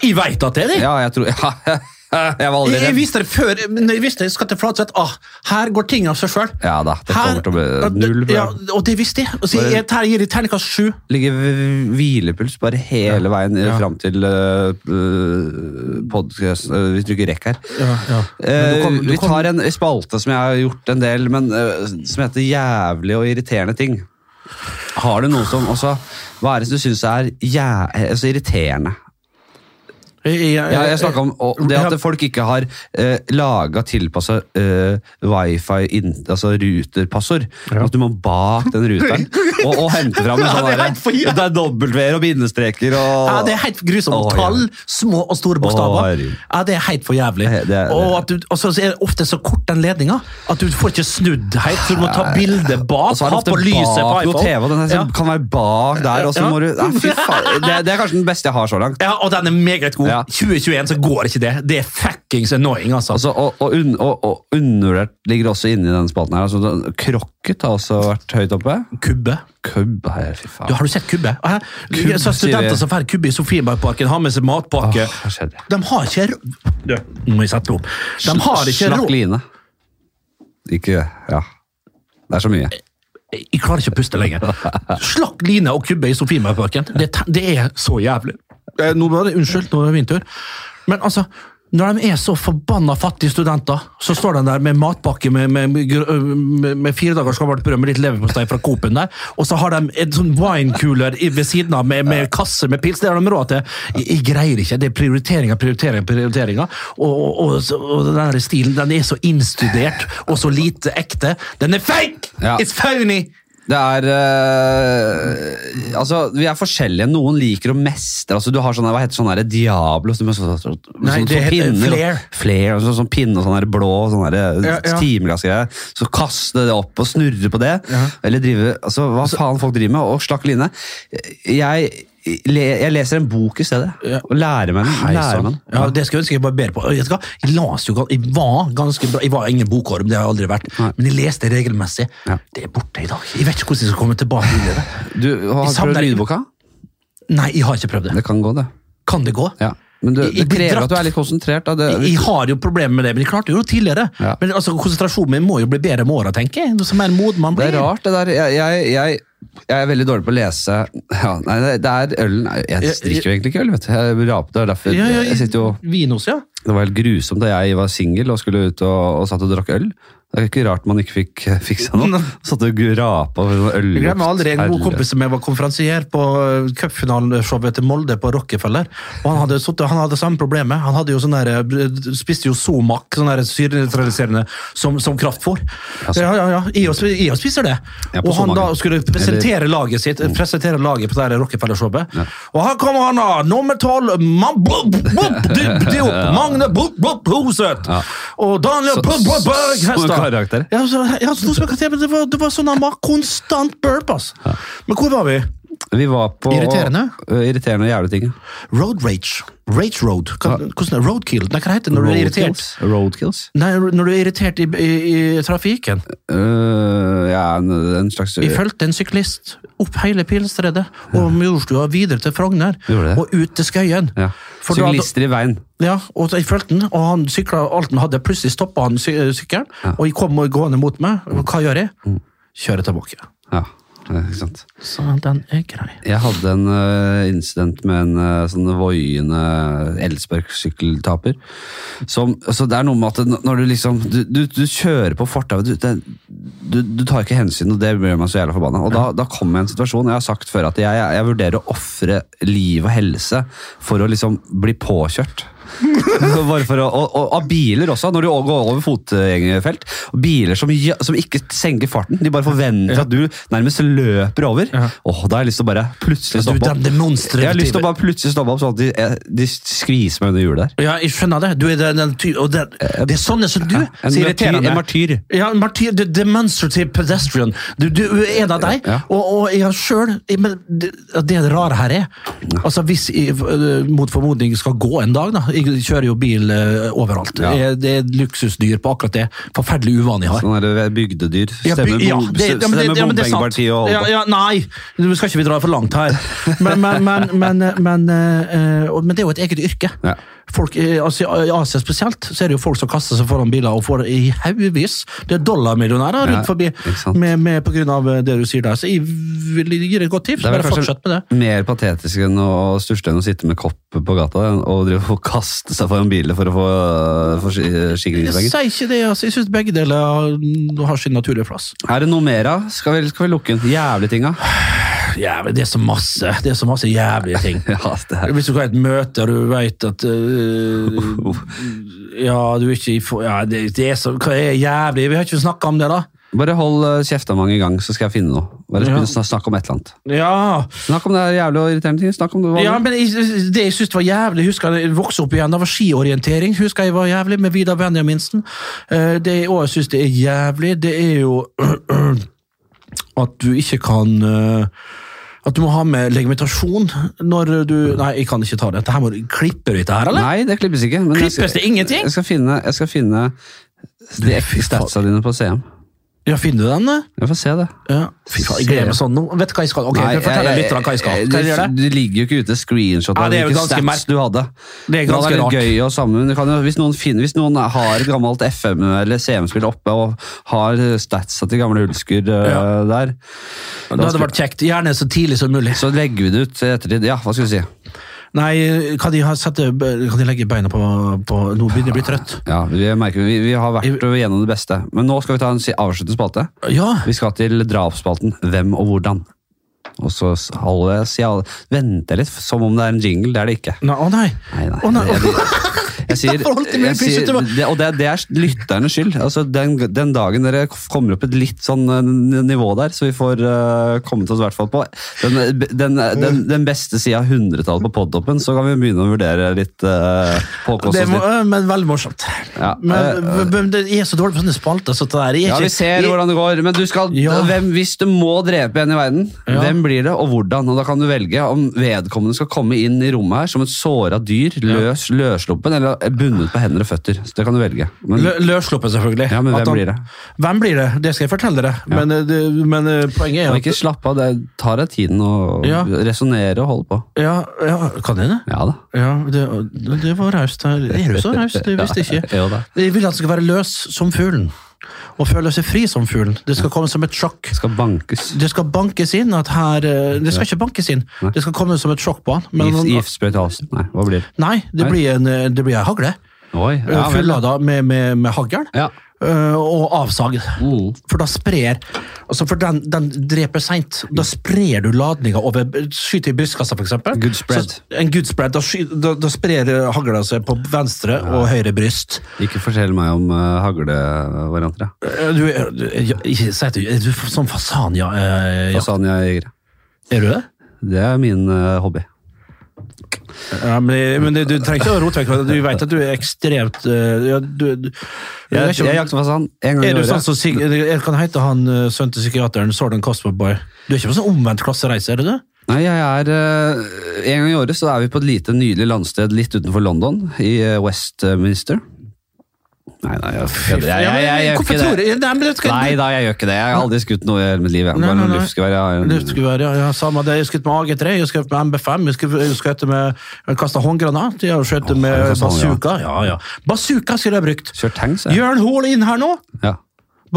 Speaker 1: Jeg veit at det er det!
Speaker 2: Ja, jeg tror ja. Eh, Jeg var aldri
Speaker 1: Jeg, jeg
Speaker 2: redd.
Speaker 1: visste det før, men jeg visste jeg skal til Flatseth. Ah, her går ting av seg sjøl.
Speaker 2: Ja da, det kommer til å bli null for
Speaker 1: Ja,
Speaker 2: deg.
Speaker 1: og det visste jeg. Og så jeg, jeg gir det terningkast sju.
Speaker 2: Ligger v- hvilepuls bare hele veien ja. fram til uh, podkast eh, Vi trykker rekk her.
Speaker 1: Men
Speaker 2: Eh,
Speaker 1: du kom- du
Speaker 2: vi
Speaker 1: kom-
Speaker 2: tar en spalte som jeg har gjort en del, men eh, som heter 'jævlig og irriterende ting'. Har du noe som også Hva er det du syns er jæ altså irriterende?
Speaker 1: Jeg, jeg, jeg,
Speaker 2: Ja, jeg snakka om og det at
Speaker 1: Ja.
Speaker 2: folk ikke har eh, laga tilpassa eh, wifi, inn, altså ruterpassord. At du må bak den ruteren og, og hente fram en
Speaker 1: Ja,
Speaker 2: sånn
Speaker 1: det er
Speaker 2: derre-
Speaker 1: helt for jævlig.
Speaker 2: Det er dobbeltveer og bindestreker og
Speaker 1: Ja, det er helt grusomt.
Speaker 2: Å,
Speaker 1: Tall,
Speaker 2: ja.
Speaker 1: små og store
Speaker 2: Å,
Speaker 1: bokstaver.
Speaker 2: herregud.
Speaker 1: Ja, Det er helt for jævlig.
Speaker 2: Det- det-
Speaker 1: Og at du, og så er det ofte så kort den ledninga at du får ikke snudd helt, så du må ta bilde bak.
Speaker 2: Og så er det
Speaker 1: ha
Speaker 2: ofte
Speaker 1: på lyset på
Speaker 2: bak noe
Speaker 1: iPhone.
Speaker 2: TV, og den her
Speaker 1: ja.
Speaker 2: som kan være bak der, og så
Speaker 1: Ja.
Speaker 2: må du ja, fy faen, det, det er kanskje den beste jeg har så langt.
Speaker 1: ja, og den er meget god.
Speaker 2: Ja.
Speaker 1: 2021 så går ikke det. Det er fuckings annoying, altså.
Speaker 2: Altså, og, og, un, og, og undervurdert ligger også inni den spalten her. Altså, den- krokket har også vært høyt oppe.
Speaker 1: kubbe.
Speaker 2: Kubb her, fy
Speaker 1: Du,
Speaker 2: faen.
Speaker 1: har du sett kubbe? Hæ?
Speaker 2: Kubb,
Speaker 1: så
Speaker 2: sier
Speaker 1: studenter
Speaker 2: vi.
Speaker 1: som får kubbe i Sofienbergparken, har med seg matpakke.
Speaker 2: Åh, hva skjedde?
Speaker 1: De har ikke rå- Ah. Du, Nå må jeg sette opp. De har ikke
Speaker 2: Slakk
Speaker 1: råd
Speaker 2: line. Ikke Ja. Det er så mye.
Speaker 1: Jeg klarer ikke å puste lenger. Slakk line og kubbe i Sofienbergparken. Det, te- det er så jævlig. Eh, Nå var det, unnskyld, nå er det min tur. Men altså, når de er så forbanna fattige studenter, så står de der med matpakke med, med, med, gr- øh, med, med fire dagers gammelt brød med litt leverpostei fra Coop-en der, og så har de en sånn winecooler i- ved siden av med, med kasse med pils. Det har de råd til. Jeg, jeg greier ikke. Det er prioriteringer, prioriteringer, prioriteringer. Og, og, og, så- og den der stilen, den er så innstudert og så lite ekte. Den er fake!
Speaker 2: Ja.
Speaker 1: It's phony!
Speaker 2: Det er eh, Altså, vi er forskjellige. Noen liker å mestre. Altså, du har sånne, hva heter sånne der, Diablo som er sånn, sånn,
Speaker 1: Nei,
Speaker 2: sånn,
Speaker 1: det
Speaker 2: sånn
Speaker 1: heter
Speaker 2: pinner,
Speaker 1: flare.
Speaker 2: og- flare, og sånn, sånn pinne og sånn der blå og sånn der,
Speaker 1: Ja, ja.
Speaker 2: timeglassgreier. Så kaste det opp og snurre på det.
Speaker 1: Ja.
Speaker 2: Eller drive Altså, hva faen folk driver med. Og slakk line. Jeg, le, jeg leser en bok i stedet.
Speaker 1: Ja.
Speaker 2: Og lærer meg den.
Speaker 1: Hei,
Speaker 2: Lærer meg
Speaker 1: sann.
Speaker 2: den.
Speaker 1: Ja, det skal jeg ønske jeg var bedre på. Jeg, skal, jeg, las jo, gan- jeg var ganske bra. Jeg var ingen bokorm, det har jeg aldri vært.
Speaker 2: Nei.
Speaker 1: Men jeg leste regelmessig.
Speaker 2: Ja.
Speaker 1: Det er borte i dag. Jeg vet ikke hvordan jeg skal komme tilbake inn i det.
Speaker 2: Du har du prøvd
Speaker 1: savner-
Speaker 2: lydboka?
Speaker 1: Nei, jeg har ikke prøvd det.
Speaker 2: Det kan gå, det.
Speaker 1: Kan det gå?
Speaker 2: Ja. Men du,
Speaker 1: Jeg-
Speaker 2: det
Speaker 1: jeg blir
Speaker 2: krever
Speaker 1: dratt.
Speaker 2: at du er litt konsentrert. Da.
Speaker 1: Jeg,
Speaker 2: Det,
Speaker 1: jeg har jo problemer med det, men jeg klarte jo det tidligere.
Speaker 2: Ja.
Speaker 1: Men altså, konsentrasjonen min må jo bli bedre med åra, tenker jeg. Som er en moden man
Speaker 2: Det
Speaker 1: blir.
Speaker 2: er rart, det der. Jeg, jeg, jeg, jeg er veldig dårlig på å lese ja, Nei, det- det er ølen Nei, Jeg drikker jo egentlig ikke øl, vet du. Jeg raper, det er derfor
Speaker 1: Ja, ja,
Speaker 2: jeg sitter jo
Speaker 1: Vinos, ja.
Speaker 2: Det var helt grusomt da jeg var singel og skulle ut og, og satt og drakk øl. Det er ikke rart man ikke fikk eh, fiksa noe. Satt og rapa øl.
Speaker 1: Jeg glemmer aldri en god kompis som jeg var konferansier på eh, cupfinaleshowet til Molde på Rockefeller. Og han hadde, suttet, han hadde samme problemet. Han hadde jo sånn der, eh, spiste jo Somak, sånn der syrenøytraliserende, som, som kraftfôr.
Speaker 2: Altså.
Speaker 1: Ja, ja, ja. I og, sp- i og spiser det.
Speaker 2: Ja, på
Speaker 1: og han
Speaker 2: Somaken. Mm.
Speaker 1: da skulle presentere laget sitt, eh, presentere laget på det der Rockefeller-showet. Og her kommer han da, nummer tolv, Man- blup, blup, dyp, dyp, Magne blup, blup, Hoseth.
Speaker 2: Ja.
Speaker 1: Og Daniel
Speaker 2: Så-
Speaker 1: blup, blup, Berg
Speaker 2: så-
Speaker 1: Hestad.
Speaker 2: karakter.
Speaker 1: Ja, så, ja, så, nå skal jeg- men det, var, det var sånn han var konstant burp, ass. Men hvor var vi?
Speaker 2: Vi var på
Speaker 1: Irriterende?
Speaker 2: Ø, irriterende og jævlig ting.
Speaker 1: Road rage. Rage road. Hva, hvordan er roadkill? Nei, hva heter det når du er irritert?
Speaker 2: Roadkills. Roadkills.
Speaker 1: Nei, når du er irritert i, i, i trafikken.
Speaker 2: Øh, ja, en, en slags
Speaker 1: Vi fulgte en syklist opp hele Pilestredet, over Majorstua, videre til Frogner,
Speaker 2: Gjorde det?
Speaker 1: og ut til Skøyen.
Speaker 2: ja.
Speaker 1: For da-
Speaker 2: Syklister i veien.
Speaker 1: Ja, og jeg fulgte han, og han sykla alt han hadde. Plutselig stoppa han sy sykkelen, og jeg kom gående mot meg. Og Hva gjør jeg?
Speaker 2: Mm.
Speaker 1: Kjører tilbake.
Speaker 2: Ja, eh, ikke sant.
Speaker 1: Så den er grei.
Speaker 2: Jeg hadde en eh, incident med en eh, sånn voiende elsparkesykkeltaper. Som, altså det er noe med at det- når du liksom Du, du, du kjører på fortauet, du, det- du, du tar ikke hensyn, og det gjør meg så jævla forbanna. Og da, da kom jeg i en situasjon, og jeg har sagt før at jeg, jeg, jeg vurderer å ofre liv og helse for å liksom bli påkjørt. Bare for å, og, og av biler også, når du går over fotgjengerfelt. og Biler som, ja- som ikke senker farten. De bare forventer at du nærmest løper over. Åh, Da har jeg lyst til å bare plutselig
Speaker 1: Du,
Speaker 2: stoppe opp.
Speaker 1: den demonstrative
Speaker 2: Jeg har lyst til
Speaker 1: typen.
Speaker 2: å bare plutselig stoppe opp, sånn at de, eh, de skviser meg under hjulet der.
Speaker 1: Ja, jeg skjønner det. Du er den, den ty og den, det er sånne som du.
Speaker 2: Eh, En
Speaker 1: som
Speaker 2: martyr.
Speaker 1: irriterer meg.
Speaker 2: En martyr.
Speaker 1: Ja, en martyr. The demonstrative pedestrian. Du, du er en av deg.
Speaker 2: Ja.
Speaker 1: Og, og jeg sjøl Men det, det rare her er Altså, hvis jeg øh, mot formodning skal gå en dag, da Jeg kjører jo bil øh, overalt.
Speaker 2: Ja.
Speaker 1: Jeg, det er et luksusdyr på akkurat det. Forferdelig uvane jeg har.
Speaker 2: Sånn der bygdedyr.
Speaker 1: Ja, by-
Speaker 2: Stemmer,
Speaker 1: ja, det- ja,
Speaker 2: bom-
Speaker 1: men det-
Speaker 2: stemmer
Speaker 1: ja, men det er sant.
Speaker 2: bompengepartiet og holder
Speaker 1: Ja, ja, nei, nå skal ikke vi dra for langt her. Men, men, men, men, men, eh, eh, og- men det er jo et eget yrke.
Speaker 2: Ja.
Speaker 1: folk, eh, altså I Asia spesielt så er det jo folk som kaster seg foran biler og får i haugevis. Det er dollarmillionærer rundt
Speaker 2: Ja,
Speaker 1: forbi
Speaker 2: ikke sant.
Speaker 1: med, med, på grunn av eh, det du sier der. Så jeg vil gi deg et godt tips.
Speaker 2: Det er vel
Speaker 1: Bare
Speaker 2: kanskje
Speaker 1: fortsett med det.
Speaker 2: mer patetisk enn å største enn å sitte med kopp på gata og drive og kaste seg foran biler for å få
Speaker 1: Jeg
Speaker 2: forsikringspenger.
Speaker 1: sier ikke det, altså. Jeg syns begge deler har- har sin naturlige plass.
Speaker 2: Er det noe mer av? Skal vi, skal vi lukke den jævlige tinga?
Speaker 1: Ja, men det er så masse. Det er så masse jævlige ting.
Speaker 2: Ja, det er.
Speaker 1: Hvis du har et møte og du veit at øh, Ja, du er ikke i for- ja, det, det er så Hva er jævlig? Vi har ikke snakka om det, da.
Speaker 2: Bare hold eh, kjefta mange ganger, så skal jeg finne noe. Bare
Speaker 1: Ja.
Speaker 2: begynn å snak- snakke om et eller annet.
Speaker 1: Ja,
Speaker 2: Snakk om det her jævlig og irriterende ting. Snakk om det. hva
Speaker 1: ja
Speaker 2: det-
Speaker 1: men jeg, det jeg syntes var jævlig Husker jeg vokste opp igjen, det var skiorientering. Husker jeg var jævlig med Vidar Benjaminsen. Eh, Det jeg òg syns det er jævlig, det er jo at du ikke kan eh, At du må ha med legimitasjon når du Nei, jeg kan ikke ta det. Dette her må du klippe ut det her, eller?
Speaker 2: Nei, det klippes ikke. men jeg skal-
Speaker 1: Klippes det ingenting?
Speaker 2: Jeg skal finne, jeg skal finne de ekte statsa dine på CM.
Speaker 1: Ja, finner du den? eh?
Speaker 2: Jeg får se det.
Speaker 1: Ja. Fy faen, jeg gleder meg sånn nå. Vet du hva jeg skal? Ok,
Speaker 2: Nei,
Speaker 1: fortell
Speaker 2: jeg-
Speaker 1: litt om hva jeg skal. Hva jeg gjør
Speaker 2: Det,
Speaker 1: det?
Speaker 2: det ligger jo ikke ute screenshot
Speaker 1: Ja,
Speaker 2: av
Speaker 1: det er jo
Speaker 2: hvilke
Speaker 1: ganske
Speaker 2: stats
Speaker 1: merk-
Speaker 2: du
Speaker 1: Det
Speaker 2: hadde.
Speaker 1: er
Speaker 2: Men
Speaker 1: ganske
Speaker 2: litt
Speaker 1: rart.
Speaker 2: gøy å sammen. Du kan jo, hvis, noen finner, hvis noen har et gammelt FM- eller CM-spill oppe og har statsa til gamle Hulsker øh,
Speaker 1: Ja.
Speaker 2: der,
Speaker 1: Det hadde vært kjekt. Gjerne så tidlig som mulig.
Speaker 2: så legger vi det ut i ettertid. Ja, hva skulle du si?
Speaker 1: Nei, kan de, ha sette, kan de legge beina på, på Nå begynner jeg å bli trøtt.
Speaker 2: Ja, Vi, merker, vi, vi har vært gjennom det beste. Men nå skal vi ta en si- avsluttende spalte.
Speaker 1: Ja,
Speaker 2: Vi skal til drapsspalten Hvem og hvordan. Og så s- holder jeg, sier alle- venter jeg litt, som om det er en jingle. Det er det ikke.
Speaker 1: Nei, å nei.
Speaker 2: Nei, nei.
Speaker 1: Å nei.
Speaker 2: Jeg, jeg sier,
Speaker 1: Jeg forholdt meg
Speaker 2: jeg
Speaker 1: plutselig
Speaker 2: sier
Speaker 1: til meg.
Speaker 2: det, Og det, er- det er lytternes skyld. Altså, den, den dagen dere kommer opp et litt sånn eh, n- nivå der, så vi får eh, kommet oss i hvert fall på den, eh, den, den, den beste sida av hundretallet på podtoppen, så kan vi begynne å vurdere litt eh, påkoste
Speaker 1: Det
Speaker 2: oss
Speaker 1: må,
Speaker 2: litt.
Speaker 1: øh, men veldig morsomt.
Speaker 2: Ja,
Speaker 1: Men,
Speaker 2: eh,
Speaker 1: men det er så dårlig på sånne spalter. Så det der, jeg er
Speaker 2: Ja,
Speaker 1: ikke-
Speaker 2: vi ser
Speaker 1: jeg-
Speaker 2: hvordan det går, men du skal,
Speaker 1: Ja.
Speaker 2: hvem, hvis du må drepe en i verden,
Speaker 1: Ja.
Speaker 2: hvem blir det, og hvordan? Og da kan du velge om vedkommende skal komme inn i rommet her som et såra dyr, løs, løssluppen, eller bundet på hender og føtter. Så det kan du velge. Men,
Speaker 1: Lø- Løssluppet, selvfølgelig.
Speaker 2: Ja, men
Speaker 1: At
Speaker 2: hvem blir det?
Speaker 1: Hvem blir det? Det skal jeg fortelle dere. Men, øh, det, men øh, poenget er
Speaker 2: og
Speaker 1: at
Speaker 2: ikke slapp av, det tar deg tiden å
Speaker 1: Ja.
Speaker 2: resonnere og holde på.
Speaker 1: ja, ja, kan jeg det?
Speaker 2: Ja da.
Speaker 1: Ja, det, det var raust. Er du så raust? Det visste jeg ikke.
Speaker 2: Ja, jo da.
Speaker 1: Jeg vil at det skal være løs som fuglen, og føle seg fri som fuglen. Det skal komme som et sjokk.
Speaker 2: Skal bankes.
Speaker 1: Det skal bankes inn at her eh, Det skal ikke bankes inn, det skal komme som et sjokk på han. Men
Speaker 2: Gift,
Speaker 1: han-
Speaker 2: Giftsprøyt i halsen. Nei, hva blir det?
Speaker 1: Nei, det
Speaker 2: Nei.
Speaker 1: blir en, eh, det blir en hagle.
Speaker 2: Oi, ja
Speaker 1: Ja,
Speaker 2: vel.
Speaker 1: Fullada med, med, med hagl.
Speaker 2: Ja.
Speaker 1: eh, Og avsag.
Speaker 2: Mm.
Speaker 1: For da sprer altså For den, den dreper seint. Da sprer du ladninga over Skyter i brystkassa, f.eks.
Speaker 2: Good spread.
Speaker 1: En good spread. Da, sky, da, da sprer eh, hagla seg på venstre og høyre bryst.
Speaker 2: Ikke fortell meg om eh, haglevarianter. ja.
Speaker 1: Eh, Du, er- du, er- ja, ikke si at du er du f- sånn fasan, ja. eh, ja.
Speaker 2: Fasanja-jegere.
Speaker 1: Er du det?
Speaker 2: Det er min eh, hobby.
Speaker 1: Ja, men, men du trenger ikke å rote vekk fra det. Du vet at du er ekstremt eh, ja, du, du, jeg,
Speaker 2: Jeg,
Speaker 1: vet ikke om-
Speaker 2: jeg jakter fasan en gang i
Speaker 1: er du
Speaker 2: året.
Speaker 1: sånn som Sig- jeg kan hete han eh, sønnen til psykiateren, Sordan Cosmo Boy? Du er ikke på sånn omvendt klassereise, er du det?
Speaker 2: Nei, jeg er eh, En gang i året så er vi på et lite, nydelig landsted litt utenfor London, i eh, Westminster. Nei, nei, jeg, jeg, jeg, jeg, jeg, gjør
Speaker 1: Hvorfor
Speaker 2: ikke
Speaker 1: tror
Speaker 2: det.
Speaker 1: du Nei, men det skal,
Speaker 2: Nei da, jeg gjør ikke det. Jeg har aldri skutt noe i hele mitt liv. Jeg.
Speaker 1: Nei,
Speaker 2: Bare
Speaker 1: nei,
Speaker 2: noen
Speaker 1: nei.
Speaker 2: luftgevær. Jeg har
Speaker 1: Det
Speaker 2: en-
Speaker 1: skulle være, ja, ja, samme det. Jeg skjøt med AG3, jeg skjøt med MB5, jeg skjøt- jeg skjøt med jeg kastet håndgranat, jeg har skjøt med
Speaker 2: faen, ja.
Speaker 1: bazooka. Ja, ja. Bazooka skulle jeg ha brukt.
Speaker 2: kjørt tanks. Jeg.
Speaker 1: Jørn Hoel inn her nå.
Speaker 2: Ja.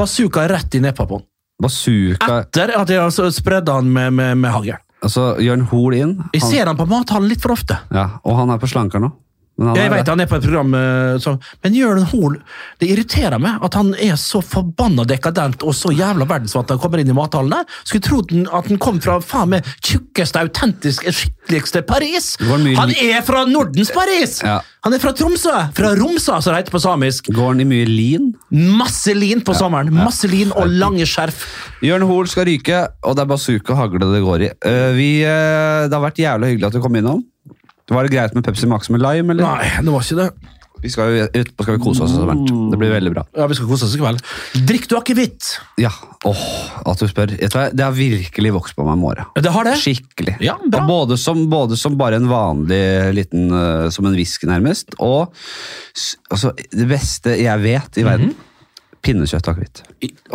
Speaker 1: Bazooka rett i neppa på han.
Speaker 2: Bazooka
Speaker 1: Etter at jeg altså spredde han med, med, med hagl.
Speaker 2: Altså, Jørn Hoel inn.
Speaker 1: Jeg
Speaker 2: Han,
Speaker 1: ser han på mathallen litt for ofte.
Speaker 2: ja, og han er på slanker nå. Men
Speaker 1: Jeg
Speaker 2: er-
Speaker 1: vet han er på et program eh, som Men Jørn Hoel, det irriterer meg at han er så forbanna dekadent og så jævla verdensvant når han kommer inn i mathallen der. Skulle trodd den- at han kom fra faen meg tjukkeste, autentiske, skikkeligste Paris!
Speaker 2: var mye-
Speaker 1: Han er fra Nordens Paris!
Speaker 2: Ja.
Speaker 1: Han er fra Tromsø! Fra Romsa, som det heter på samisk.
Speaker 2: Går han i mye lean?
Speaker 1: Masse lin på sommeren. Masse lin og lange skjerf.
Speaker 2: Jørn Hoel skal ryke, og det er bazooka og hagle det går i. Eh, vi, eh, det har vært jævla hyggelig at du kom innom. Var det greit med Pepsi Max med lime? eller?
Speaker 1: Nei, det var ikke det.
Speaker 2: Vi skal jo utpå skal vi kose oss etter hvert. Det blir veldig bra.
Speaker 1: Ja, Vi skal kose oss i kveld. Drikk du akevitt?
Speaker 2: Ja, åh, at du spør. Vet du hva, Det har virkelig vokst på meg med åra.
Speaker 1: Det har det.
Speaker 2: Skikkelig.
Speaker 1: Ja, bra.
Speaker 2: Og både, som, både som bare en vanlig liten eh, Som en whisky, nærmest. Og s- altså, det beste jeg vet i verden pinnekjøtt og akevitt.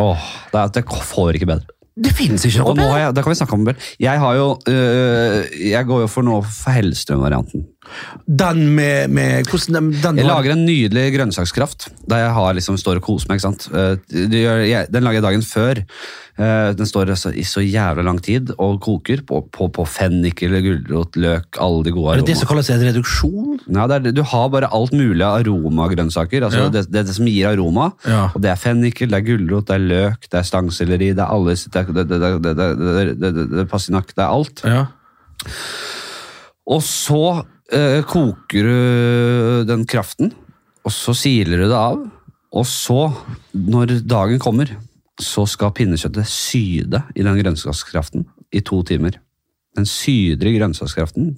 Speaker 2: Åh, det, er- det får ikke bedre.
Speaker 1: Det finnes ikke noe
Speaker 2: Og nå
Speaker 1: bedre.
Speaker 2: eh, har jeg, da kan vi snakke om det. Jeg har jo øh, Jeg går jo for nå for Hellstrøm-varianten.
Speaker 1: Den med, med Hvordan den, den
Speaker 2: Jeg lager en nydelig grønnsakskraft der jeg har liksom, står og koser meg. ikke sant? Eh, det gjør, jeg, den lager jeg dagen før. Eh, Den står altså i så jævla lang tid og koker på, på, på fennik eller gulrot, løk, alle de gode
Speaker 1: Er det det
Speaker 2: aromaene.
Speaker 1: som kalles en reduksjon?
Speaker 2: Nei, det er, du har bare alt mulig av aromagrønnsaker. Altså
Speaker 1: Ja.
Speaker 2: det, det er det som gir aroma.
Speaker 1: Ja.
Speaker 2: Og det er fennikel, det er gulrot, det er løk, det er stangselleri, det er alles, det er, det, det, det, det, det, det, det, det, det, pastinakk, det er alt.
Speaker 1: Ja.
Speaker 2: Og så eh, koker du den kraften, og så siler du det av. Og så, når dagen kommer, så skal pinnekjøttet syde i den grønnsakskraften i to timer. Den syder i grønnsakskraften.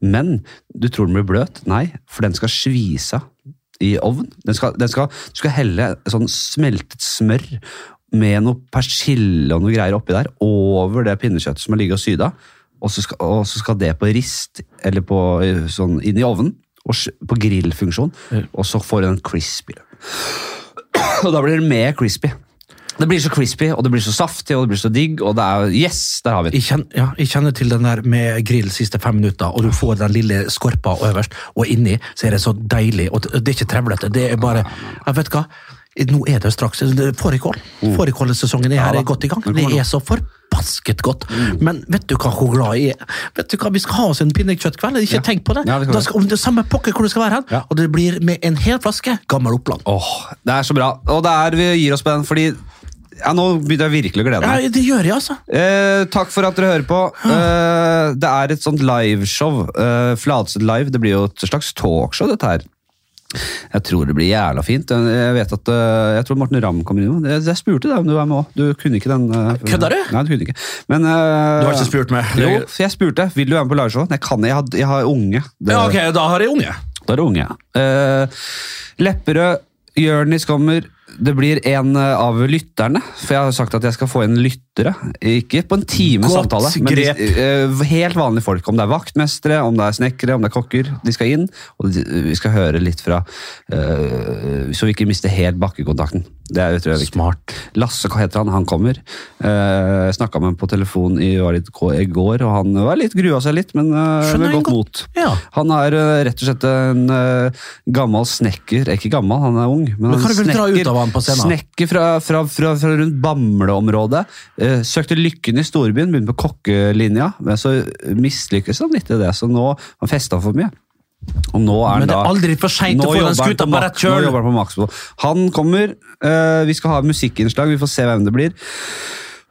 Speaker 2: Men du tror den blir bløt? Nei, for den skal svise i ovn. Den skal, den skal, du skal helle sånn smeltet smør med noe persille og noe greier oppi der, over det pinnekjøttet som har ligget og syda. Og så skal, og så skal det på rist, eller på, eh, sånn, inn i ovnen, og, s- på grillfunksjon. Og så får du den crispy. Og da blir det mer crispy. Det blir så crispy, og det blir så saftig, og det blir så digg, og det er Yes, der har vi den.
Speaker 1: Jeg, kjenner, ja, jeg kjenner til den der med grill siste fem minutter, og du får den lille skorpa øverst, og inni så er det så deilig. Og det det er ikke trevlete. Det er bare jeg Vet hva? Nå er det straks det- Fårikål.
Speaker 2: Mm.
Speaker 1: Fårikålsesongen er her er godt i gang. Det er så forbasket godt.
Speaker 2: Mm.
Speaker 1: Men vet du hva hvor glad jeg er? Vet du hva, Vi skal ha oss en pinnekjøttkveld. Ikke tenk på det.
Speaker 2: Ja, vi skal
Speaker 1: da
Speaker 2: det.
Speaker 1: skal, om det er samme pokker hvor du skal være hen, og det blir med en hel flaske gammel Oppland.
Speaker 2: Åh, det er så bra. Og det er vi gir oss på den, fordi ja, nå begynner jeg virkelig å glede
Speaker 1: Ja, Ah.
Speaker 2: meg.
Speaker 1: det gjør jeg, altså.
Speaker 2: Eh, takk for at dere hører på. Eh, det er et sånt liveshow. Eh, Fladseth Live. Det blir jo et slags talkshow, dette her. Jeg tror det blir jævla fint. Jeg vet at, eh, jeg tror Morten Ramm kommer inn. Jeg, jeg spurte deg om du var med òg. Du kunne ikke den. eh,
Speaker 1: Kødder du?
Speaker 2: Nei, du kunne ikke. Men, eh,
Speaker 1: Du har ikke spurt meg.
Speaker 2: Jo, for jeg spurte. Vil du være med på liveshow? Nei, Jeg kan jeg, har- jeg har unge. Det-
Speaker 1: Ja, ok, da har jeg unge.
Speaker 2: da er det unge. Eh, Lepperød, Jørnis kommer. Det blir en eh, av lytterne, for jeg har sagt at jeg skal få inn lyttere. Ikke på en times
Speaker 1: Godt
Speaker 2: samtale, men de,
Speaker 1: grep.
Speaker 2: eh, helt vanlige folk. Om det er vaktmestere, om det er snekkere, om det er kokker. De skal inn, og de, vi skal høre litt fra eh, Så vi ikke mister helt bakkekontakten. Det er, tror jeg, er viktig.
Speaker 1: Smart.
Speaker 2: Lasse hva heter han, han kommer. Eh, jeg snakka med ham på telefon i, var det i går, og han var litt, grua seg litt, men eh,
Speaker 1: Skjønner
Speaker 2: med
Speaker 1: jeg
Speaker 2: godt mot.
Speaker 1: Ja.
Speaker 2: Han er eh, rett og slett en eh, gammel snekker. Ikke gammel, han er ung. Men,
Speaker 1: Men
Speaker 2: han
Speaker 1: kan du vel dra ut av han på scenen?
Speaker 2: snekker fra, fra, fra, fra rundt Bamble-området. Eh, søkte lykken i storbyen, begynte på kokkelinja, men så mislykkes han litt i det. Så nå han festa for mye. Og nå er han
Speaker 1: Men det
Speaker 2: da
Speaker 1: er aldri for seint
Speaker 2: nå
Speaker 1: å få den
Speaker 2: jobber han
Speaker 1: skuta
Speaker 2: Ma-
Speaker 1: på rett
Speaker 2: Nå
Speaker 1: kjøl.
Speaker 2: jobber han på Maxbo. Han kommer. eh, vi skal ha musikkinnslag. Vi får se hvem det blir.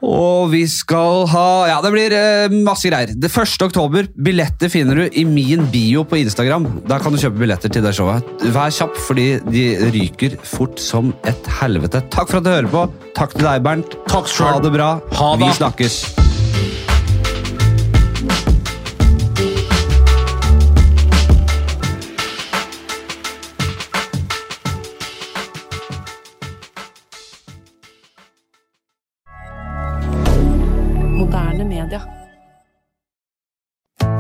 Speaker 2: Og vi skal ha Ja, det blir eh, masse greier. Det 1. oktober. Billetter finner du i min bio på Instagram. Der kan du kjøpe billetter til det showet. Vær kjapp, fordi de ryker fort som et helvete. Takk for at du hører på. Takk til deg, Bernt.
Speaker 1: Takk
Speaker 2: Ha
Speaker 1: selv.
Speaker 2: det bra.
Speaker 1: Ha
Speaker 2: Vi
Speaker 1: det.
Speaker 2: snakkes.
Speaker 3: Moderne media.